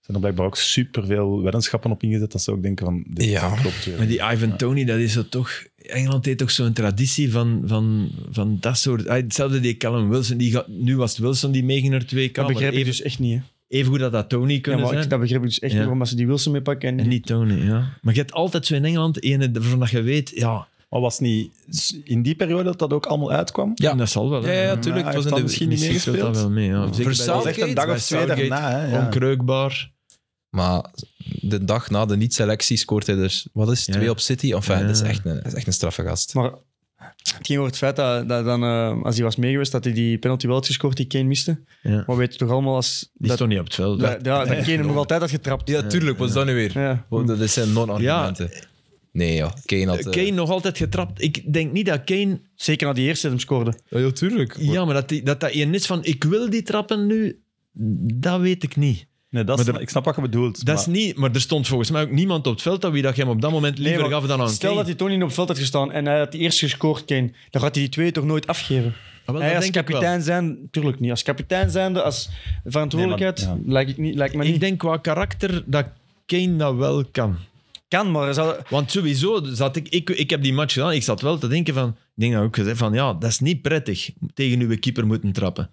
Zijn er blijkbaar ook superveel weddenschappen op ingezet dat ze ook denken van, dit Ja. klopt weer. Maar die Ivan Tony, dat is zo toch... Engeland heeft toch zo'n traditie van, van, van dat soort... Ah, Hetzelfde die Callum Wilson. Die gaat, nu was het Wilson die meeging naar 2K. dat maar begrijp ik even, dus echt niet, hè. even goed dat dat Tony Ja, kunnen maar zijn. ik, dat begrijp ik dus echt Ja. niet, waarom dat ze die Wilson meepakken. En, En niet Tony, ja. Maar je hebt altijd zo in Engeland ene waarvan dat je weet... Ja, Maar was het niet in die periode dat dat ook allemaal uitkwam? Ja. dat zal wel. Ja, hè. ja, tuurlijk. het was hij heeft in dan de, misschien niet Misschien speelt dat meegespeeld. wel mee, ja. Zeker bij Voor Dat was echt Southgate, een dag bij of twee Southgate. daarna. Hè, ja. Onkreukbaar. Maar de dag na de niet-selectie scoort hij dus, wat is het, Ja. twee op City? Enfin, Ja. dat, is echt een, dat is echt een straffe gast. Maar het ging over het feit dat, dat dan, eh, als hij was meegeweest, dat hij die penalty wel had gescoord die Kane miste. Ja. Maar we weten toch allemaal als... Die dat, stond niet op het veld. dat, ja, [LAUGHS] dat Kane hem nog altijd had getrapt. Eh, Ja, tuurlijk, wat is dat nu weer? Ja. Oh, Dat is zijn non-argumenten. Nee, ja. Kane had... eh, Kane nog altijd getrapt. Ik denk niet dat Kane... Zeker na die eerste dat hem scoorde. Ja, ja, tuurlijk. Oh, Ja, maar dat die, dat, dat één is van ik wil die trappen nu, dat weet ik niet. Nee, dat is- Maar er- ik snap wat je bedoelt. Dat is niet... Maar er stond volgens mij ook niemand op het veld dat wie dat je hem op dat moment liever Nee, want gaf dan aan Stel dat hij Tony op het veld had gestaan en hij had die eerste gescoord, Kane, dan gaat hij die twee toch nooit afgeven. Ah, hij als kapitein zijn, tuurlijk niet. Als kapitein zijnde, als verantwoordelijkheid, Nee, maar- lijkt, ik niet, lijkt me ik, niet. denk qua karakter dat Kane dat wel kan. kan, maar hij zou- Want sowieso zat ik, ik... Ik heb die match gedaan, ik zat wel te denken van... Ik denk dat ook gezegd van, ja, dat is niet prettig tegen uw keeper moeten trappen.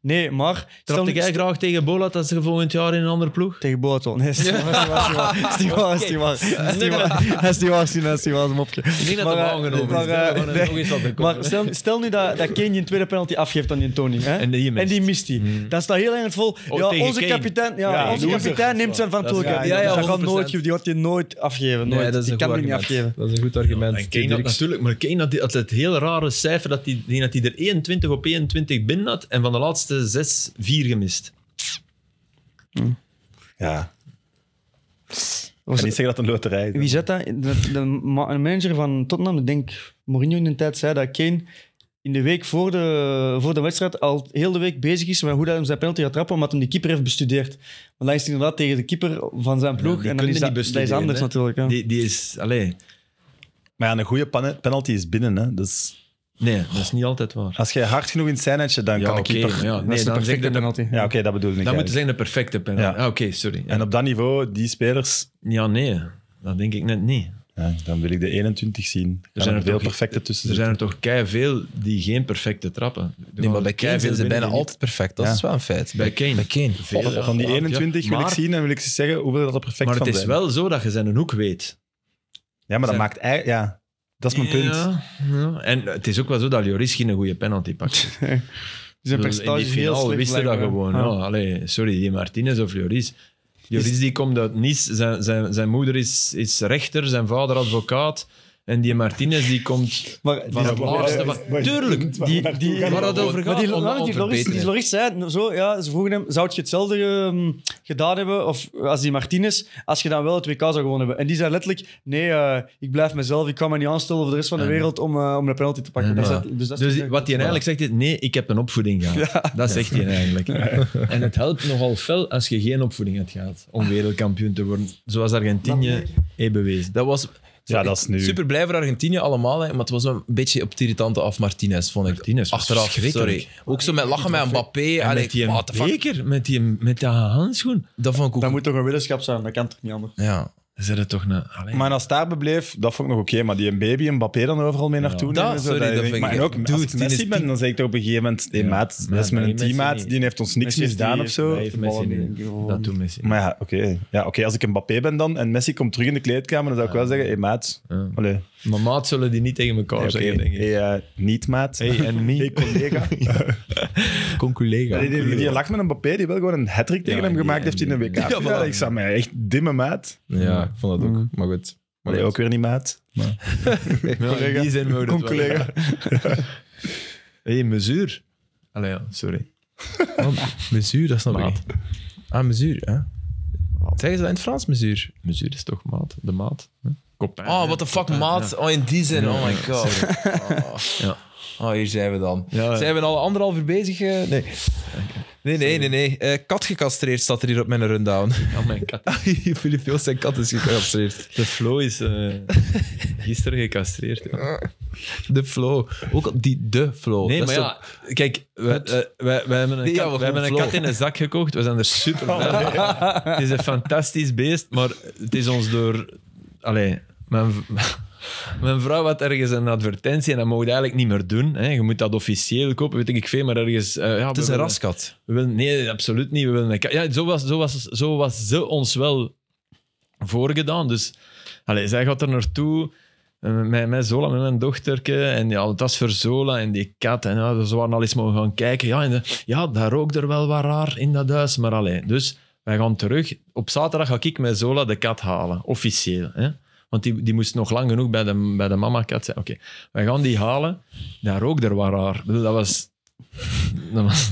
Nee, maar... Trapte jij graag tegen Bolat als ze volgend jaar in een andere ploeg? Tegen Boatwell. [LAUGHS] Nee, is niet waar, is niet waar, is niet waar, is niet waar. Is niet waar, is niet waar, is niet waar, is een mopje. Ik denk dat Maar, dat eh, aangenomen maar, is. hè. We eh, gaan er nee. nog eens wat er Maar komt. stel, stel nu dat, dat Kane je een tweede penalty afgeeft aan die Tony. Hè? En die mist. Hmm. En die mist die. Dan staat heel erg het vol. Oh, ja, tegen onze Kane. kapitein, ja, Ja, onze loser. kapitein neemt zijn verantwoordelijkheid. Ja, Ja, ja, ja, dat gaat 100%. nooit geven. Die gaat je nooit afgeven. Nooit. Nee, dat is die een kan goed die niet argument. afgeven. Dat is een goed argument. En Kane had Dirk- natuurlijk, maar Kane had, die- had het hele rare cijfer dat hij die, dat die er 21 op 21 binnen had en van de laatste 6 4 gemist. Ja. Ik Was- kan niet zeggen dat het een loterij is. Wie zet dat? De, de ma- een manager van Tottenham, ik denk Mourinho in de tijd, zei dat Kane in de week voor de, voor de wedstrijd al heel de week bezig is met hoe hij hem zijn penalty gaat trappen, omdat hij die keeper heeft bestudeerd. Want hij is inderdaad tegen de keeper van zijn ploeg. die en dan kunnen is dat, niet dat is bestuderen, anders hè. natuurlijk. hè. Die, die is, allee, Maar ja, een goede pan- penalty is binnen. Hè. Dus nee, dat is niet altijd waar. als je hard genoeg in het scènetje, dan Ja, kan de oké, keeper... maar ja, dat nee, is de dan zeg perfecte je dat- penalty. Ja, oké, dat bedoel ik dan moet eigenlijk. je zeggen de perfecte penalty. Ja. Ah, Oké, sorry. Ja. En op dat niveau, die spelers, ja, nee, dat denk ik net niet. ja, dan wil ik de 21 zien. Er zijn zijn er er veel toch- perfecte tussen. Er zijn zitten. er toch kei veel die geen perfecte trappen. Nee, maar bij Kane zijn ze bijna altijd perfect. Dat Ja. is wel een feit. Bij Kane. Bij Kane. Veel, Ah, ja. Van die 21 wil Maar- ik zien en wil ik ze zeggen hoeveel dat er perfect Maar van het is zijn. wel zo dat je zijn hoek weet. Ja, maar dat zijn- maakt eigenlijk... Ja, dat is mijn punt. Ja, ja. En het is ook wel zo dat Lloris geen goede penalty pakt. Die zijn Dus in percentage die is heel finale slecht. wisten dat blijkbaar. gewoon. Ja. ja. Allee, sorry, die Martinez of Lloris. Lloris die komt uit Nice. Zijn, zijn, zijn moeder is, is rechter, zijn vader advocaat. En die Martinez die komt Maar van die- het laagste. [LAUGHS] van- Tuurlijk. die, die, Waar dat over maar gaat, die, om maar die, te Loris, die verbeteren. Loris zei zo, ja, ze vroegen hem, zou je hetzelfde ehm, gedaan hebben of als die Martinez, als je dan wel het WK zou gewonnen hebben? En die zei letterlijk, nee, eh, ik blijf mezelf, ik kan me niet aanstellen voor de rest van de Ja. wereld om, eh, om de penalty te pakken. Ja, Dat maar- is dat- dus dat is Dus die- wat hij eigenlijk zegt is, nee, ik heb een opvoeding gehad. Dat zegt hij eigenlijk. En het helpt nogal fel als je geen opvoeding hebt gehad om wereldkampioen te worden. Zoals Argentinië heeft bewezen. Dat was... Ja, dat is nu. Super blij voor Argentinië allemaal, hè, maar het was een beetje op het irritante af, Martinez, vond ik. Martinez was Achteraf, verschrikkelijk. sorry. Ook zo met lachen met Mbappé. En allee, met die what the fuck. beker, met, die, met dat handschoen. Dat vond ik ook... Dat moet toch een weddenschap zijn, dat kan toch niet anders. Ja. Dan zit het toch een... Allee. Maar als het daarbij bleef, dat vond ik nog oké. maar die Mbappé en Mbappé dan overal mee naartoe Dat- nemen, zo, sorry, dat je vind denkt- ik Maar en echt- ook, Dude, als ik die is Messi ben, die- dan zeg ik toch op een gegeven moment... Hey, Ja. maat, Maar dat is nee, mijn Messi teammaat, niet. die heeft ons niks Messi is misdaan die- of zo. dat heeft Messi Oh. niet. Dat doet Messi niet. Maar ja, oké. Ja, oké, als ik Mbappé ben dan en Messi komt terug in de kleedkamer, dan zou ik wel zeggen, hey maat, Ja. allee, hey, Maar maat zullen die niet tegen elkaar oké, zeggen, denk ik. hey, eh, niet maat, Hey, en [LAUGHS] me. hey collega. Kom collega. Allee, die, die lag met een Mbappé die wel gewoon een hat tegen Ja, hem die- gemaakt heeft in een WK. Ja, Ja, voilà. ik zag mij echt dimme maat. ja, ik vond dat ook. Mm. Maar goed. Maar Allee, goed. ook weer niet maat. collega. Die zijn we Kom, dat wel. collega. Hey, mesuur. Allee, ja, sorry. Oh, mesuur, dat snap Maat. ik. niet. Ah, mesuur, hè? Zeggen ze dat in het Frans, mesuur? Mesuur is toch maat? De maat? Hm? Copain, Oh, hè? what the fuck, Copain, maat. ja. Oh, in die zin. Ja, Oh my ja, god. Oh. Ja. Oh, hier zijn we dan. Ja, ja. Zijn we al anderhalf uur bezig? eh? Nee. Nee, nee, nee. nee. Eh, kat gecastreerd staat er hier op mijn rundown. [LAUGHS] Oh, mijn kat. Filip Joost zijn kat is gecastreerd. De flow is [LAUGHS] eh, gisteren gecastreerd. ja. De flow. Ook al die de flow. Nee, Dat maar is ja, kijk, wij, eh, wij, wij hebben een, Ja, kat, we wij gaan hebben een flow. kat in een zak gekocht. We zijn er super [LAUGHS] blij mee. Het is een fantastisch beest, maar het is ons door. Allee, mijn, v- [LAUGHS] mijn vrouw had ergens een advertentie en dat mogen we eigenlijk niet meer doen. Hè. Je moet dat officieel kopen, weet ik veel, maar ergens. eh, ja, Het is we een willen- raskat. we willen- nee, absoluut niet. We willen een ka- ja, zo, was, zo, was, zo was ze ons wel voorgedaan. Dus allez, zij gaat er naartoe. eh, Met, met Zola, met mijn dochterke. En ja, dat is voor Zola en die kat. En ja, ze waren al eens mogen gaan kijken. Ja, en de- ja, daar rook er wel wat raar in dat huis. Maar alleen. Dus wij gaan terug. Op zaterdag ga ik met Zola de kat halen. Officieel. Hè? Want die, die moest nog lang genoeg bij de, bij de mama-kat zijn. Oké, wij gaan die halen. Daar rook er wat raar. Ik bedoel, Dat was... Dat was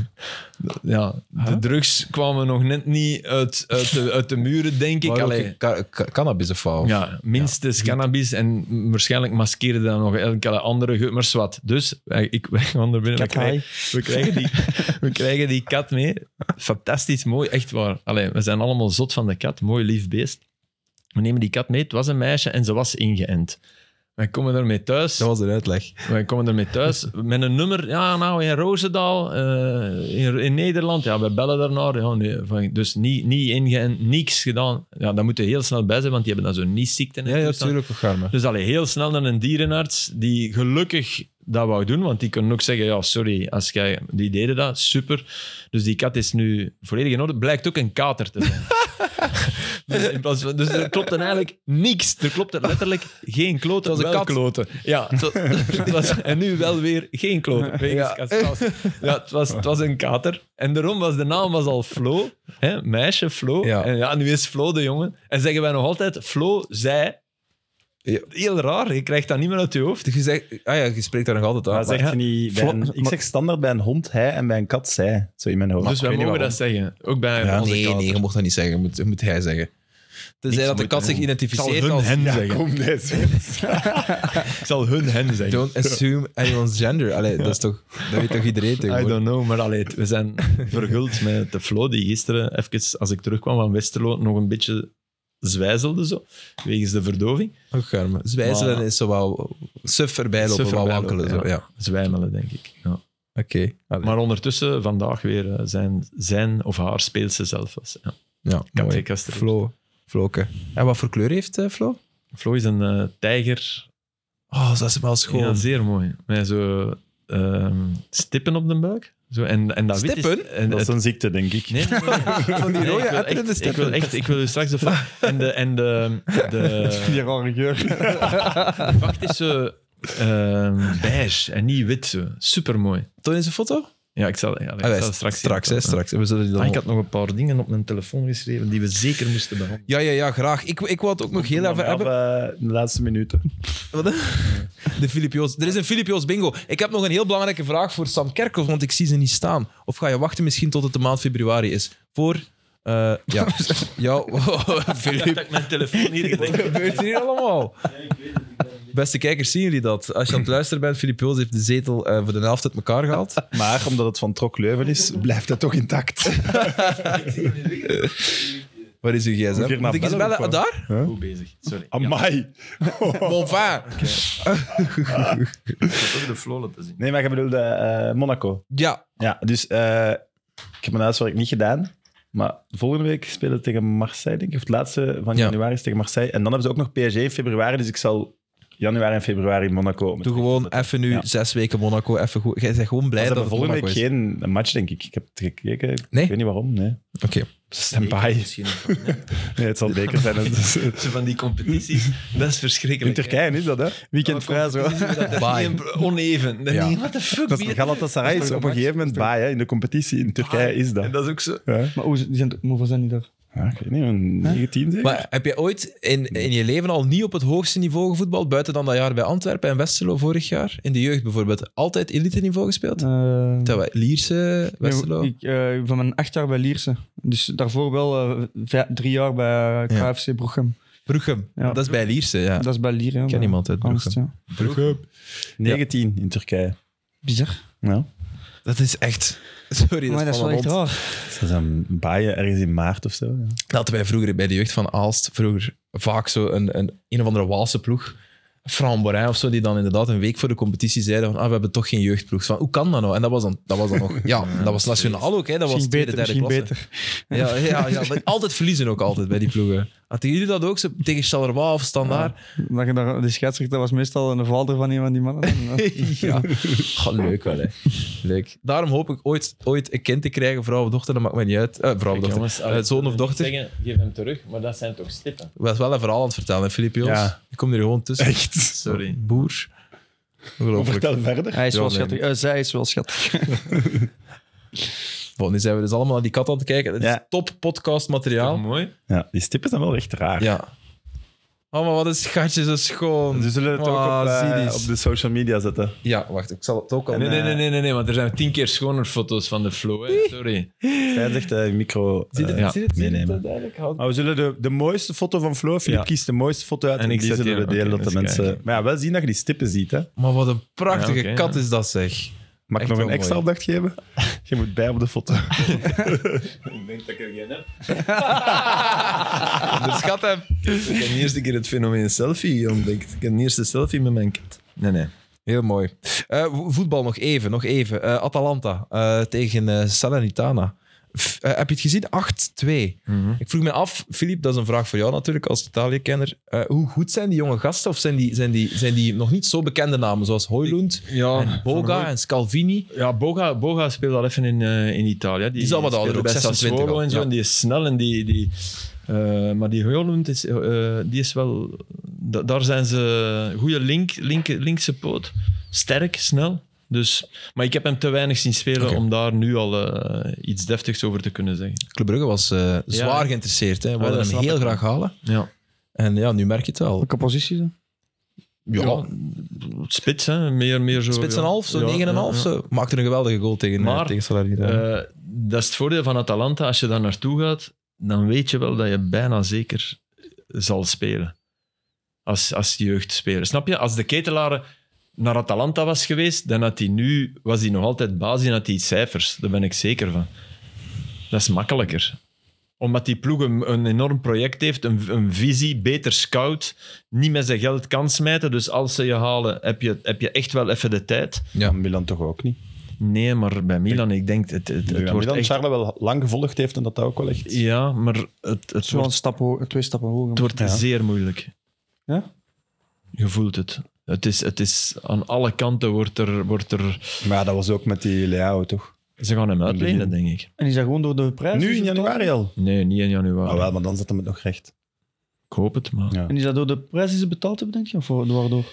ja, de drugs kwamen nog net niet uit, uit, de, uit de muren, denk ik. Maar ook Allee, ca- ca- cannabis of wat? ja, minstens cannabis en waarschijnlijk maskeerde dan nog elke andere geur, maar zwart. Dus wij, ik, [LAUGHS] wij gaan er binnen. We Kakai. krijgen, we, krijgen [LAUGHS] die, we krijgen die kat mee. Fantastisch mooi, echt waar. Allee, we zijn allemaal zot van de kat. Mooi lief beest. We nemen die kat mee. Het was een meisje en ze was ingeënt. Wij komen daarmee thuis. Dat was een uitleg. Wij komen ermee thuis met een nummer. Ja, nou, in Roosendaal, eh, in, in Nederland. Ja, we bellen daarnaar. Ja, nee, van- dus niet, niet ingeënt, niks gedaan. Ja, daar moeten we heel snel bij zijn, want die hebben dan zo'n niesziekte. en Ja, ja, toestand. natuurlijk. Garme. Dus allee, heel snel naar een dierenarts die gelukkig dat wou doen, want die kunnen ook zeggen, ja, sorry, als jij, die deden dat, super. Dus die kat is nu volledig in orde. Blijkt ook een kater te [LAUGHS] zijn. dus, in plaats van, dus er klopt dan eigenlijk niks. Er klopt er letterlijk geen kloten. Het was een wel kat. kloten. Ja, het was- [LAUGHS] het was- en nu wel weer geen kloten. Wegens Ja. castratie. Ja, het was, het was een kater. En daarom was de naam was al Flo. Hè? Meisje Flo. Ja. En ja, nu is Flo de jongen. En zeggen wij nog altijd, Flo, zij, Ja. Heel raar, je krijgt dat niet meer uit je hoofd. Je, zegt, ah ja, je spreekt daar nog altijd aan. Maar maar- zeg je niet bij een- ik zeg standaard bij een hond hij en bij een kat zij. Zo in mijn hoofd. dus Ik wij weet niet mogen dat waarom. zeggen. Ook bij Ja, onze nee, kater. nee, je mocht dat niet zeggen. Moet, moet hij zeggen. Tenzij Niks dat de moet kat zich hij doen. Ik identificeert zal hun als... hen Ja, zeggen. kom net. Ik zal hun hen zeggen. Don't assume anyone's gender. Allee, dat, is toch, dat weet toch iedereen [LAUGHS] [LAUGHS] I tegenwoordig? don't know, maar allee, we zijn verguld met de Flo die gisteren, even als ik terugkwam van Westerlo, nog een beetje zwijzelde zo, wegens de verdoving. Och, garme. Zwijzelen Maar- is zo wel... Suf voorbij lopen, Suf wel voorbij wankelen. lopen, Zo. Ja. Zwijmelen, denk ik. Ja. Oké. Allee. Maar ondertussen vandaag weer eh, zijn, zijn of haar speelse zelf was. Ja. Ja, mooi. Katja Kasteren. Flo. Floke. En wat voor kleur heeft eh, Flo? Flo is een eh, tijger. Oh, dat is wel schoon. Ja, [LAUGHS] zeer mooi. Met zo ehm, stippen op de buik. Zo, en, en dat wit is- Stippen? en Dat is het- een ziekte, denk ik. Nee, nee, nee. Van die Nee, rode ik wil etterende echt- Ik stippen. wil echt, ik wil u straks de [LAUGHS] fa- En de, en de, de, Die rare geur. de vacht is zo ehm, beige en niet wit. Zo. Supermooi. Toon eens een foto. Ja, ik zal, ja, ik Ah, wij- zal het straks straks, zien. hè, straks. We zullen die dan Ah, ik nog- had nog een paar dingen op mijn telefoon geschreven die we zeker moesten behandelen. Ja, ja, ja, graag. Ik, ik wou het ook nog heel even hebben. eh, de laatste minuten. [LAUGHS] De Filip Joos. Er is een Filip Joos bingo. Ik heb nog een heel belangrijke vraag voor Sam Kerkhoff, want ik zie ze niet staan. Of ga je wachten misschien tot het de maand februari is? Voor... eh, [LAUGHS] ja. ja, Filip. ik mijn telefoon hier Wat gebeurt hier allemaal? Beste kijkers, zien jullie dat? Als je aan het luisteren bent, Filip Joos heeft de zetel eh, voor de helft uit elkaar gehaald. Maar omdat het van Trok Leuven is, blijft dat toch intact. Waar is uw Moet gsm? hier naar Moet ik eens bellen? bellen of Ah, wat? daar? Goed bezig, sorry. Amai. Bon, enfin. Toch de flow laten zien. Nee, maar je bedoelde eh, Monaco. Ja, Ja, dus eh, ik heb mijn huiswerk niet gedaan. Maar volgende week spelen we tegen Marseille, denk ik. Of het laatste van Ja. januari is tegen Marseille. En dan hebben ze ook nog PSG in februari. Dus ik zal januari en februari in Monaco... om het doe recht te gewoon zetten. even nu Ja. zes weken Monaco. Even goed. Jij bent gewoon blij Maar dat ze het hebben volgende Monaco is. week geen match, denk ik. Ik heb het gekeken. Ik Nee? weet niet waarom, nee. Oké. [LAUGHS] Standby. [LAUGHS] Nee, het zal beker [LAUGHS] [LAUGHS] zijn. Dus, eh, Zo van die competities, dat is in verschrikkelijk. Turkije is dat, hè? Weekend vrij zo. Bye. Bye. Oneven. Dan Ah, Ja. denk ik, what the fuck? Dat wie is heeft- Galatasaray dat is is toch op een een gegeven moment baai, hè. In de competitie in Turkije is dat. En dat is ook zo. Ja. Maar hoe, die zijn, maar hoeveel zijn die daar? Ja, ik weet niet, een 19 zeker? Maar heb jij ooit in, in je leven al niet op het hoogste niveau gevoetbald, buiten dan dat jaar bij Antwerpen en Westerlo vorig jaar? In de jeugd bijvoorbeeld, altijd elite niveau gespeeld? Eh, Terwijl Lierse, Westerlo? Ik, eh, van mijn acht jaar bij Lierse. Dus daarvoor wel eh, vij- drie jaar bij eh, Ja. KFC Brochem. Brugge. Ja. Dat is bij Lierse, ja. Dat is bij Lier. hè, Ik bij ken iemand uit Angst, Brugge. ja. 19 in Turkije. Bizar. Ja. Dat is echt... [LAUGHS] Sorry, dat Maar dat is is van wel een echt hond. raar. Is dat een baaien ergens in maart of zo? Ja. Dat hadden wij vroeger bij de jeugd van Aalst, vroeger vaak zo een, een, een of andere Waalse ploeg, Framborin of zo, die dan inderdaad een week voor de competitie zeiden van ah, we hebben toch geen jeugdploeg. Van, hoe kan dat nou? En dat was dan, dat was dan [LAUGHS] nog... Ja, dat was nationaal ook, hè. Dat was Misschien tweede, beter, derde misschien klasse. beter. Ja, ja, ja maar altijd verliezen ook altijd bij die ploegen. Hadden jullie dat ook zo tegen Charleroi of Standaard? Maar je daar, de scheidsrechter was meestal een vader van een van die [LAUGHS] mannen. En, eh, Ja. Goh, leuk wel, hè. Leuk. Daarom hoop ik ooit, ooit een kind te krijgen, vrouw of dochter, dat maakt mij niet uit. Eh, vrouw of dochter. Eh, zoon of dochter. geef hem terug, maar dat zijn toch stippen. Ik was wel een verhaal aan het vertellen, hè, Filip Joos. Ja. Ik kom er gewoon tussen. Echt? Sorry. Boer. Ongelooflijk. Vertel verder. Hij is Ja, wel nee. schattig. Eh, zij is wel schattig. Bon, nu zijn we dus allemaal naar die kat aan het kijken. Dat is Ja. top podcast materiaal. Mooi. Ja, die stippen zijn wel echt raar. Ja. Oh, maar wat een schatje, zo schoon. Ze zullen het ook Ah, op, eh, zie die. op de social media zetten. Ja, wacht, ik zal het ook al... Nee, nee, nee, nee, nee, nee, want er zijn tien keer schoner foto's van de flow. Hè. Sorry. Zij zegt eh, micro eh, het- zie meenemen. duidelijk houdt. Maar we zullen de, de mooiste foto van Flo, Filip Ja. kiest de mooiste foto uit En en, ik die zet zullen die- we delen oké, dat de eens mensen... kijken. Maar ja, wel zien dat je die stippen ziet, hè. Maar wat een prachtige Ja, oké, kat ja. is dat, [LAUGHS] zeg. Mag Echt ik nog wel een extra mooi. opdracht geven? [LAUGHS] Je moet bij op de [LAUGHS] foto. Ik denk dat ik er geen heb. Dus Onderschat hem. Ik heb de eerste keer het fenomeen selfie ontdekt. Ik heb de eerste selfie met mijn kat. Nee, nee. Heel mooi. Eh, vo- voetbal nog even, nog even. Eh, Atalanta eh, tegen eh Salernitana. F- eh, heb je het gezien? 8-2. Ik vroeg me af, Filip, dat is een vraag voor jou natuurlijk als Italië-kenner. Eh, hoe goed zijn die jonge gasten? Of zijn die, zijn die, zijn die nog niet zo bekende namen zoals Hoylund, Ja, Boga en Scalvini? Ja, Boga, Boga speelt al even in, eh, in Italië. Die, is al wat speelde ouder, ook bij 26 Sassuolo al, en zo. ja. En die is snel en die... die eh, maar die Højlund is, eh, die is wel... da- daar zijn ze... Goede link, link, linkse poot. Sterk, snel. Dus, maar ik heb hem te weinig zien spelen Oké. om daar nu al eh, iets deftigs over te kunnen zeggen. Club Brugge was eh, zwaar geïnteresseerd. Hè. We dat wilden hem snap heel ik wel. graag halen. Ja. En ja, nu merk je het al. Welke positie? ze? Ja, Spits, hè. Meer, meer zo... spits ja. en half, zo Ja, 9,5. ja, ja. zo. Maakte een geweldige goal tegen, eh, Maar, tegen Salernitana. Eh, dat is het voordeel van Atalanta. Als je daar naartoe gaat, dan weet je wel dat je bijna zeker zal spelen. Als, als jeugdspeler. Snap je? Als de ketelaren naar Atalanta was geweest, dan had hij nu was hij nog altijd baas en had hij cijfers. Daar ben ik zeker van. Dat is makkelijker. Omdat die ploeg een, een enorm project heeft, een, een visie, beter scout, niet met zijn geld kan smijten. Dus als ze je halen, heb je, heb je echt wel even de tijd. Ja. Milan toch ook niet. Nee, maar bij Milan, ik denk, het, het, het wordt Milan echt Charles wel lang gevolgd heeft en dat dat ook wel echt... ja, maar het, het, Zo een wordt, stap hoger, twee stappen hoger. het wordt Ja. zeer moeilijk. Ja? Je voelt het. Het is, het is aan alle kanten wordt er, wordt er... Maar ja, dat was ook met die Leao, toch? Ze gaan hem uitlenen, begin. denk ik. En die zijn gewoon door de prijs. Nu in januari al? Nee, niet in januari. Ah, wel, maar dan zetten we het nog recht. Ik hoop het, maar... Ja. En is dat door de prijs die ze betaald hebben, denk je? Of waardoor?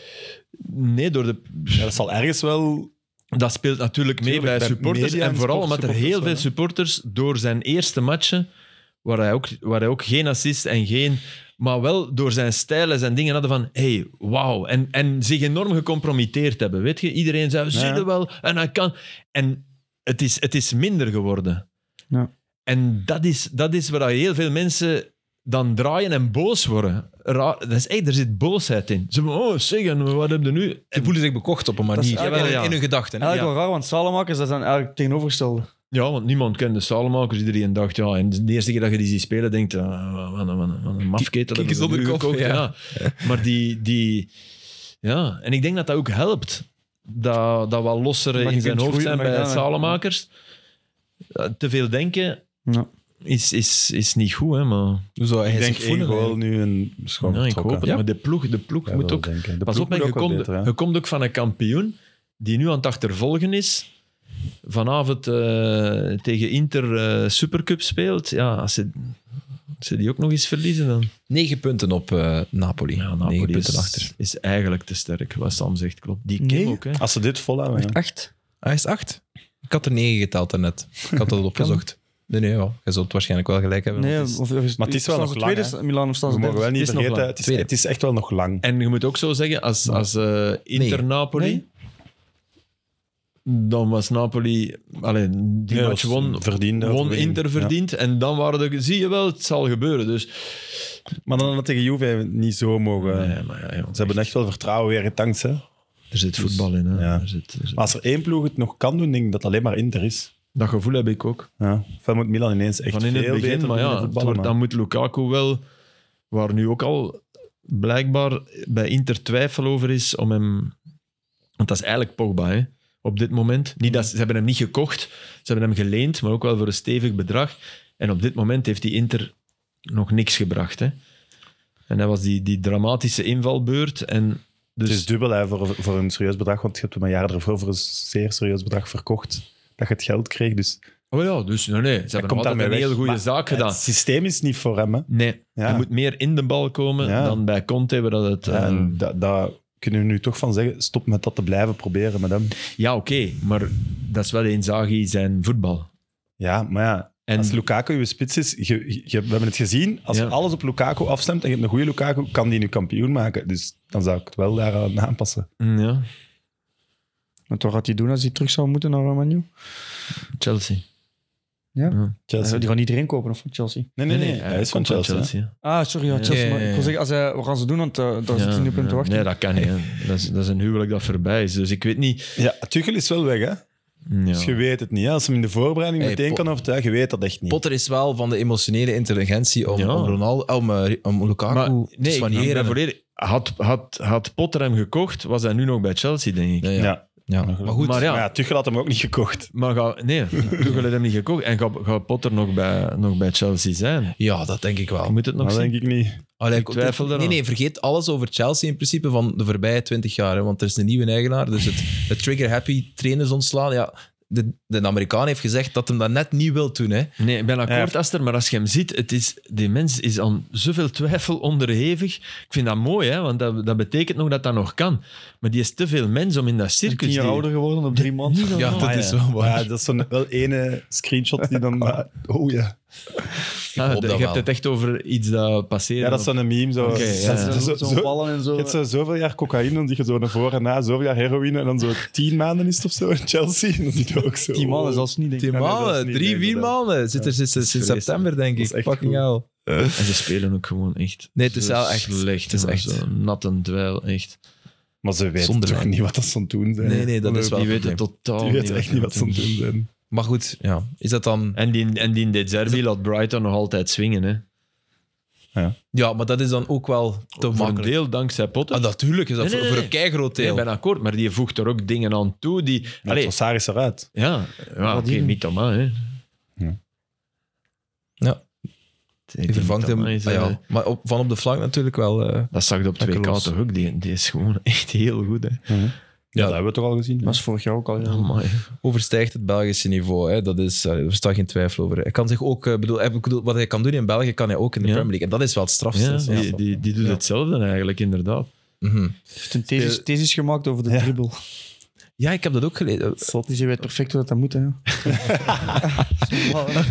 Nee, door de... Ja, dat zal ergens wel Dat speelt natuurlijk mee Tuurlijk, bij bij supporters. media En en vooral sport- omdat er supporters heel wel, veel hè. supporters door zijn eerste matchen, waar hij ook, waar hij ook geen assist en geen... Maar wel door zijn stijl en zijn dingen hadden van... hey, wauw. En, en zich enorm gecompromitteerd hebben, weet je. Iedereen zei, zie je wel, en hij kan... En het is, het is minder geworden. Ja. En dat is, dat is waar heel veel mensen dan draaien en boos worden. Raar, dat is echt, er zit boosheid in. Ze van, oh, zeg, en wat heb je nu? Ze voelen zich bekocht op een manier. eigenlijk wel, in, ja. in hun gedachten. hè. Eigenlijk wel raar, want salemakers dat zijn eigenlijk tegenovergestelde. Ja, want niemand kende Salemakers. Iedereen dacht, ja, en de eerste keer dat je die ziet spelen, denkt, ah, wat een, wat een, wat een mafkeet. dat Kijk hebben eens we onder nu kop, gekocht. ja. Ja. Maar die, die... Ja, en ik denk dat dat ook helpt. Dat, dat wat losseren Maar je in zijn kunt hoofd groeien, zijn maar bij ja, Salemakers. Ja, Te veel denken Ja. is, is, is niet goed, hè, maar... Zo, hij Ik zich denk één voelen, goal eigenlijk. nu en is gewoon Ja, ik hoop vertrokken. het. Maar de ploeg, de ploeg Ja, moet wel ook... denken. De Pas ploeg op, hè, moet je, ook wel komt, beter, hè. je komt ook van een kampioen die nu aan het achtervolgen is. Vanavond eh, tegen Inter eh, Supercup speelt. Ja, als ze, als ze die ook nog eens verliezen, dan... Negen punten op eh, Napoli. Ja, Negen Napoli punten is, achter. is eigenlijk te sterk, wat Sam zegt, klopt. Die Kim Nee. ook, hè. Als ze dit volhouden, ja. Echt? Ah, Hij is acht. Ik had er negen geteld daarnet. Ik had [LAUGHS] dat [LAUGHS] opgezocht. Nee, nee, ja. je zult waarschijnlijk wel gelijk hebben. Nee, want het is- of, of, Maar het is wel staan nog ze lang, tweede, hè? Milan of staan We ze mogen wel derde? niet Het is nog vergeten, lang. het is, Tweede. het is echt wel nog lang. En je moet ook zo zeggen, als, als eh, Inter Nee. Napoli... Dan was Napoli... Allee, die Ja, match dat won, verdiende won overwinning. Inter Ja. verdiend. En dan waren de, zie je wel, het zal gebeuren. Dus, Maar dan had het tegen Juve niet zo mogen. Nee, maar ja, jongens, Ze hebben echt wel vertrouwen weer getankt. Hè? Maar Er zit voetbal in. Hè. Ja. Er zit, er zit- als er één ploeg het nog kan doen, denk ik dat het alleen maar Inter is. Dat gevoel heb ik ook. Ja. Ofwel moet Milan ineens echt Van in het veel begin, beter maar ja, beginnen het voetballen, wordt- dan maar- moet Lukaku wel, waar nu ook al blijkbaar bij Inter twijfel over is om hem... Want dat is eigenlijk Pogba, hè, op dit moment. Niet dat, ze ze hebben hem niet gekocht, ze hebben hem geleend, maar ook wel voor een stevig bedrag. En op dit moment heeft die Inter nog niks gebracht. Hè. En dat was die, die dramatische invalbeurt. En dus, Het is dubbel hè, voor, voor een serieus bedrag, want je hebt hem een jaar ervoor voor een zeer serieus bedrag verkocht. Dat je het geld kreeg. Dus oh ja, dus nee, nee, ze hebben komt nog altijd daarmee een weg. heel goede Maar zaak gedaan. het systeem is niet voor hem. Hè. Nee, Ja. hij moet meer in de bal komen Ja. dan bij Conte. waar Dat het, eh, En dat, dat kunnen we nu toch van zeggen. Stop met dat te blijven proberen met hem. Ja, oké, maar dat is wel Inzaghi zijn voetbal. Ja, maar ja. En- als Lukaku je spits is, je, je- we hebben het gezien, als Ja. je alles op Lukaku afstemt en je hebt een goede Lukaku, kan die nu kampioen maken. Dus dan zou ik het wel daaraan aanpassen. Mm, Ja, Maar toch gaat hij doen als hij terug zou moeten naar Romagno? Chelsea. Chelsea. Die gaan niet iedereen kopen, of van Chelsea? Nee, nee, nee, hij is van komt Chelsea. Ah, sorry, ja, Chelsea. Ja, maar ja, ja. Ik wil zeggen, als hij, wat gaan ze doen? Want eh, daar Ja, zit hij nu op hem te ja. wachten. Nee, dat kan niet. hè. Dat is, dat is een huwelijk dat voorbij is. Dus ik weet niet. hè. Ja, Tuchel is wel weg, hè? Dus je Mm, Ja. weet het niet. Hè? Als hem in de voorbereiding Hey, meteen Pot- kan overtuigen, je weet dat echt niet. Potter is wel van de emotionele intelligentie om, Ja. om, Ronaldo, om, eh, om Lukaku Maar te nee, ik ben- ik ben soigneren. volledig- had, had, had Potter hem gekocht, was hij nu nog bij Chelsea, denk ik. Ja, ja. ja. Ja. Maar goed, Maar ja. Maar ja, Tuchel had hem ook niet gekocht. Maar ga, nee, [LAUGHS] Tuchel heeft hem niet gekocht. En gaat gaat Potter nog bij, nog bij Chelsea zijn? ja, dat denk ik Je wel. moet het nog dat zien. denk ik niet. Allee, Ik twijfel nee, eraan. nee, vergeet alles over Chelsea in principe van de voorbije twintig jaar. Hè, want er is een nieuwe eigenaar. Dus het, het trigger-happy trainers ontslaan. Ja, de, de Amerikaan heeft gezegd dat hem dat net niet wil doen. Hè. Nee, ik ben akkoord, Ja. Aster, maar als je hem ziet, het is, die mens is aan zoveel twijfel onderhevig. Ik vind dat mooi, hè, want dat, dat betekent nog dat dat nog kan. Maar die is te veel mens om in dat Hij is circus... tien jaar die- ouder geworden op drie maanden. Ja, dat Maar is wel waar. Maar Ah, ja, dat is zo'n wel ene screenshot die dan... maar- oh ja. Ah, hoop de- dat je wel. hebt het echt over iets dat passeert. Ja, dat is zo'n meme. Zo, Oké, ja. zo- Zo'n zo- zo- ballen en zo. Je hebt zo zoveel jaar cocaïne, dan zie je zo naar voor en na, zoveel jaar heroïne en dan zo tien maanden is het of zo in Chelsea. En dan zie je ook zo. oh. Tien maanden zelfs niet, denk ik. Tien nee, dat is maanden, niet drie, leuk, vier inderdaad. maanden. Zit er sinds, sinds vreselijk. september, denk Dat ik. is echt Fucking goed. hell. En ze spelen ook gewoon echt... Nee, het is zo wel echt- Slecht, het is jongen, echt- Zo'n natten dweil, echt. Maar ze weten Zonder toch lijn. niet wat dat ze aan het doen zijn. Nee, nee, dat is wel Die een weten probleem. totaal Die weten echt niet wat ze aan het doen zijn. Maar goed, ja. is dat dan... En die, en die in de derby laat Brighton nog altijd swingen, hè. Ja, maar dat is dan ook wel te Voor een makkelijk. deel dankzij Potter. Ah, natuurlijk is dat Nee, voor, nee, voor nee. een keigroot Nee, deel. ik ben akkoord, maar die voegt er ook dingen aan toe die... Allee, Allee. Saris eruit. Ja, ja Wat oké, die- Mitoma, hè. Ja. Die Je vervangt hem. Mitoma is, ah, eh, ja. Maar op, van op de flank natuurlijk wel. eh. Dat zag je op 2K Dakkeloos. toch ook. Die, die is gewoon [LAUGHS] echt heel goed, hè. Ja, dat hebben we toch al gezien. Dat was vorig jaar ook al. Ja. Amai. overstijgt het Belgische niveau. Hè. Dat is, eh, er staat geen twijfel over. Hij kan zich ook, eh, bedoel, hij- bedoel, wat hij kan doen in België, kan hij ook in de Ja. Premier League. En dat is wel het strafste. Ja, die, die, die doet hetzelfde eigenlijk, inderdaad. Mhm. [LAUGHS] Hij heeft een thesis, thesis gemaakt over de dribbel. Ja, ik heb dat ook gelezen. Dus je weet perfect hoe dat, dat moet. [LAUGHS] Hè.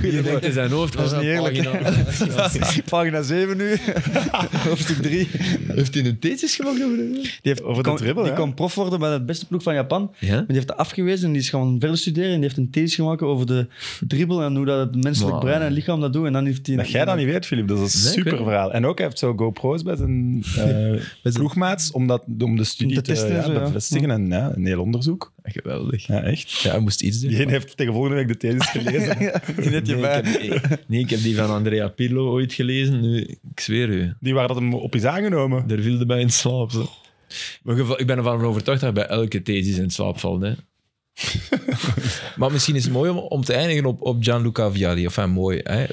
Je denkt in zijn hoofd, Dat is niet eerlijk. [LAUGHS] Pagina 7 nu. [LAUGHS] Hoofdstuk 3. Heeft hij een thesis gemaakt over Die, heeft, Over de kon, dribbel, die ja. kon prof worden bij de beste ploeg van Japan. Maar Ja? die heeft dat afgewezen en die is gaan verder studeren. En die heeft een thesis gemaakt over de dribbel en hoe dat het menselijk Maar- brein en lichaam dat doen. En dan heeft hij... Dat jij dat niet weet, Filip, dat is een Nee, ik weet super het. verhaal. En ook, hij heeft zo GoPro's bij [LAUGHS] zijn eh ploegmaats om, dat, om de studie Om te, te testen en ja, zo, ja. bevestigen. En ja, een heel onderzoek. Geweldig. Ja, echt. Ja, hij moest iets doen. Die ene heeft tegen volgende week de [LAUGHS] thesis gelezen. Die net je Nee, bij. ik, heb, nee, ik heb die van Andrea Pirlo ooit gelezen. Nu, ik zweer u, Die waar dat hem op is aangenomen. daar viel de bij in slaap. Zo. Maar geva- ik ben ervan overtuigd dat je bij elke thesis in slaap valt. Hè. Maar misschien is het mooi om, om te eindigen op, op Gianluca Vialli. Enfin, mooi. Hè?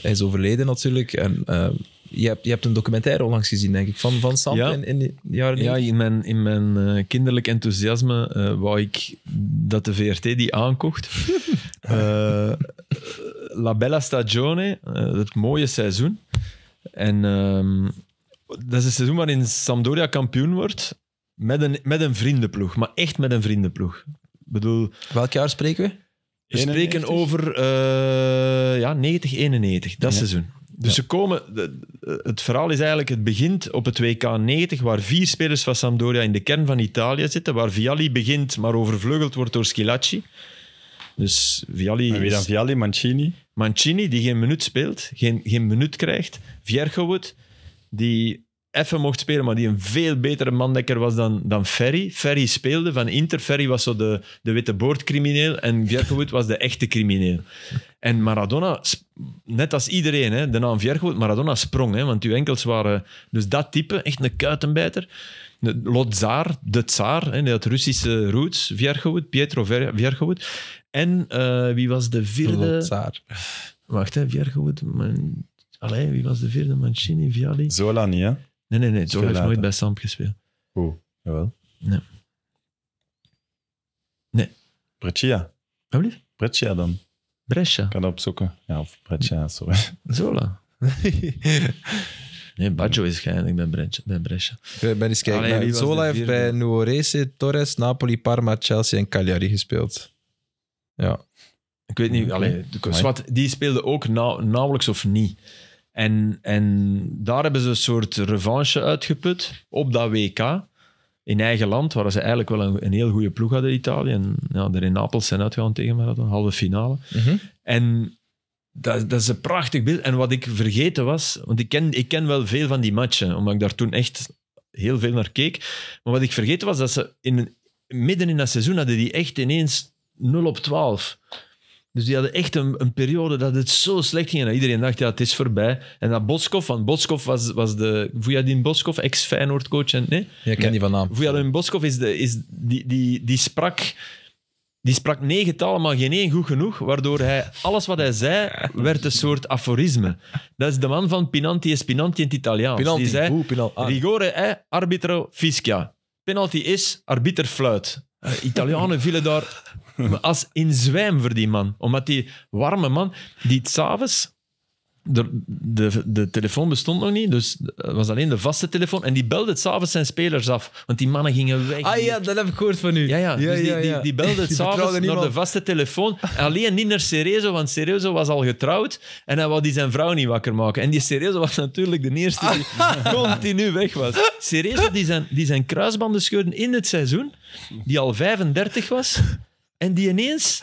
Hij is overleden natuurlijk. En, eh, je, hebt, je hebt een documentaire onlangs gezien, denk ik, van, van Sam Ja. in, in de jaren Ja, 90. in mijn, in mijn eh, kinderlijk enthousiasme eh wou ik dat de VRT die aankocht. [LAUGHS] Eh, La Bella Stagione, eh, het mooie seizoen. En ehm, dat is een seizoen waarin Sampdoria kampioen wordt met een, met een vriendenploeg. Maar echt met een vriendenploeg. Ik bedoel, Welk jaar spreken we? we 91? spreken over eh, ja, 90, 91, dat seizoen. Dus ze komen, de- de- het verhaal is eigenlijk, het begint op het WK 90, waar vier spelers van Sampdoria in de kern van Italië zitten, waar Vialli begint, maar overvleugeld wordt door Schilacci. Dus Vialli, En wie dan? is- Vialli, Mancini. Mancini, die geen minuut speelt, geen, geen minuut krijgt. Viergewood, die even mocht spelen, maar die een veel betere mandekker was dan, dan Ferry. Ferry speelde van Inter. Ferry was zo de, de witte boordcrimineel en Viergewood was de echte crimineel. En Maradona, sp- net als iedereen, hè, de naam Viergewood, Maradona sprong, hè, want uw enkels waren... Dus dat type, echt een kuitenbijter. De Lotzaar, de tsaar, hè, die had Russische roots, Viergewood, Pietro Ver- Viergewood. En eh, wie was de vierde? Lotzaar. Wacht, hè, Viergewoed. Man... Allee, wie was de vierde? Mancini, Vialli? Zola niet, hè? Nee, nee, nee. Zo Veel heeft later. nooit bij Samp gespeeld. Oh, jawel. Nee. Nee. Breccia. Alsjeblieft. Breccia dan. Ik Ah, Brescia. kan dat opzoeken. Ja, of Breccia, [LAUGHS] sorry. [LAUGHS] Zola. nee, Baggio is geëindigd bij Brescia. Bij Brescia. Ik ben eens kijken. Allee, wie was Zola de heeft vierde? bij Nuorese, Torres, Napoli, Parma, Chelsea en Cagliari gespeeld. Ja. Ik weet niet, Oké. allee, de- Amai. zwart, die speelde ook nau- nauwelijks of niet. En, en daar hebben ze een soort revanche uitgeput op dat WK. In eigen land, waar ze eigenlijk wel een, een heel goede ploeg hadden, Italië. En ja, er in Napels zijn uitgegaan tegen Maradona, halve finale. Mhm. En dat, dat is een prachtig beeld. En wat ik vergeten was, want ik ken, ik ken wel veel van die matchen, omdat ik daar toen echt heel veel naar keek. Maar wat ik vergeten was, dat ze in, midden in dat seizoen hadden die echt ineens 0 op 12. Dus die hadden echt een, een periode dat het zo slecht ging. En dat iedereen dacht, ja, het is voorbij. En dat Boskov, want Boskov was, was de... Vujadin Boskov, ex-Feyenoord-coach. en- Nee? Je kent die van naam. Vujadin Boskov is de, is die, die, die sprak... Die sprak negen talen, maar geen één goed genoeg, waardoor hij, alles wat hij zei, werd een soort aforisme. Dat is de man van Pinanti is Pinanti in het Italiaans. Penalty. Die zei, Oeh, penalty. Ah. rigore è arbitro fischia. Penalty is, arbiter fluit. Eh, Italianen vielen daar als in zwijm voor die man. Omdat die warme man, die s'avonds... De, de, de telefoon bestond nog niet, dus het was alleen de vaste telefoon. En die belde het s'avonds zijn spelers af, want die mannen gingen weg. Ah ja, dat heb ik gehoord van u. Ja, ja. dus die, Die, die belde het s'avonds vertrouwde naar de niemand. vaste telefoon. Alleen niet naar Cerezo, want Cerezo was al getrouwd en hij wou die zijn vrouw niet wakker maken. En die Cerezo was natuurlijk de eerste die [LAUGHS] continu weg was. Cerezo die zijn, die zijn kruisbanden scheurde in het seizoen, die al 35 was. En die ineens,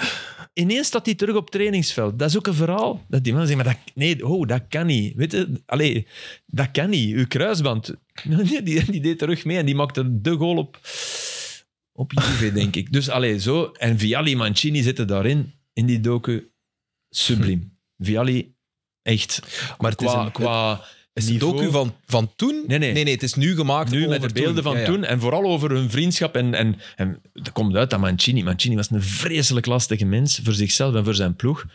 ineens staat hij terug op het trainingsveld. Dat is ook een verhaal. Dat die man zegt, maar dat, nee, oh, dat kan niet. Weet je, allee, dat kan niet. Uw kruisband. [LAUGHS] Die, die, die deed terug mee en die maakte de goal op, op Juve, denk ik. Dus allee, zo. En Vialli Mancini zitten daarin, in die docu. Subliem. Vialli, echt. Hm. Maar het is qua, een- qua Is het niveau- docu van, van toen? Nee, nee. nee, het is nu gemaakt. nu met over de beelden van Ja, ja. toen en vooral over hun vriendschap. En, en, en dat komt uit dat Mancini. Mancini was een vreselijk lastige mens voor zichzelf en voor zijn ploeg.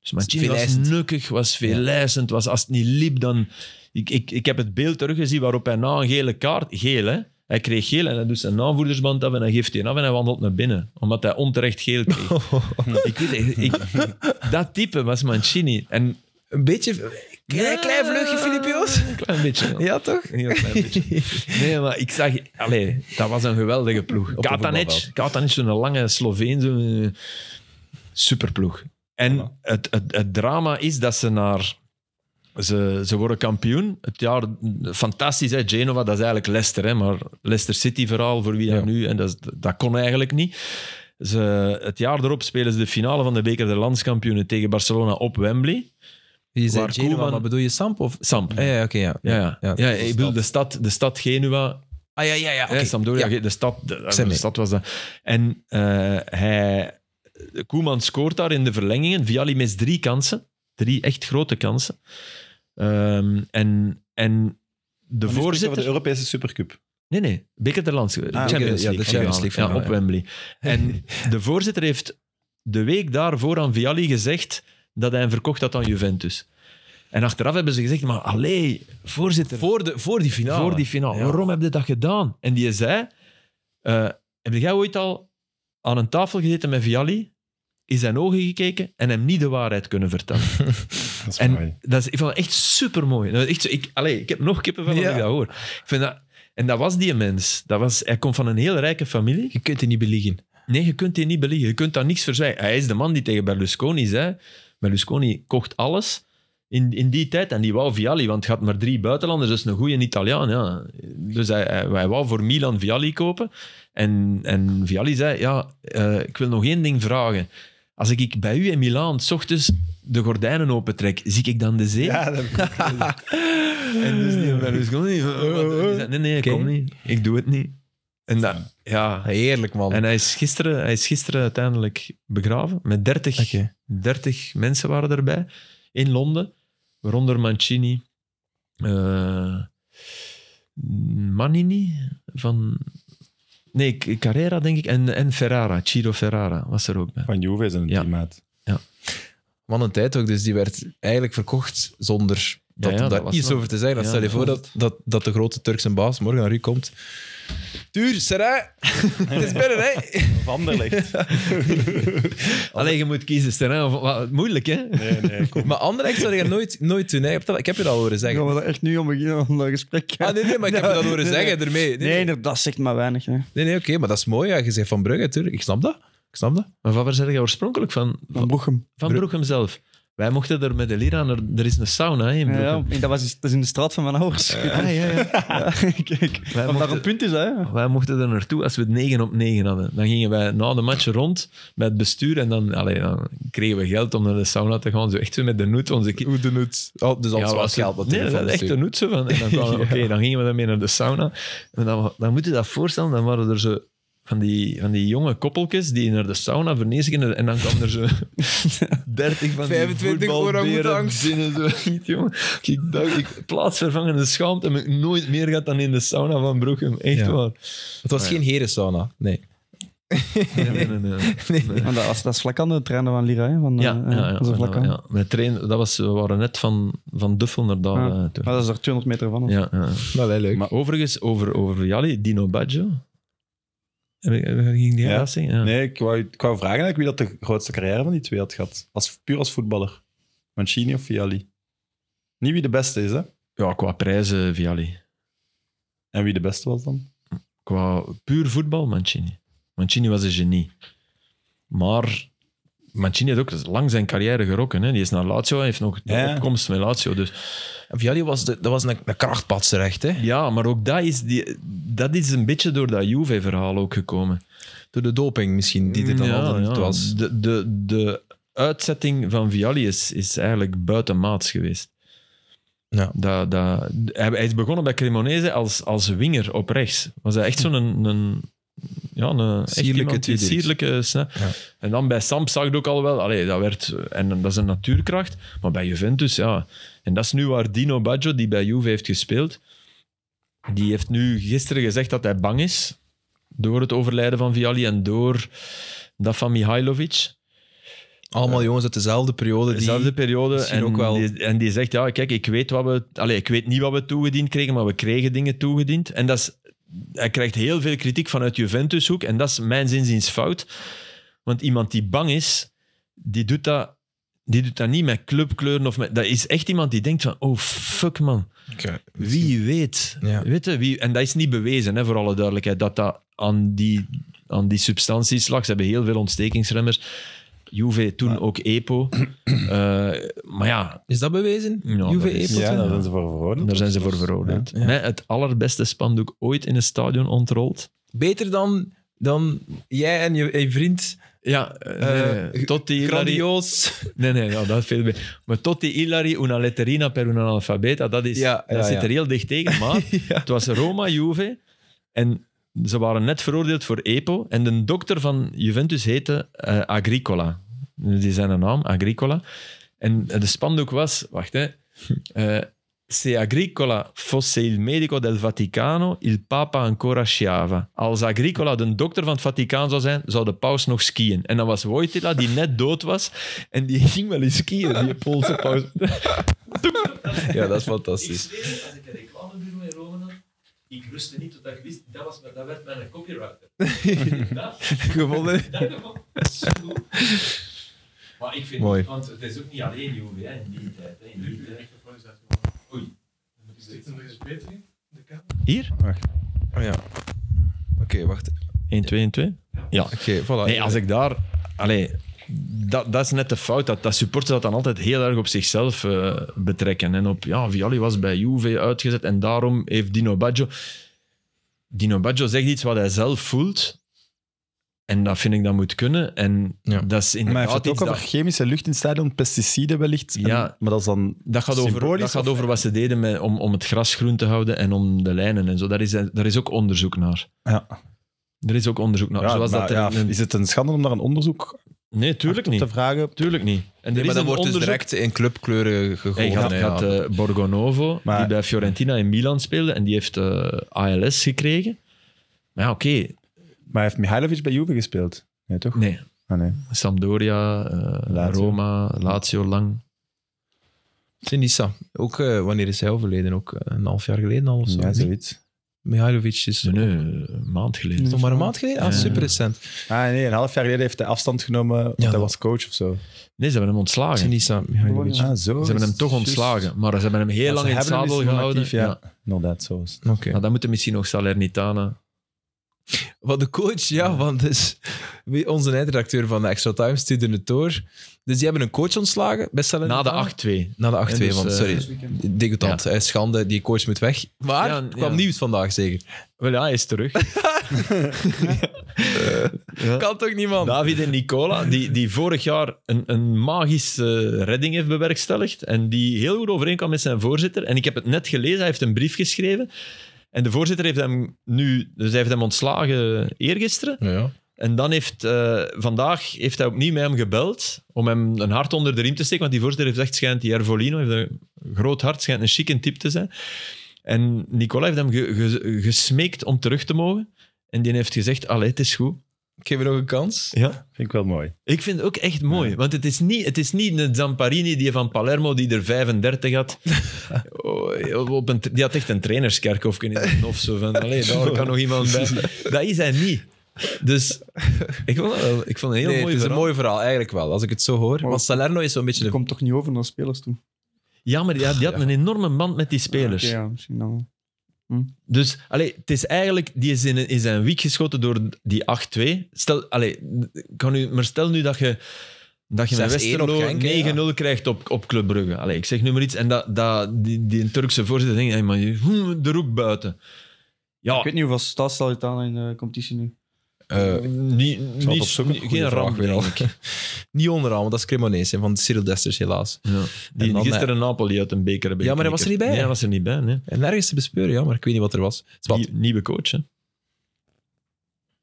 Dus Mancini was Veelijzend. nukkig, was veelijzend. Was, als het niet liep, dan. Ik, ik, ik heb het beeld teruggezien waarop hij na een gele kaart. Geel, hè? Hij kreeg geel en hij doet zijn aanvoerdersband af en hij geeft die af en hij wandelt naar binnen. Omdat hij onterecht [LAUGHS] geel kreeg. ik weet, het, ik, dat type was Mancini. En Een beetje... Klein, klein vleugje, Filipio. was? Een klein beetje. ja. Ja, toch? Een heel klein [LAUGHS] beetje. Nee, maar ik zag... Allee, dat was een geweldige ploeg. de Katanec, voetbalveld. Katanec zo'n lange Sloveen, zo'n eh, superploeg. En het, het, het drama is dat ze naar... Ze, ze worden kampioen. Het jaar, fantastisch, hè? Genova, dat is eigenlijk Leicester. Hè? Maar Leicester City vooral, voor wie dat Ja. nu... En dat, is- dat kon eigenlijk niet. Ze, het jaar erop spelen ze de finale van de Beker der Landskampioenen tegen Barcelona op Wembley. Je Waar zei Genoa, Koeman- maar bedoel je Samp? Of... Samp. Ah, ja, ja, oké, ja. Ja, ja. ja, ik bedoel, de stad, de stad Genua Ah, ja, ja, ja. Hè, oké. Sampdoria, Ja. de stad, de, zei de mee. stad was dat. En eh, hij, Koeman scoort daar in de verlengingen. Vialli mist drie kansen. Drie echt grote kansen. Ehm, en, en de Nu spreken we over voorzitter... de Europese Supercup. Nee, nee. Beker der Lands. eh, Ah, Champions oké, ja, League. de Champions League Ja, finale, op ja. Wembley. [LAUGHS] En de voorzitter heeft de week daarvoor aan Vialli gezegd dat hij hem verkocht had aan Juventus. En achteraf hebben ze gezegd, maar allee, voorzitter... Voor, de, voor die finale. Voor die finale. Ja. Waarom heb je dat gedaan? En die zei: eh, Heb jij ooit al aan een tafel gezeten met Vialli, in zijn ogen gekeken en hem niet de waarheid kunnen vertellen? Dat is mooi. en dat is, ik vond dat echt super mooi. Echt, zo- ik, allee, ik heb nog kippenvel als Ja. ik dat hoor. Ik vind dat, en dat was die mens. Dat was, hij komt van een heel rijke familie. Je kunt die niet beliegen. Nee, je kunt die niet beliegen. Je kunt daar niks voor zeggen. Hij is de man die tegen Berlusconi zei... Berlusconi kocht alles in, in die tijd. En die wou Vialli, want het had maar drie buitenlanders. Dus een goede Italiaan, ja. Dus hij, hij, hij wou voor Milan Vialli kopen. En, en Vialli zei, ja, eh, ik wil nog één ding vragen. Als ik bij u in Milaan 's ochtends de gordijnen opentrek, zie ik dan de zee? Ja, dat heb ik ook gelezen. [LAUGHS] En dus die Berlusconi... eh, wat- die zei, nee, nee, ik Oké. kom niet. Ik doe het niet. En dat... Ja, Ah, Heerlijk, man. en hij is gisteren, hij is gisteren uiteindelijk begraven. Met 30, Oké. 30 mensen waren erbij in Londen. Waaronder Mancini, eh, Manini van. Nee, K- Carrera denk ik. En, en Ferrara, Ciro Ferrara was er ook bij. Van Juve is een Ja. teammaat. Man een tijd ook, dus die werd eigenlijk verkocht zonder dat, ja, dat daar was iets nog- over te zeggen. Dan ja, stel je dat voor was dat, dat, dat de grote Turkse baas morgen naar u komt. Tuur, [LAUGHS] Serra, het is binnen, hè? Vanderlicht. Alleen je moet kiezen, Sterijn. of- wat- Moeilijk hè? Nee, nee, kom. Maar Anderlecht zou je nooit, nooit doen. Hè? Ik heb dat- Ik heb je dat horen Gaan zeggen. we daar echt nu om beginnen om dat gesprek? Ah, nee, nee, maar ik heb je dat horen Nee, zeggen ermee. Nee, Nee, nee, nee, dat zegt maar weinig. Hè. nee, oké, maar dat is mooi. Ja. Je zegt van Brugge, tuurlijk. Ik snap dat. Ik snap dat. Maar van waar zeg je oorspronkelijk van? Van Broechem. Van Broechem zelf. Wij mochten er met de leraar, er, er is een sauna hè, in Ja, Broechem. ja, ik- dat, was, dus- dat is in de straat van mijn ouders. Ah, [LAUGHS] ja, ja. Kijk, Wij wat daar mochten- een punt is, hè. Wij mochten er naartoe als we het 9 op 9 hadden. Dan gingen wij na de match rond met het bestuur en dan, allee, dan kregen we geld om naar de sauna te gaan. Zo echt zo met de noot. Onze kind... Hoe de nut. Oh, dus alles was was geld. Wat nee, dat was echt de noot. Zo van. En [LAUGHS] dan, kwamen- oké, dan gingen we daarmee naar de sauna. En dan, dan moet je dat voorstellen, dan waren er zo van die, van die jonge koppeltjes die naar de sauna vernezen en dan [LAUGHS] kwam er zo 30 van 25 die voetbalberen orangutangs. binnen. Zo, [LAUGHS] niet, jongen. Ik dacht, ik, plaatsvervangende schaamte heb ik nooit meer gehad dan in de sauna van Broechem. Echt Ja. waar. Het was Ah, ja. geen herensauna. Nee. [LAUGHS] Nee, nee, nee, [LAUGHS] nee. Nee. Want dat, was, dat is vlak aan de trainer van Lira, hè. Van, Ja, eh, ja, ja, dat is vlak aan. ja. Mijn trainer, dat was, we waren net van, van Duffel naar daar. Ja. eh, toe. Maar dat is er 200 meter van. hè. Ja, ja. Nou, wel leuk. Maar overigens, over, over Jali, Dino Baggio. Heb ik- heb ik- Ging die Ja. dat zeggen? Ja. Nee, ik wou, ik wou vragen eigenlijk wie dat de grootste carrière van die twee had gehad. Als, puur als voetballer. Mancini of Vialli. Niet wie de beste is, hè. ja, qua prijzen, Vialli. En wie de beste was dan? Qua puur voetbal, Mancini. Mancini was een genie. Maar Mancini heeft ook lang zijn carrière gerokken. Hè. Die is naar Lazio, hij heeft nog de Ja. opkomst met Lazio. Dus En Vialli was, de, dat was een, een krachtpatser, echt. Hè? Ja, maar ook dat is, die, dat is een beetje door dat Juve-verhaal ook gekomen. Door de doping misschien, die er dan Mm, Ja, altijd niet ja. was. De, de, de uitzetting van Vialli is, is eigenlijk buitenmaats geweest. Ja. Dat, dat, hij, hij is begonnen bij Cremonese als, als winger op rechts. Was hij echt zo'n... Een, een, ja, een echt Sierlijke iemand die tweedeeks. sierlijke snap. Ja. En dan bij Samp zag je het ook al wel. Allee, dat werd, en dat is een natuurkracht. Maar bij Juventus, ja. En dat is nu waar Dino Baggio, die bij Juve heeft gespeeld, die heeft nu gisteren gezegd dat hij bang is door het overlijden van Vialli en door dat van Mihailovic. Allemaal jongens uit dezelfde periode. Die... Dezelfde periode. misschien En, ook wel- Die, en die zegt, ja, kijk, ik weet, wat we, allez, ik weet niet wat we toegediend kregen, maar we kregen dingen toegediend. En dat is, hij krijgt heel veel kritiek vanuit Juventushoek. En dat is mijn zinziens fout. Want iemand die bang is, die doet dat Die doet dat niet met clubkleuren of met... Dat is echt iemand die denkt van, oh fuck man, wie weet. Ja. weet je, wie, en dat is niet bewezen, hè, voor alle duidelijkheid, dat dat aan die, aan die substanties lag. Ze hebben heel veel ontstekingsremmers. Juve, toen ook EPO. [CLEARS THROAT] Eh, maar ja, Is dat bewezen? Ja, dat Juve is- Epo? Ja, daar Ja, zijn ze voor veroordeeld. daar zijn ze voor veroordeeld. Ja. Ja. Met het allerbeste spandoek ooit in een stadion ontrold. Beter dan, dan jij en je, en je vriend. Ja, Eh, nee, tot die Ilari... [LAUGHS] Grandioos. Nee, nee, ja, dat is veel meer. Maar tot die Ilari, una letterina per una analfabeta, dat, is, Ja, dat ja, zit ja. er heel [LAUGHS] dicht tegen. Maar het was Roma, Juve en ze waren net veroordeeld voor EPO. En de dokter van Juventus heette eh, Agricola. Dus Die zijn een naam, Agricola. En de spandoek was, wacht [LAUGHS] hè, eh, Se Agricola fosse il medico del Vaticano, il Papa ancora sciava. Als Agricola de dokter van het Vaticaan zou zijn, zou de paus nog skiën. En dan was Wojtyla, die net dood was, en die ging wel eens skiën, die Poolse paus. Ja, dat is fantastisch. als ik een reclamebureau in Rome had, ik rustte niet totdat ik wist, dat, was, dat werd mijn [LAUGHS] copywriter. Gevonden. Maar ik vind, Mooi. want het is ook niet alleen Juve hè, in die tijd. Hè, in die tijd. Hier? Oh, ja. Oké, wacht. 1, 2, 1, 2? Ja. Oké, voilà. Nee, als ik daar... Allee, dat, dat is net de fout. Dat, dat supporters dat dan altijd heel erg op zichzelf eh, betrekken. En op, ja, Vialli was bij Juve uitgezet en daarom heeft Dino Baggio... Dino Baggio zegt iets wat hij zelf voelt. En dat vind ik dat moet kunnen. En Ja. dat is Maar hij inderdaad heeft het ook iets over dat, chemische lucht in het stadion, pesticiden wellicht. En- Ja. maar dat is dan... dat gaat over, symbolisch dat gaat of- over wat ze deden met, om, om het gras groen te houden en om de lijnen en zo. Daar is, daar is ook onderzoek naar. Ja. Er is ook onderzoek naar. Ja, Zoals maar dat er ja, een- Is het een schande om daar een onderzoek Nee, tuurlijk op niet. te vragen? Tuurlijk niet. En Nee, er maar is dat een wordt dus onderzoek- direct in clubkleuren gegooid. Hey, je had, hè, je had, ja. eh, Borgonovo, Maar- die bij Fiorentina in Milan speelde, en die heeft eh, ALS gekregen. Maar ja, oké. Maar heeft Mihailovic bij Juve gespeeld? Nee, toch? Nee. Ah, nee. Sampdoria, eh, Lazio. Roma, Lazio, lang. Sinisa. Ook eh, wanneer is hij overleden? Ook eh, een half jaar geleden al of zo? Ja, niet? zoiets. Mihailovic is Nee, nee, een maand geleden. nog maar een maand geleden? Ah, Ja. super recent. Ah, nee, een half jaar geleden heeft hij afstand genomen. want Ja, hij dat- was coach of zo. Nee, ze hebben hem ontslagen. Sinisa Mihailovic. Ah, zo. Ze hebben hem toch ontslagen, maar ze hebben hem heel lang in het zadel gehouden. ja. Inderdaad, zo is het. Oké. Nou, dan moeten misschien nog Salernitana. Wat de coach, ja, want dus, wie- onze eindredacteur van de Extra Time stuurde het door. Dus die hebben een coach ontslagen bij Na Salernitana. de 8-2. Na de 8-2, En dus, want eh, sorry, degoutant. eh, Schande, die coach moet weg. Maar Ja, er kwam ja. nieuws vandaag zeker. Wel ja, hij is terug. Kan toch niet, man? David en Nicola, die, die vorig jaar een, een magische redding heeft bewerkstelligd. En die heel goed overeenkwam met zijn voorzitter. En ik heb het net gelezen, hij heeft een brief geschreven. En de voorzitter heeft hem nu, dus hij heeft hem ontslagen eergisteren. Ja. En dan heeft, eh, vandaag heeft hij opnieuw met hem gebeld om hem een hart onder de riem te steken. Want die voorzitter heeft echt schijnt, die Ervolino heeft een groot hart, schijnt een chique type te zijn. En Nicola heeft hem ge- ge- gesmeekt om terug te mogen. En die heeft gezegd, allee, het is goed. Ik geef je nog een kans. Ja. Vind ik wel mooi. Ik vind het ook echt mooi, want het is niet, het is niet een Zamparini die van Palermo die er 35 had. Oh, op een, die had echt een trainerskerk of in zijn hof, zo van, allee, daar kan nog iemand bij. Dat is hij niet. Dus ik vond het, wel- ik vond het een heel Nee, mooi het is verhaal. een mooi verhaal, eigenlijk wel, als ik het zo hoor. Oh. Maar- Want Salerno is zo'n dus beetje Dat de... komt toch niet over naar spelers toe? Ja, maar die had, die had een enorme band met die spelers. Oké, ja, misschien dan wel. Dus allee, het is eigenlijk, die is in, in zijn wiek geschoten door die 8-2. Stel, allee, kan u, maar stel nu dat je, dat je met 6-1 op Westerlo 9-0 Genk, hè, ja. krijgt op, op Club Brugge. Allee, ik zeg nu maar iets. En dat, dat, die, die Turkse voorzitter denkt, hey, maar, je- hm, de roek buiten. Ja, Ik weet niet hoeveel staat Salernitana in de competitie nu. eh, niet, op niet, zoek een niet- goede geen vraag ramp, weer denk al. [LAUGHS] ik. niet onderaan, want dat is Cremonese, hè, van Cyril Desters helaas. Ja. Die, dan, gisteren Napoli uit een beker hebben Ja, maar hij was er niet bij, geknikkerd. Nee, hè? hij was er niet bij. Nee. En nergens te bespeuren, ja, maar ik weet niet wat er was. Het is wat. Nie- Nieuwe coach, hè.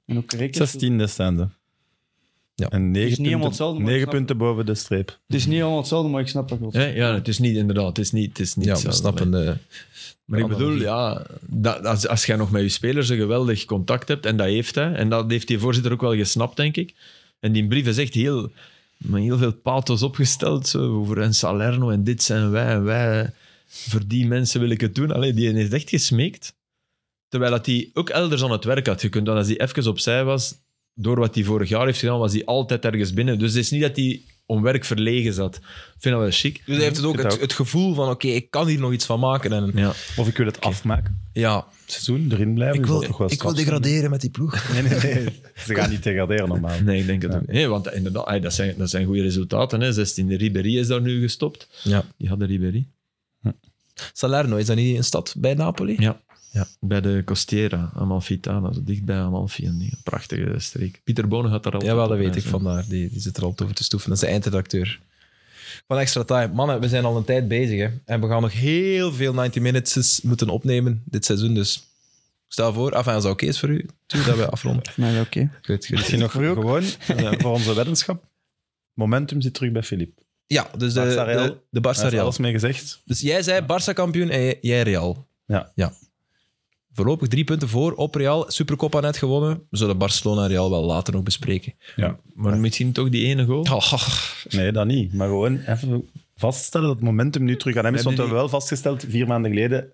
En ook correct. 16e staan ze. Ja. En is 9 niet helemaal punten, hetzelfde, maar negen ik snap punten boven de streep. Het is niet allemaal hetzelfde, maar ik snap dat wel. Hè, Ja, het is niet, inderdaad, het is niet, het is niet Ja, we hetzelfde. snappen. eh, Maar ik bedoel, Analogie. ja, dat, als, als jij nog met je spelers een geweldig contact hebt, en dat heeft hij, en dat heeft die voorzitter ook wel gesnapt, denk ik. En die brief is echt heel, met heel veel pathos opgesteld, zo, over en Salerno en dit zijn wij, en wij, voor die mensen wil ik het doen. Allee, die is echt gesmeekt. Terwijl dat hij ook elders aan het werk had gekund, want als hij even opzij was, door wat hij vorig jaar heeft gedaan, was hij altijd ergens binnen. Dus het is niet dat hij om werk verlegen zat. Ik vind dat wel chic. Dus hij heeft het ook, vind het, dat ook. het gevoel van, oké, ik kan hier nog iets van maken. En, Ja. Of ik wil het afmaken. ja. Het seizoen, erin blijven. Ik is wil, dat toch wel ik wil straf zijn? degraderen met die ploeg. Nee, nee, nee. [LAUGHS] Ze gaan niet degraderen normaal. Nee, ik denk het ook. Nee, want inderdaad, ey, dat, zijn, dat zijn goede resultaten. Hè. 16 Ribéry is daar nu gestopt. Ja. Die hadden Ribéry. Salerno, is dat niet een stad bij Napoli? Ja. ja. Bij de Costiera, Amalfitana, zo dicht bij Amalfi. En die prachtige streek. Pieter Bonen gaat daar al. Jawel, dat weet ik vandaar. Die, die zit er al over te stoeven. Dat is de eindredacteur. Van Extra Time. Mannen, we zijn al een tijd bezig. Hè? En we gaan nog heel veel 90 Minutes moeten opnemen dit seizoen. Dus stel voor, af en als dat oké is voor u, doe dat we [LAUGHS] afronden. Maar ja, oké. Goed, goed. Misschien nog gewoon [LAUGHS] eh, voor onze weddenschap. Momentum zit terug bij Filip. Ja, dus de, Barça Real. de, de Daar Barça is Real. alles mee gezegd. Dus jij zei Barça kampioen en jij- jij Real. Ja. ja. Voorlopig drie punten voor op Real. Supercoppa net gewonnen. We zullen Barcelona en Real wel later nog bespreken. Ja. Maar misschien toch die ene goal. Oh, Nee, dat niet. Maar gewoon even vaststellen dat het momentum nu terug aan hem is. Hebben Want we hebben wel vastgesteld, vier maanden geleden,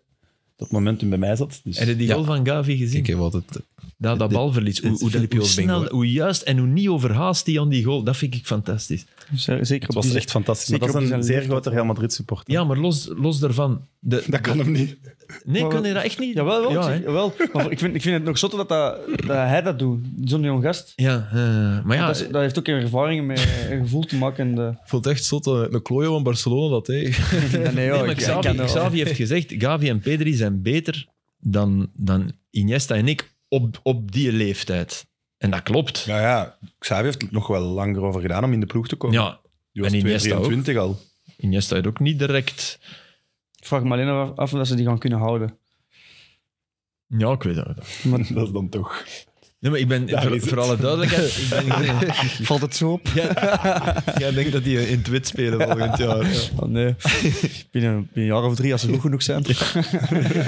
dat momentum bij mij zat. Dus Heb je die Ja. goal van Gavi gezien? kijk even wat het... dat, dat dit- balverlies. Hoe, dit is hoe, dat- Filipio hoe Bingo, snel, hè. hoe juist en hoe niet overhaast die aan die goal. Dat vind ik fantastisch. Dus, eh, Zeker op het was die- echt fantastisch. Maar Zeker dat op is die een zijn zeer grote Real Madrid supporter. Ja, maar los, los daarvan. De, Dat kan hem niet. nee, Maar- kan hij dat echt niet? Jawel, wel, Ja, ik hè. zeg- jawel. Maar ik vind, ik vind het nog zotter dat, dat, dat hij dat doet. Zo'n jong gast. Ja, eh, maar ja, dat, is- dat heeft ook een ervaring met een gevoel te maken. En [LAUGHS] de, voelt echt zot eh, een, een klooi van Barcelona dat, hè. nee, nee, maar Xavi, Xavi heeft gezegd, Gavi en Pedri zijn beter dan, dan Iniesta en ik op, op die leeftijd. En dat klopt. Ja, ja. Xavi heeft het nog wel langer over gedaan om in de ploeg te komen. Ja, Die was en 2, Iniesta 23 [LAUGHS] al. Iniesta heeft ook niet direct... Ik vraag me alleen af, af of ze die gaan kunnen houden. Ja, ik weet dat. Dat is dan toch. Nee, maar ik ben, Daar voor, is het. voor alle [LAUGHS] duidelijkheid, ik ben, Valt het zo op? jij denkt dat die in Twit spelen volgend jaar. Oh, [LAUGHS] nee. binnen, binnen een jaar of drie, als ze goed genoeg [LAUGHS] zijn. Als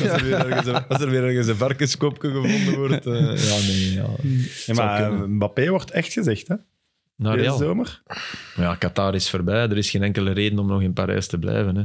er weer ergens een, als er weer ergens een varkenskopje gevonden wordt. eh, ja, nee, ja. Ja, maar eh, Mbappé wordt echt gezegd, hè? Naar Deze Real. zomer. Maar ja, Qatar is voorbij. Er is geen enkele reden om nog in Parijs te blijven. Hè.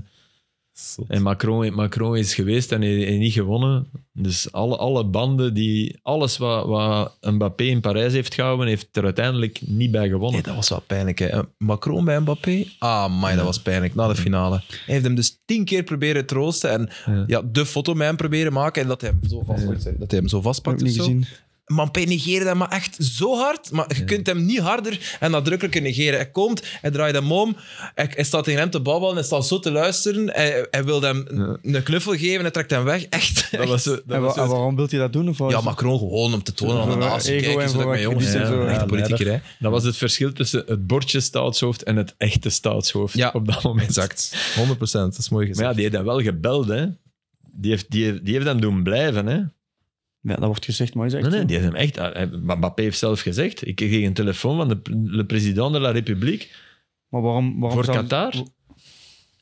En Macron, Macron is geweest en heeft heeft niet gewonnen. Dus alle, alle banden, die, alles wat, wat Mbappé in Parijs heeft gehouden, heeft er uiteindelijk niet bij gewonnen. Nee, dat was wel pijnlijk. Hè. Macron bij Mbappé? Ah, man, dat was pijnlijk. Na de finale. Hij heeft hem dus tien keer proberen troosten en ja. Ja. de foto met hem proberen maken en dat hij hem zo vastpakt. sorry, Dat hij hem zo vastpakt Heb ik of niet zo. gezien. Mbappé negeerde hem maar echt zo hard, maar je kunt hem niet harder en nadrukkelijker negeren. Hij komt, hij draait hem om, hij, hij staat tegen hem te babbelen, hij staat zo te luisteren, hij, hij wil hem een knuffel geven, hij trekt hem weg. Echt. Dat was, dat En, wa- was en waarom wilt hij dat doen? Of wat? Ja, Macron gewoon om te tonen aan de Voor, eh, natie. ego Kijk en eens wat voor ik met wat jongens krediet en heb. zo. Echt Ja, politieker, hè. dat was het verschil tussen het bordje staatshoofd en het echte staatshoofd Ja, op dat moment. Exact. 100%, dat is mooi gezegd. Maar ja, die heeft dat wel gebeld, hè. Die heeft, die, die heeft hem doen blijven, hè. Ja, dat wordt gezegd, maar is echt Nee, nee, zo. die heeft hem echt... hij- Mbappé heeft zelf gezegd, ik kreeg een telefoon van de, pre- de president de la République Maar waarom, waarom voor zou- Qatar.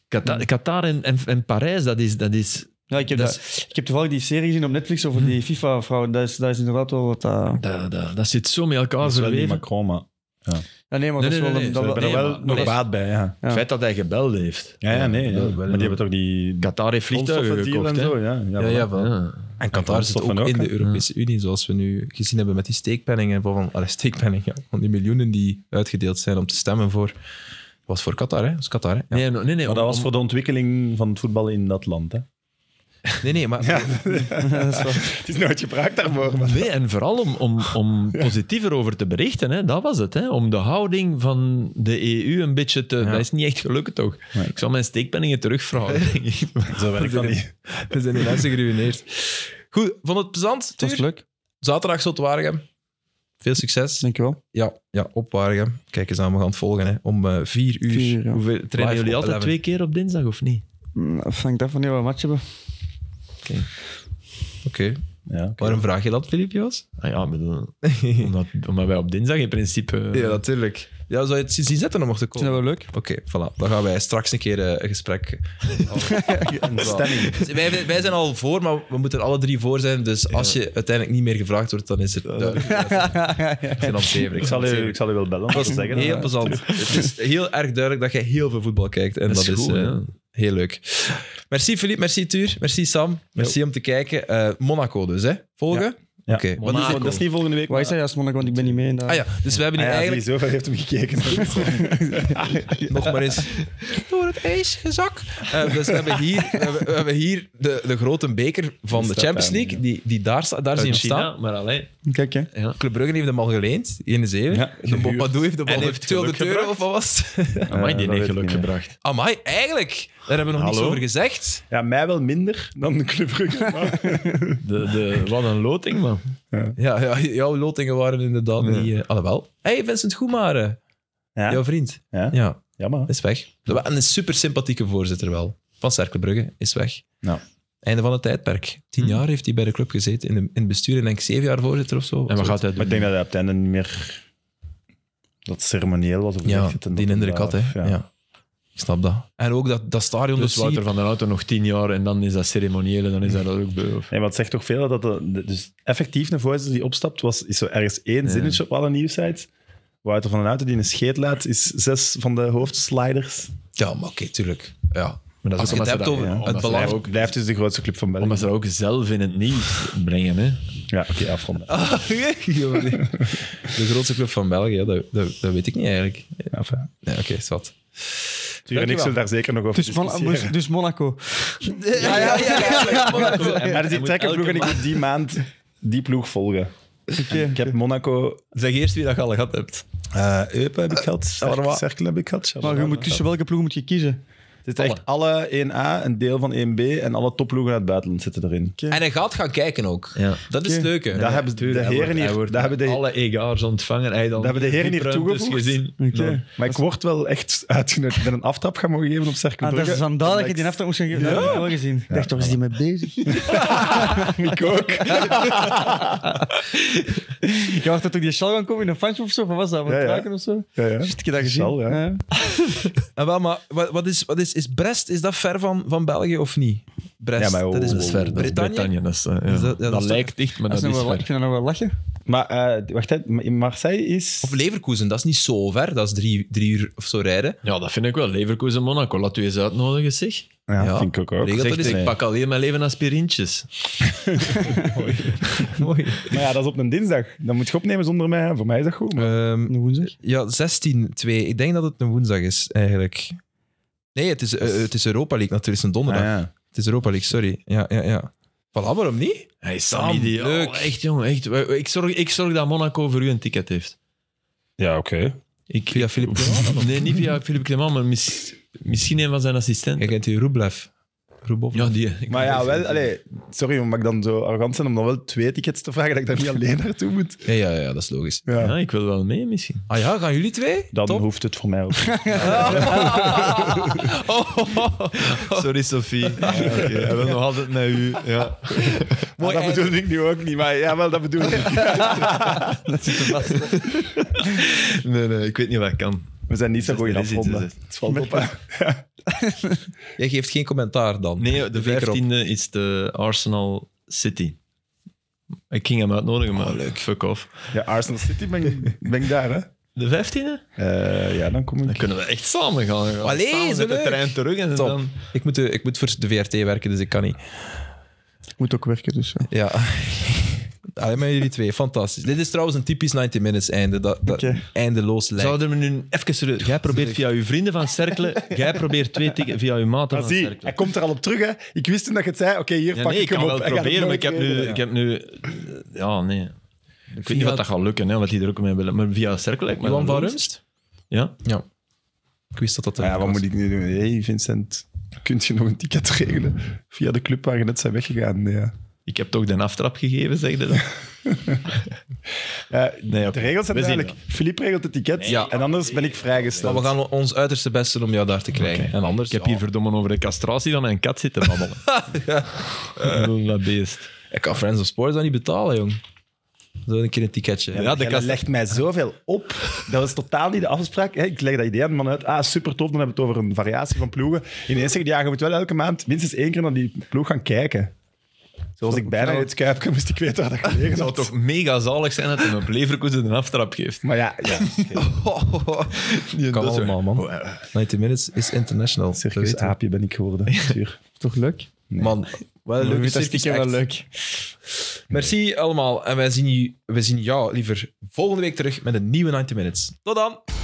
Qatar, Qatar en, en, en Parijs, dat is... Dat is Ja, ik, heb Dat Mhm. dat, ik heb toevallig die serie gezien op Netflix over die FIFA-vrouw. Dat is, dat is inderdaad wel wat... eh, dat, dat, dat zit zo met elkaar Dat is wel niet verweven. Macron, maar Ja, nee, maar Nee, dat is nee, wel... nee, een- dat nee, wel- ik ben nee, er wel maar- nog nee. baat bij, ja. Ja. Het feit dat hij gebeld heeft. Ja, ja, nee. ja. wel, wel, Maar wel. die hebben toch die Qatar heeft vliegtuigen grondstoffendeal gekocht, en hè. zo, ja. Ja, Ja, voilà. ja, wel. Ja. En Qatar zit ook, grondstoffen ook, in de hè? Europese Unie, zoals we nu gezien hebben met die steekpenningen van, allee, steekpenningen, [LAUGHS] ja, van die miljoenen die uitgedeeld zijn om te stemmen voor. was voor Qatar, hè? Dat is Qatar, hè? Ja. Nee, nee, nee. Maar dat was voor de ontwikkeling van het voetbal in dat land, hè. Nee, nee, maar [LAUGHS] [LAUGHS] [LAUGHS] Het is nooit gepraat daarvoor, [LAUGHS] Nee, en vooral om, om, om positiever over te berichten. Hè. Dat was het. Hè. Om de houding van de EU een beetje te... Dat is niet echt gelukt, toch? Ik zal mijn [LAUGHS] steekpenningen terugvragen. denk ik. Zo werkt dat niet. we zijn die mensen geruineerd. Goed, vond het plezant? Dat is Tuur? leuk. Zaterdag zult Waregem. Veel succes. Dankjewel. Ja, ja op Waregem. Kijk eens aan, we gaan het volgen hè. om eh, vier uur. Vier, ja. Hoeveel, trainen Live jullie op altijd 11. twee keer op dinsdag, of niet? Mm, Afhangt af wanneer we een match hebben. Oké. Ja, oké. Waarom vraag je dat, Filip Joos? Ah ja, ik [LAUGHS] bedoel, omdat, omdat wij op dinsdag in principe... eh, Ja, natuurlijk. Ja, zou je het zien zetten om er te Is dat komen? wel leuk? Oké, voilà. Dan gaan wij straks een keer eh, een gesprek Een stemming. Dus Wij, wij zijn al voor, maar we moeten er alle drie voor zijn. Dus als je uiteindelijk niet meer gevraagd wordt, dan is het duidelijk. Ik ben aan het zeven, Ik zal, u, ik zal u wel bellen om Dat te is zeggen. heel plezant. Het is heel erg duidelijk dat jij heel veel voetbal kijkt. En dat, Dat is is, goed, eh, ja. heel leuk. Merci Philippe, merci Tuur, merci Sam. Merci om te kijken. Eh, Monaco dus, hè? Volgen? Ja. Oké, wat Dat is- is dit? dat is niet volgende week. Waar is hij als Monaco? Want ik ben niet mee. in dat- Ah ja, dus we hebben Ah hier ja, eigenlijk sowieso, hij heeft hem [LAUGHS] gekeken. nog maar eens [LAUGHS] door het ijs gezakt. Eh, dus we hebben hier, we hebben, we hebben hier de, de grote beker van de staat Champions daar, League, ja. die, die daar, sta- daar zien Uit we China, staan. maar alleen. Kijk, hè. Dus Ja. Club Brugge heeft hem al geleend, 1-7. Ja, de gehuurd. Bombadou heeft de bal En voor heeft 200 geluk euro, of wat gebracht. was [LAUGHS] het? Amai, Eh, die dat weet heeft ik geluk niet. gebracht. Amai, eigenlijk. Daar hebben we nog niets Hallo? over gezegd. Ja, mij wel minder dan de Club Brugge. maar- De, de, wat een loting, man. Ja, ja, jouw lotingen waren inderdaad Nee. niet... eh, alhoewel. hey, Vincent Goemare, jouw Ja, vriend. Ja. ja, jammer. hè. is weg. En een super sympathieke voorzitter wel. Van Cercle Brugge is weg. Ja. Einde van het tijdperk. Tien jaar heeft hij bij de club gezeten. In, de, in het bestuur en denk ik zeven jaar voorzitter of zo. En wat gaat hij Maar doen? ik denk dat hij op het einde niet meer dat ceremonieel was. Of hoe Ja, zeg je het? En die dat indruk had, daar- hè. Ja. Ik snap dat. En ook dat, dat stadion... Dus dat Wouter van der Auto nog tien jaar en dan is dat ceremoniële, dan is dat ook beu. Of... Nee, maar het zegt toch veel dat de, dus effectief een voorzitter die opstapt, was, is zo ergens één zinnetje op alle nieuwsites. Wouter van den Houten die een scheet laat, is zes van de hoofdsliders. Ja, maar oké, tuurlijk. [LAUGHS] Ja. Maar dat Als is je het omdat hebt ze dat- over ja, omdat het ze dat belang... ook- Blijft dus de grootste club van België. Omdat ze dat ook zelf in het nieuws brengen, hè. Ja, oké, afronden. Ah. de grootste club van België, dat, dat, dat weet ik niet eigenlijk. Ja, enfin. Nee, oké, is wat. Tuur en ik Dankjewel. zullen daar zeker nog over Dus, Mon- discussiëren. dus- dus Monaco. Ja, ja, [LAUGHS] ja. Maar dus Hij ik moet trek een elke ploeg en ik maand- moet die maand die ploeg volgen. Oké. Ik heb Monaco... Zeg eerst wie dat je al gehad hebt. eh Eupen heb ik gehad, Charleroi. Cerkel heb ik gehad. Maar je moet, tussen welke ploeg moet je kiezen? Het is echt alle 1A, een deel van 1B en alle topploegen uit het buitenland zitten erin. En hij gaat gaan kijken ook. Ja. Dat is het Oké. leuke. Daar hebben ze de Hij wordt- heren hij hier... wordt daar hebben de, alle egaars ontvangen. Hij dan Dat hebben de heren hier VIP-ruimtes toegevoegd. gezien. Oké. Nou, Maar ik word wel echt uitgenodigd. Ik ben een aftrap gaan mogen geven op Cercle Ah, dat Brugge. is vandaar dat je die aftrap moest gaan geven. Dat heb ik wel gezien. Ik dacht, waar is die mee bezig? [LAUGHS] ik ook. [LAUGHS] Je wacht dat ook die Shell gaan komen in een fansje of zo? Wat was dat? Van Ja, ja. Kraken of zo? Ja, ja. Zit je dat gezien? Shell, ja. En Ah, wel, maar wat, wat is, wat is, is Brest, is dat ver van, van België of niet? Brest, Ja, maar oh, dat is oh, oh, ver. dat is Bretagne? Bretagne, dat, is, eh, Is ja. dat- dat, ja, dat is- lijkt dicht, maar Dat dat, is nog is wel, ik ver. vind dat nog wel lachen. Maar eh, wacht, hè. in Marseille is... Of Leverkusen, dat is niet zo ver. Dat is drie, drie uur of zo rijden. Ja, dat vind ik wel. Leverkusen Monaco, laat u eens uitnodigen, zeg. ja, Ja. vind ik ook. ook. Regel- Zeg, dat is- ik pak alleen mijn leven aspirintjes. Maar ja, dat is op een dinsdag. Dan moet je opnemen zonder mij. Voor mij is dat goed. Maar... Ehm, woensdag. ja, 16-2. Ik denk dat het een woensdag is, eigenlijk. Nee, het is, eh, het is Europa League natuurlijk. Het is een donderdag. Ah, ja. Het is Europa League, sorry. Ja, ja, ja. Voilà, waarom niet? Hij is Sam, Sam, ideaal. leuk. Echt, jongen. Echt. Ik, zorg, ik zorg dat Monaco voor u een ticket heeft. Ja, oké. Ik, Via Philippe Clement? [LAUGHS] Nee, niet via Philippe Clement, maar mis- misschien een van zijn Jij assistenten. kent die Rublev. Rubov. Ja, die. ik- Maar ja, wel... Allee, sorry, maar mag ik dan zo arrogant zijn om dan wel twee tickets te vragen dat ik daar niet alleen naartoe moet? Ja, ja, ja, dat is logisch. Ja. Ja, ik wil wel mee misschien. Ah ja, gaan jullie twee? Dan Top. hoeft het voor mij ook. [LAUGHS] [LAUGHS] Sorry, Sophie. Ja, Ah, oké. Hij wil nog altijd naar u. Ja. Maar dat eind. bedoel ik nu ook niet, maar ja, wel, dat bedoel ik. Nee, nee, ik weet niet wat ik kan. [LAUGHS] We zijn niet zo goed in Er is iets, afronden. er is iets. Het valt op. hè. Jij geeft geen commentaar dan. Nee, de De beker op. 15e is de Arsenal City. Ik ging hem uitnodigen, maar Ah, leuk. fuck off. [LAUGHS] Ja, Arsenal City ben ik, ben ik daar, hè? De 15e? Eh, ja, dan kom ik. Dan kunnen we echt samen gaan. We gaan Allee, samen zo met de leuk. trein terug en Top. dan... Ik moet, de, ik moet voor de VRT werken, dus ik kan niet. Ik moet ook werken, dus. ja. Ja. [LAUGHS] Alleen maar jullie twee, fantastisch. Dit is trouwens een typisch 90 minutes einde. Dat, dat Oké. eindeloos lijkt. Zouden we nu even serieus... Jij probeert via je vrienden van [LAUGHS] Cerkelen, jij probeert twee tikken via je maten Maar van Ah, zie, hij Cerkelen. komt er al op terug. Hè. Ik wist toen dat je het zei. Oké, hier Ja, pak nee, ik ik hem kan op. wel Hij gaat proberen, maar ik het nooit heb nu... leren. Ik heb nu ja, nee. Ik weet Via- niet wat dat gaat lukken, hè, wat die er ook mee willen. Maar via Cerkelen lijkt me Johan dat van leuk. Rumst? Ja. Ja. Ik wist dat dat er Ah Ja, wat was. moet ik nu doen? Hé, hey, Vincent. Kunt je nog een ticket regelen? Via de club waar je net zijn weggegaan. Nee, ja. Ik heb toch de aftrap gegeven, zeg je [LAUGHS] dat? Ja, Nee, de oké. regels zijn We zien duidelijk. Filip regelt het ticket. Ja. En anders ben ik vrijgesteld. Maar we gaan ons uiterste best doen om jou daar te krijgen. En anders... Ik heb hier verdomme over de castratie van mijn kat zitten babbelen. [LAUGHS] ja. Dat beest. Ik kan Friends of Sports dan niet betalen, jong. Zo een keer een ticketje. Ja, Ja, de de kast- legt mij zoveel op. Dat was totaal niet de afspraak. Hè, Ik leg dat idee aan de man uit. Ah, super tof. Dan hebben we het over een variatie van ploegen. Ineens zeg je, ja, je moet wel elke maand minstens één keer naar die ploeg gaan kijken. Zoals ik bijna in het kuipje moest ik weten waar dat gelegen Het zou had. toch mega zalig zijn dat hij op Leverkusen een aftrap geeft. Maar ja, [LAUGHS] ja. kan dat is allemaal, man. 90 minutes is international. dat circus weten we. aapje [LAUGHS] ben ik geworden. Zuur. Toch leuk? Man, wel een leuke Dat is circus stiekem wel act. leuk. Merci allemaal. En wij zien, je- wij zien jou liever volgende week terug met een nieuwe 90 Minutes. Tot dan!